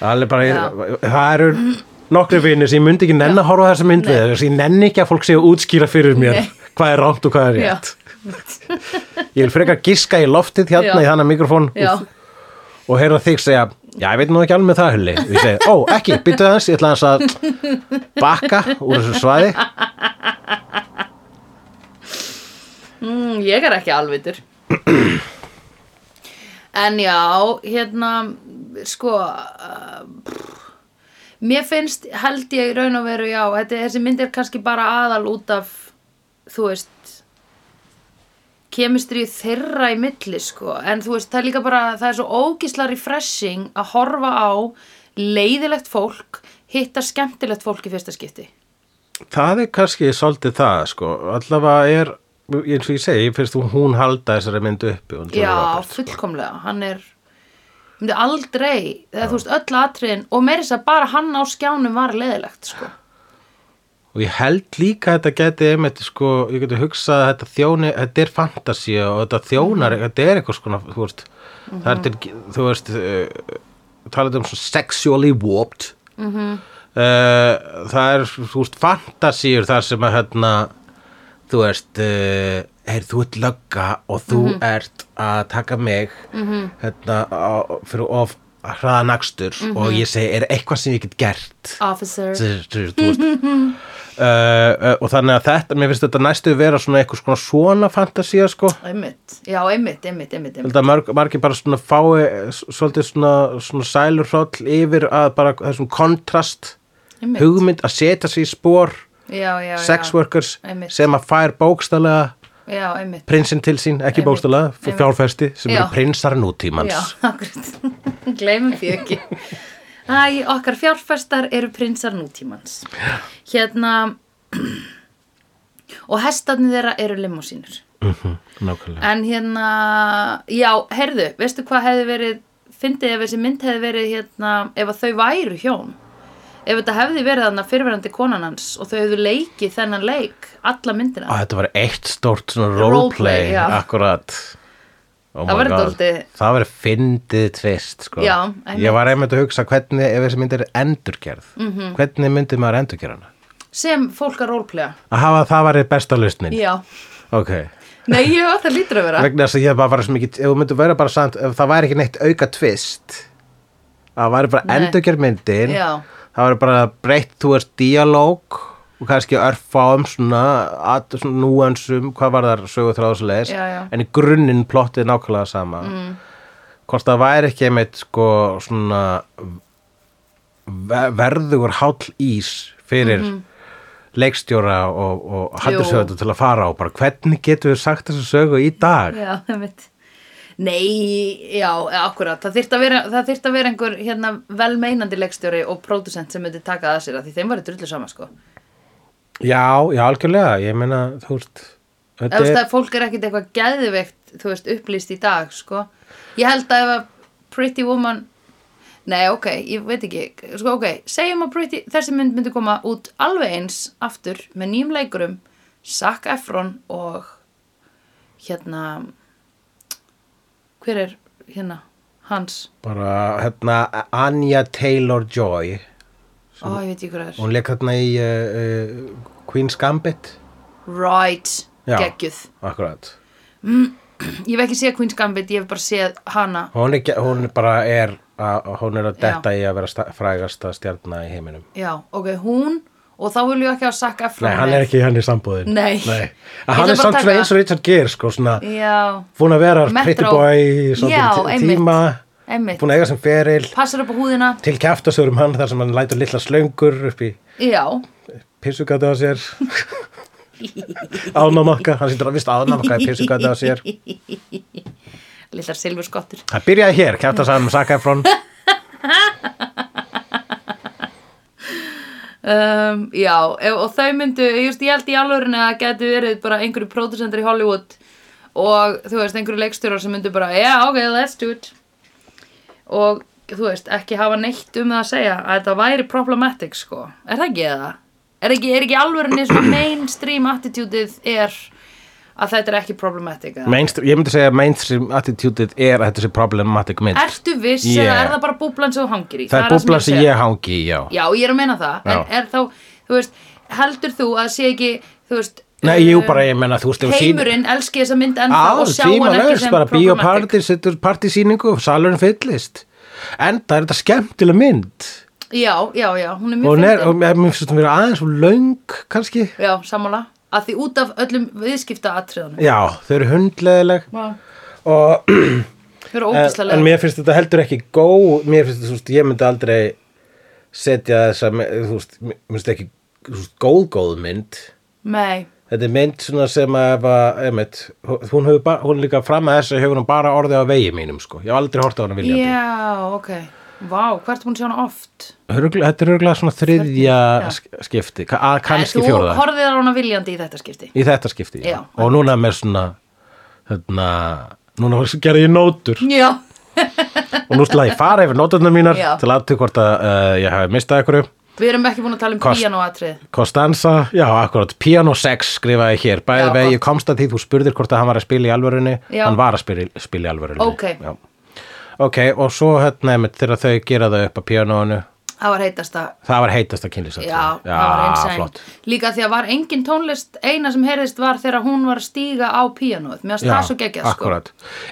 Speaker 2: Það er bara,
Speaker 1: Já.
Speaker 2: það eru nokkri vinnir sem ég myndi ekki nenn að horfa á þessa mynd við þess að ég nenni ekki að fólk sé að útskýra fyrir mér
Speaker 1: Nei.
Speaker 2: hvað er rámt og hvað er rétt ég vil frekar giska í loftið hérna
Speaker 1: Já.
Speaker 2: í þannig mikrofón
Speaker 1: Já,
Speaker 2: og heyra þig segja, já ég veit nú ekki alveg með það hulli og ég segi, ó ekki, býttu aðeins ég ætla aðeins að bakka úr þessu svaði
Speaker 1: Mm, ég er ekki alvitur. en já, hérna, sko, uh, pff, mér finnst, held ég í raun og veru, já, þetta, þessi mynd er kannski bara aðal út af, þú veist, kemistri þeirra í milli, sko. En þú veist, það er líka bara, það er svo ógisla refreshing að horfa á leiðilegt fólk, hitta skemmtilegt fólk í fyrsta skipti.
Speaker 2: það er kannski svolítið það sko, allavega er eins og ég segi, fyrst þú hún halda þessari mynd uppi hún Julia
Speaker 1: Já,
Speaker 2: Roberts.
Speaker 1: fullkomlega, hann er myndi aldrei, eða þú veist öll atriðin og meiri þess að bara hann á skjánum var leðilegt, sko
Speaker 2: og ég held líka að þetta geti einmitt sko, ég geti hugsað að þetta þjóni þetta er fantasía og þetta þjónar þetta er eitthvað skona, þú veist það er til, þú veist uh, talað um svona sexually warped uh, það er þú veist fantasíur þar sem að hérna þú veist uh, er, þú ert lögga og þú ert að taka mig hérna, á, fyrir of hraðan akstur og ég segi er eitthvað sem ég get gert
Speaker 1: Officer
Speaker 2: Þú- þú- þú veist. uh, uh, og þannig að þetta mér finnst þetta næstu vera svona eitthvað svona svona fantasía sko
Speaker 1: Einmitt, já, einmitt, einmitt, einmitt,
Speaker 2: Ég
Speaker 1: einmitt.
Speaker 2: held að marg, margir bara svona fái eh, s- svolítið svona, svona sælur hróll yfir að bara þessum kontrast
Speaker 1: einmitt.
Speaker 2: hugmynd að setja sig í spór
Speaker 1: já, já, já.
Speaker 2: sex workers
Speaker 1: Einmitt.
Speaker 2: sem að fær bókstælega
Speaker 1: Já, einmitt
Speaker 2: prinsinn til sín, ekki
Speaker 1: Einmitt.
Speaker 2: bókstælega
Speaker 1: Einmitt.
Speaker 2: fjárfesti sem
Speaker 1: Já.
Speaker 2: eru prinsar nútímans
Speaker 1: Já, akkurat, gleymum því ekki Æ, okkar fjárfestar eru prinsar nútímans Hérna Og hestarnir þeirra eru limósínur
Speaker 2: nákvæmlega
Speaker 1: En hérna, já, heyrðu, veistu hvað hefði verið Fyndið ef þessi mynd hefði verið hérna Ef að þau væru hjón Ef þetta hefði verið þarna fyrirverandi konan hans Og þau hefðu leikið þennan leik Alla myndina
Speaker 2: að þetta var eitt stórt svona
Speaker 1: Roleplay,
Speaker 2: roleplay
Speaker 1: já.
Speaker 2: akkurat oh
Speaker 1: Það
Speaker 2: my
Speaker 1: væri
Speaker 2: god.
Speaker 1: dálítið-
Speaker 2: það verið fyndið tvist sko.
Speaker 1: Já, einmitt. Mhm.
Speaker 2: ég var einmitt að hugsa hvernig ef þessi mynd er endurgerð -hmm. hvernig myndi maður endurgerð hana
Speaker 1: Sem fólk að rólplega
Speaker 2: að hafa það væri besta lausnin
Speaker 1: Já,
Speaker 2: ok,
Speaker 1: nei, ég hef alltaf lítur að vera
Speaker 2: vegna þess að ég bara var svo mikið ef þú myndir vera bara samt, ef það væri ekki neitt auka tvist það væri bara
Speaker 1: Nei.
Speaker 2: endurgerð myndin
Speaker 1: Já.
Speaker 2: það væri bara breytt, þú veist, díalóg og kannski örfáum svona, at, svona núansum, hvað var þar sögu þráðsleis,
Speaker 1: Já, já.
Speaker 2: en í grunninn plottið nákvæmlega sama mm. hvort það væri ekki einmitt sko svona ve- verðugur háll ís fyrir
Speaker 1: Mhm.
Speaker 2: leikstjóra og, og hattusöðu til að fara á bara hvernig getum við sagt þessu sögu í dag
Speaker 1: Já, einmitt. Nei, já, akkurat, það þyrfti að vera, það þyrfti að vera einhver hérna, velmeinandi leikstjóri og pródusent sem myndi taka að sér að því þeim var drullu sama sko.
Speaker 2: Já, já, algjörlega, ég meina þú veist
Speaker 1: Ef þú veist að fólk er ekkit eitthvað geðveikt, þú veist, upplýst í dag sko. Ég held að ef að Pretty Woman, nei, ok, ég veit ekki, sko, ok, segjum að Pretty, þessi mynd myndi koma út alveg eins aftur með nýjum leikurum, Zac Efron og hérna, hver er hérna, hans?
Speaker 2: bara hérna Anya Taylor-Joy
Speaker 1: Ó, ég veit ekki hvað það er.
Speaker 2: hún leik hérna í uh, uh, Queen's Gambit
Speaker 1: Right,
Speaker 2: Já.
Speaker 1: geggjuð.
Speaker 2: akkurat
Speaker 1: Ég hef ekki séð Queen's Gambit, ég hef bara séð hana.
Speaker 2: hún er, ge- hún bara er að, hún er að
Speaker 1: Já.
Speaker 2: detta í að vera sta- frægasta stjarna í heiminum
Speaker 1: Já, ok, hún og þá vil ég ekki að sakka Efron.
Speaker 2: Nei, hann
Speaker 1: með.
Speaker 2: er ekki hann í sambúðin
Speaker 1: Nei.
Speaker 2: Nei.
Speaker 1: Ég ætla bara að
Speaker 2: Hann er samt
Speaker 1: taka
Speaker 2: svona
Speaker 1: það.
Speaker 2: eins og Richard Gere sko, svona,
Speaker 1: Já,
Speaker 2: búin að vera
Speaker 1: Metro.
Speaker 2: pretty boy í
Speaker 1: Já,
Speaker 2: svolítinn tí-
Speaker 1: einmitt.
Speaker 2: tíma
Speaker 1: einmitt.
Speaker 2: búin að eiga sem feril
Speaker 1: Passar upp á húðina.
Speaker 2: til kjaftasögur um hann þar sem hann lætur litla slöngur upp í
Speaker 1: Já,
Speaker 2: pissugata á sér ánómakka, hann sýndur að vist ánómakka í pissugata á sér
Speaker 1: lillar silfurskottur.
Speaker 2: það byrjaði hér, kjaftasagan um Saka Efron
Speaker 1: Um, já, ef, og þau myndu, ég, veist, ég held í alvörinu að það gætu verið bara einhverju pródusendur í Hollywood og þú veist, einhverju leikstjórar sem myndu bara, já, ok, let's do it. Og þú veist, ekki hafa neitt um það að segja að þetta væri problematic, sko. Er það ekki eða? Er ekki, er ekki alvörinu svona mainstream attitudeið er að þetta er ekki problematic? Eða?
Speaker 2: Mainstream, ég myndi segja að mainstream attitudeið er að þetta sé problematic mynd
Speaker 1: Ertu viss
Speaker 2: Yeah.
Speaker 1: eða er það bara búblan sem þú hangir í?
Speaker 2: það er búbla sem
Speaker 1: ég
Speaker 2: ég hangi í, já
Speaker 1: Já, ég er að meina það,
Speaker 2: Já.
Speaker 1: en er þá, þú veist, heldur þú að sé ekki, þú veist,
Speaker 2: Nei, jú,
Speaker 1: um,
Speaker 2: bara ég menna, þú veist, ef þú sýnir-
Speaker 1: heimurinn elski þessa mynd ennþá
Speaker 2: Á,
Speaker 1: og sjá hann ekki
Speaker 2: tímalaust,
Speaker 1: sem
Speaker 2: bara bíó
Speaker 1: problematic.
Speaker 2: party, setur partysýningu og salurinn fyllist en það er þetta skemmtileg mynd
Speaker 1: Já, já, já, hún er
Speaker 2: og hún
Speaker 1: mjög
Speaker 2: er, og
Speaker 1: fyndin.
Speaker 2: mér mér finnst hún vera aðeins og löng kannski,
Speaker 1: Já, sammála, að því út af öllum viðskipta atriðunum.
Speaker 2: já, þau eru hundleðileg
Speaker 1: Vá,
Speaker 2: og,
Speaker 1: þau eru
Speaker 2: en,
Speaker 1: ógíslega.
Speaker 2: en mér finnst þetta heldur ekki góð, mér finnst þetta, þú veist, ég myndi aldrei setja þessa, þú veist, mér finnst þetta ekki þú veist, góð góð mynd
Speaker 1: Nei,
Speaker 2: Þetta er mynd svona sem að, ef að einmitt, hún hefur bara, hún líka fram að þessu hefur hún bara orðið á vegi mínum, sko. Ég hef aldrei hort á hana viljandi.
Speaker 1: já, ok, vá, hvert hún sé hana oft?
Speaker 2: Hörgla, þetta er örgulega svona þriðja
Speaker 1: Já.
Speaker 2: sk- skipti, ka- að kannski
Speaker 1: Nei,
Speaker 2: fjóraða
Speaker 1: Þú horfið á hana viljandi í þetta skipti.
Speaker 2: í þetta skipti.
Speaker 1: Já.
Speaker 2: Og núna með svona, hérna, núna var sem gerði ég nótur
Speaker 1: Já,
Speaker 2: og nú slá ég fara yfir nóturnar mínar
Speaker 1: Já.
Speaker 2: til aðtöku hvort að uh, ég hafi mistað einhverju.
Speaker 1: við erum ekki búin að tala um
Speaker 2: Kost-
Speaker 1: píanoatrið.
Speaker 2: Kostanza, já, akkurat, Piano 6 skrifaði ég hér, bæði
Speaker 1: Já,
Speaker 2: vegi,
Speaker 1: gott.
Speaker 2: komst að því þú spurðir hvort að hann var að spila í alvörunni,
Speaker 1: Já.
Speaker 2: hann var að spila, spila í alvörunni.
Speaker 1: Ókei.
Speaker 2: Já. ok, og svo hérna einmitt þegar þau gera þau upp á píanónu
Speaker 1: það var heitast að
Speaker 2: það var heitasta kynlýsatrið
Speaker 1: Já, það var
Speaker 2: flott
Speaker 1: einsæn Líka því að var engin tónlist eina sem heyrðist var þegar hún var að stíga á píanóð Mér að það svo geggjað sko Mm.
Speaker 2: akkurat.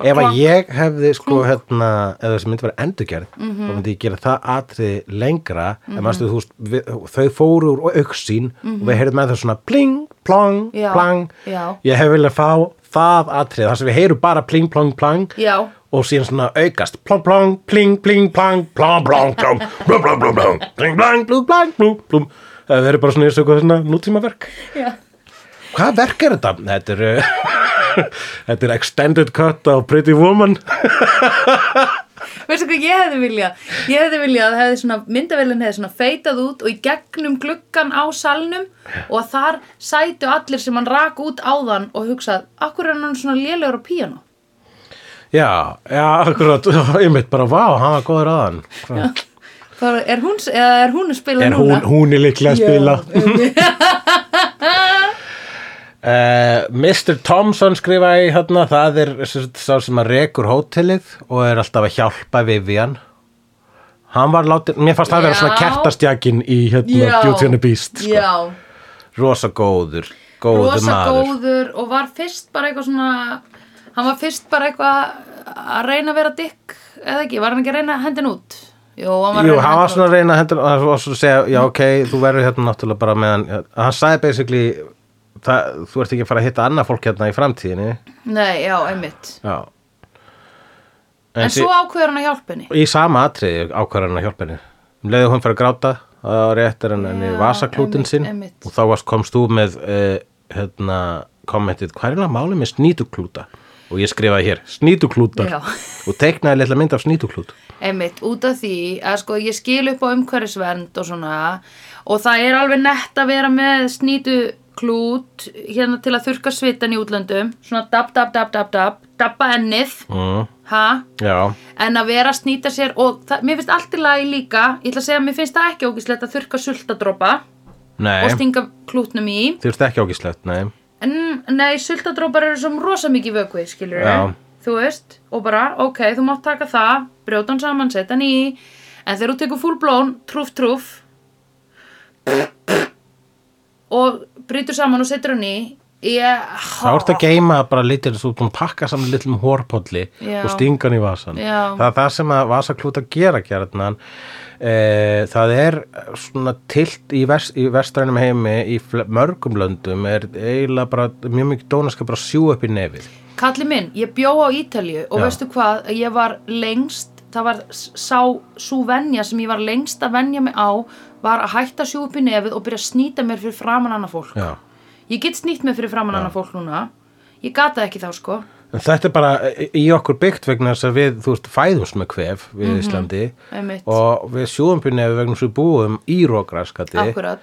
Speaker 2: Ef að ég hefði sko hérna, eða þessi myndi verið endurgerð
Speaker 1: Mhm.
Speaker 2: þá myndi ég gera það atrið lengra en mannstu þú veist, við, þau fóru úr auksín og við heyrðum með það svona pling, plong,
Speaker 1: Mhm. Já,
Speaker 2: plang
Speaker 1: já.
Speaker 2: ég hef viljað fá það atrið þar sem við heyrum bara pling, plong, plang
Speaker 1: Já,
Speaker 2: og síðan svona aukast plong, plong, pling, pling, plang, plong, plong, plong plong, plong, plong, plong, pling, plang, plung, plang, plung, plung það verður bara svona eins og eitthvað svona nútímaverk
Speaker 1: já
Speaker 2: Hvað verk er þetta? Þetta er, uh, þetta er extended cut á Pretty Woman.
Speaker 1: Veistu hvað ég hefði viljað? Ég hefði viljað að hefði svona, myndavélinn hefði svona feitað út og í gegnum gluggan á salnum og að þar sætu allir sem hann rak út áðan og hugsað, akkur er hann svona lélegur á píanó?
Speaker 2: Já, já, akkurat, ég mitt bara, vá, hann var góður aðan.
Speaker 1: Það er hún, eða er hún að spila
Speaker 2: En hún,
Speaker 1: núna?
Speaker 2: hún er líklega að spila. Uh, Mr. Thompson skrifaði hérna, það er sem sagt sá sem að rekur hótelið og er alltaf að hjálpa Vivian. Hann var látið, mér fannst það að vera svona
Speaker 1: Já.
Speaker 2: kertastjakin í hérna,
Speaker 1: Já.
Speaker 2: Beauty and the Beast. Sko.
Speaker 1: Já,
Speaker 2: Rosa góður, góður
Speaker 1: rosa
Speaker 2: maður.
Speaker 1: góður og var fyrst bara eitthvað svona hann var fyrst bara eitthvað að reyna að vera dikk eða ekki, var hann ekki að reyna hendin út Jú, hann var, að
Speaker 2: Jú,
Speaker 1: reyna að
Speaker 2: hann var
Speaker 1: henda
Speaker 2: svona
Speaker 1: út.
Speaker 2: að reyna að hendur og svo segja, já ok, þú verður hérna náttúrulega bara meðan, hann sagði basically það, þú ert ekki að fara að hitta annað fólk hérna í framtíðinni
Speaker 1: Nei, já, einmitt
Speaker 2: já.
Speaker 1: En, svo ákveður hann að hjálpa henni
Speaker 2: í sama atriði ákvarðan að hjálpa henni um leiði hún fyrir að gráta það var réttar en henni
Speaker 1: Já,
Speaker 2: vasaklútin
Speaker 1: einmitt,
Speaker 2: sinn
Speaker 1: einmitt.
Speaker 2: og þá varst komst þú með uh, hérna, kommentið, hvað er það málið með snýtuklúta og ég skrifaði hér, snýtuklútar
Speaker 1: Já.
Speaker 2: og teiknaði litla mynd af snýtuklút
Speaker 1: einmitt, út af því að sko ég skil upp á umhverfisvernd og svona og það er alveg nett að vera með snýtu klút hérna til að þurka svitan í útlöndum svona dab, dab, dab, dab, dab dabba ennið,
Speaker 2: mm,
Speaker 1: ha?
Speaker 2: já,
Speaker 1: en að vera að snýta sér og það, mér finnst allt í lagi líka ég ætla að segja að mér finnst það ekki ógislegt að þurka sultadrópa og
Speaker 2: nei
Speaker 1: stinga klútnum í
Speaker 2: þú ert ekki ágislegt, nei
Speaker 1: en nei, sultadrópar eru sem rosa mikið vökvi skilur
Speaker 2: Já.
Speaker 1: þú veist og bara, ok, þú mátt taka það brjóta hann saman, setja hann í en þegar þú tekur fullblón, trúf, trúf og brytur saman og setur hann í ég,
Speaker 2: Þá ertu að geima bara litil, þú ert búin að pakka saman litlum hórpolli
Speaker 1: Já.
Speaker 2: og stinga hann í vasan.
Speaker 1: Já.
Speaker 2: Það er það sem að vasaklúta gera gjarnan. E, það er svona tilt í, vest, í vestrænum heimi í fle- mörgum löndum er eiginlega bara mjög mikið dónaska bara að sjú upp í nefið.
Speaker 1: Kalli minn, ég bjó á Ítalju og
Speaker 2: Já.
Speaker 1: veistu hvað, ég var lengst, það var s- sá svo venja sem ég var lengst að venja mig á var að hætta að sjú upp í nefið og byrja að snýta mér fyrir framan annað fólk.
Speaker 2: Já.
Speaker 1: Ég get snýtt mér fyrir framan annað fólk núna, ég gata ekki þá sko.
Speaker 2: En þetta er bara í- í okkur byggt vegna þess að við, þú veist, fæðumst með kvef við Íslandi
Speaker 1: Mhm. Einmitt.
Speaker 2: og við sjóum upp í nefið vegna þess að við búum í rógraskati.
Speaker 1: Akkurat.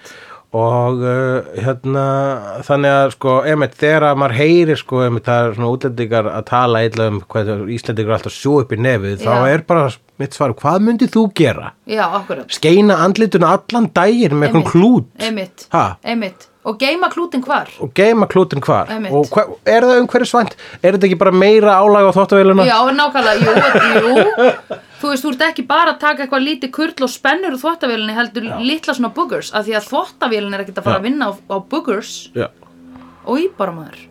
Speaker 2: og uh, hérna þannig að sko, emitt, þegar að maður heyrir sko, emitt, það er svona útlendingar að tala illa um hvað Íslendingar er alltaf að sjó upp í nefið, þá
Speaker 1: Já.
Speaker 2: er bara mitt svar, hvað myndið þú gera?
Speaker 1: Já, akkurat.
Speaker 2: Skeina andlituna allan daginn með einhvern
Speaker 1: Einmitt.
Speaker 2: klút
Speaker 1: Einmitt,
Speaker 2: Ha?
Speaker 1: einmitt. Og geima klútin hvar?
Speaker 2: og geima klútin hvar
Speaker 1: Einmitt.
Speaker 2: og hva, er það umhverju svænt? Er þetta ekki bara meira álag á þóttavéluna?
Speaker 1: Já, nákvæmlega, jú, jú. Þú veist, þú ert ekki bara að taka eitthvað lítið kurl og spennur úr þvottavélinni heldur litla svona boogers, af því að þvottavélin er ekkert að fara
Speaker 2: Já.
Speaker 1: að vinna á, á boogers.
Speaker 2: Já.
Speaker 1: og íbara maður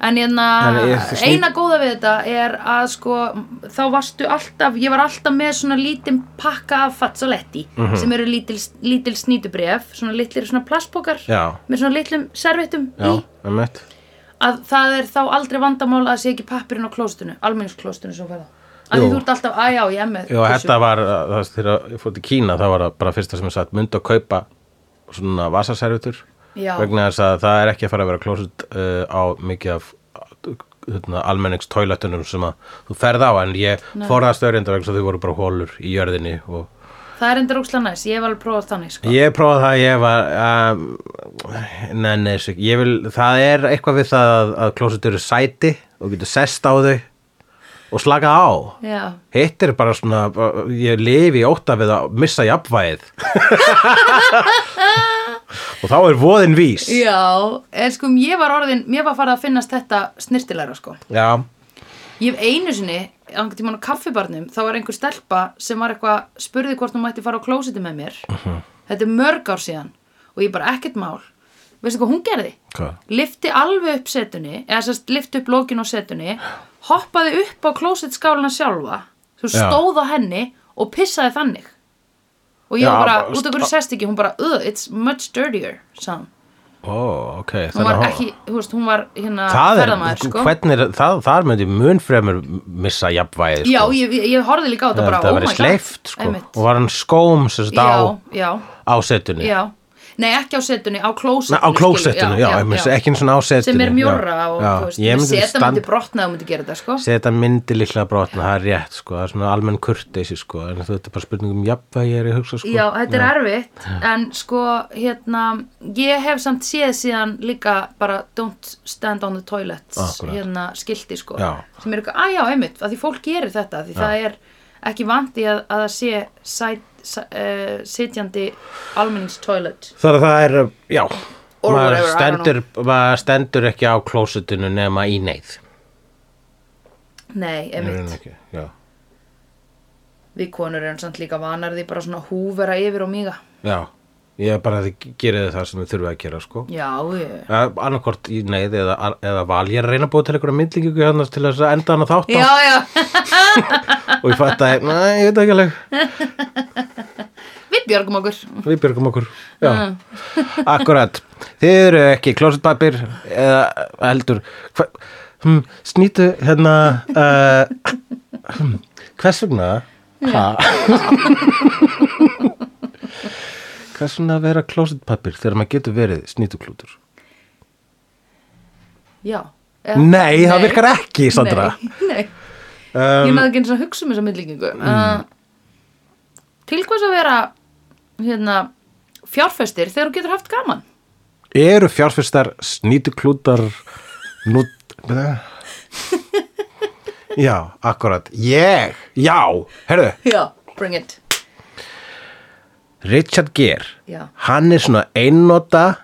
Speaker 1: en hérna,
Speaker 2: En ég- þið snýr-
Speaker 1: eina góða við þetta er að sko þá varstu alltaf, ég var alltaf með svona lítinn pakka af fazzaletti
Speaker 2: Mhm.
Speaker 1: sem eru lítil, lítil snýtubref svona litlir svona plastbókar
Speaker 2: Já.
Speaker 1: með svona litlum servettum
Speaker 2: Já,
Speaker 1: í
Speaker 2: einmitt.
Speaker 1: að það er þá aldrei vandamál að sé ekki pappirinn á klóstunu, almenningsklóstunu svo verða að því
Speaker 2: Jú.
Speaker 1: þú ert alltaf, að já, ég er með
Speaker 2: Já,
Speaker 1: þessu."
Speaker 2: þetta var, uh, það, þegar ég fór til Kína þá var það bara fyrsta sem ég satt mynd að kaupa svona vasaservitur
Speaker 1: Já.
Speaker 2: vegna þess að það er ekki að fara að vera klósit uh, á mikið af hérna, almennings toilettunum sem að þú ferð á en ég forðast öryndar vegna þess að þau voru bara hólur í jörðinni og
Speaker 1: það er endur ókslega næs, ég hef alveg prófað þannig sko.
Speaker 2: ég prófaði það ég var um, nei, nei, þessu ekki. ég vil, það er eitthvað við það að, að klósit eru sæti og getur sest á þau og slaka á
Speaker 1: já,
Speaker 2: Hitt er bara svona, bara- ég lifi í ótta við að missa jafnvæðið. og þá er voðin vís.
Speaker 1: já en sko, ég var orðin, mér var farið að finnast þetta snirtilegra sko
Speaker 2: Já,
Speaker 1: Ég hef einu sinni, einhvern tímann á kaffibarnum þá var einhver stelpa sem var eitthvað spurði hvort hún mætti fara á klósiti með mér
Speaker 2: Mhm.
Speaker 1: þetta er mörg ár síðan og ég bara ekkert mál veistu hvað hún gerði?
Speaker 2: Hvað?
Speaker 1: lifti alveg upp setunni eða sérst lifti upp lókin á setunni hoppaði upp á klósitskálina sjálfa þú
Speaker 2: Já.
Speaker 1: stóð á henni og pissaði þannig og ég
Speaker 2: Já,
Speaker 1: var bara,
Speaker 2: bara-
Speaker 1: út af hverju sest ekki hún bara, "Ugh, it's much dirtier sann
Speaker 2: Ó, ok,
Speaker 1: hún
Speaker 2: þannig
Speaker 1: var
Speaker 2: að hún-
Speaker 1: ekki, þú veist, hún var hérna
Speaker 2: það er,
Speaker 1: ferðamaður, sko.
Speaker 2: hvernig, er- það, það myndi mun fremur missa jafnvæði sko.
Speaker 1: já, ég, ég- ég horfði líka á þetta bara,
Speaker 2: það
Speaker 1: oh my
Speaker 2: væri
Speaker 1: god
Speaker 2: sleift sko.
Speaker 1: Einmitt.
Speaker 2: og var hann skóm sem sagt á,
Speaker 1: já, já,
Speaker 2: á setunni
Speaker 1: já nei, ekki á setunni, á klósetunni
Speaker 2: Na, á
Speaker 1: skilur,
Speaker 2: klósettinu, já, já, já. ekki eins og á settinu
Speaker 1: sem er mjórra og
Speaker 2: já.
Speaker 1: þú veist,
Speaker 2: Ég myndi
Speaker 1: seta
Speaker 2: stand-
Speaker 1: myndi brotna og myndi gera þetta, sko
Speaker 2: seta myndi líklega brotna, það er rétt sko, það er svona almenn kurteisi sko en þetta er bara spurning um jafnvægi er ég að hugsa sko
Speaker 1: Já, þetta er erfitt, en sko, hérna, ég hef samt séð síðan líka bara don't stand on the toilet,
Speaker 2: Akkurat.
Speaker 1: hérna, skilti, sko,
Speaker 2: Já.
Speaker 1: sem er eitthvað, að já, einmitt, að því fólk gerir þetta, því það er ekki vant í að, að það sé sæt, sæ, uh, sitjandi almenningstoilet.
Speaker 2: Þar að það er, já,
Speaker 1: Or
Speaker 2: maður
Speaker 1: whatever, I don't
Speaker 2: stendur, maður stendur ekki á klósettinu nema í neyð
Speaker 1: Nei,
Speaker 2: Í raun
Speaker 1: einmitt,
Speaker 2: ekki, já.
Speaker 1: við konur erum samt líka vanar því bara svona húvera yfir og miga.
Speaker 2: já, ég er bara að þið gerið það sem þið þurfið að gera sko
Speaker 1: Já, ég...
Speaker 2: annarkort í neyð eða, eða val ég er að reyna að búa til einhverja myndlingu hérna til þess að enda hana þátt á.
Speaker 1: Já, já,
Speaker 2: og ég fætti að, næ, ég veit ekki alveg
Speaker 1: við björgum okkur.
Speaker 2: við björgum okkur já, akkurat þið eru ekki klósetpapir eða heldur hva, hm, snýtu hérna uh, hm, hvers vegna ha hvers vegna að vera klósetpapir þegar maður getur verið snýtuklútur
Speaker 1: Já. Eh,
Speaker 2: nei, það virkar ekki, Sandra
Speaker 1: Nei, nei. ég náðu ekki eins og að hugsa um þessa myndlíkingu
Speaker 2: Mm.
Speaker 1: uh, til hvers að vera hérna fjárfestir þegar þú getur haft gaman
Speaker 2: eru fjárfyrstar snýtuklútar nút já, akkurat ég, já, herðu
Speaker 1: já, bring it
Speaker 2: Richard Gere,
Speaker 1: Já.
Speaker 2: hann er svona einnota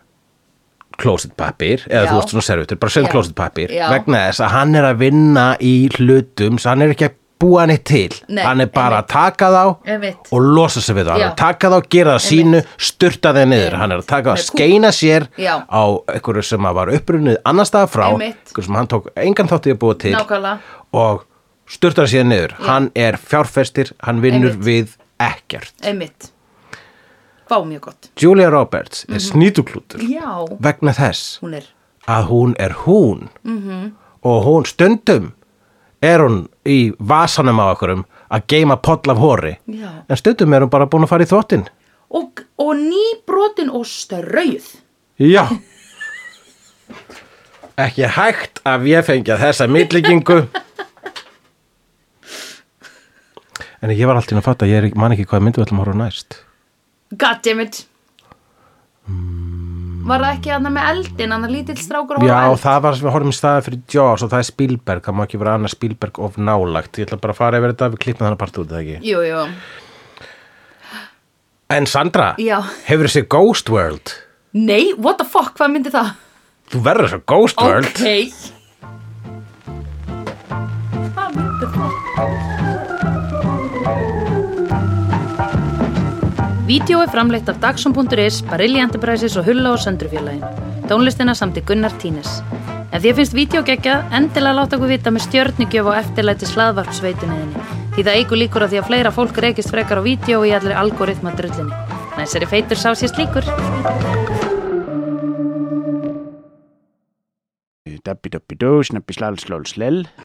Speaker 2: klósitpappir, eða
Speaker 1: Já.
Speaker 2: þú veist svona servitur bara sem
Speaker 1: Já.
Speaker 2: klósitpappir,
Speaker 1: Já.
Speaker 2: vegna þess að hann er að vinna í hlutum svo hann er ekki að búa hann eitt til
Speaker 1: Nei,
Speaker 2: hann er bara
Speaker 1: einmitt.
Speaker 2: að taka þá
Speaker 1: Einmitt.
Speaker 2: og losa sig við þá, hann er
Speaker 1: Já.
Speaker 2: að taka þá gera það sínu, sturta þeir niður
Speaker 1: Einmitt.
Speaker 2: hann er að taka
Speaker 1: Með
Speaker 2: þá,
Speaker 1: kúk.
Speaker 2: skeina sér
Speaker 1: Já.
Speaker 2: á einhverju sem að var upprunnið annar staðar frá,
Speaker 1: Einmitt.
Speaker 2: einhverju sem hann tók engan þátt í að búa til
Speaker 1: Nákvæmlega.
Speaker 2: og sturta sér niður, hann er fjárfestir hann vinnur
Speaker 1: Einmitt.
Speaker 2: við ekkert
Speaker 1: einmitt fá mjög gott
Speaker 2: Julia Roberts er snýtuklútur
Speaker 1: já,
Speaker 2: vegna þess
Speaker 1: hún er
Speaker 2: að hún er hún -hmm. og hún stundum er hún í vasanum á okkurum að geima poll af hóri
Speaker 1: Já.
Speaker 2: en stundum er hún bara búin að fara í þvottin
Speaker 1: og, og nýbrotin og strauð
Speaker 2: Já ekki hægt að ég fengja þessa mittlingingu en ég var alltaf að fatta ég er, ekki- man ekki hvað myndum við ætlum að horfa á næst
Speaker 1: goddammit var það ekki annað með eldin annað lítill strákur að horfa á
Speaker 2: Mm. Já,
Speaker 1: eld?
Speaker 2: það var sem við horfum í staði fyrir Jaws og það er Spielberg, það má ekki vera annað Spielberg of nálagt, ég ætla bara að fara yfir þetta við klippum þannig part út, eða ekki?
Speaker 1: jú, jú,
Speaker 2: En Sandra,
Speaker 1: Já.
Speaker 2: hefur þessi Ghost World?
Speaker 1: nei, what the fuck hvað myndi það
Speaker 2: Þú verður svo Ghost World
Speaker 1: ok hvað myndi það Vídeó er framleitt af Dagsum.is, Barilli Enterprises og Hulla og Söndrufjörlægin. Tónlistina samt í Gunnar Tínes. Ef þér finnst vídeo geggjað, endilega láta okkur vita með stjörnugjöf og eftirlæti slaðvarpsveitunniðinni. Því það eigur líkur að því að fleira fólk reykist frekar á vídeo og í allir algoritma drullinni. Næsari feitur sá sér slíkur.
Speaker 5: Dabbi dabbi dó, snabbi slal slól slell.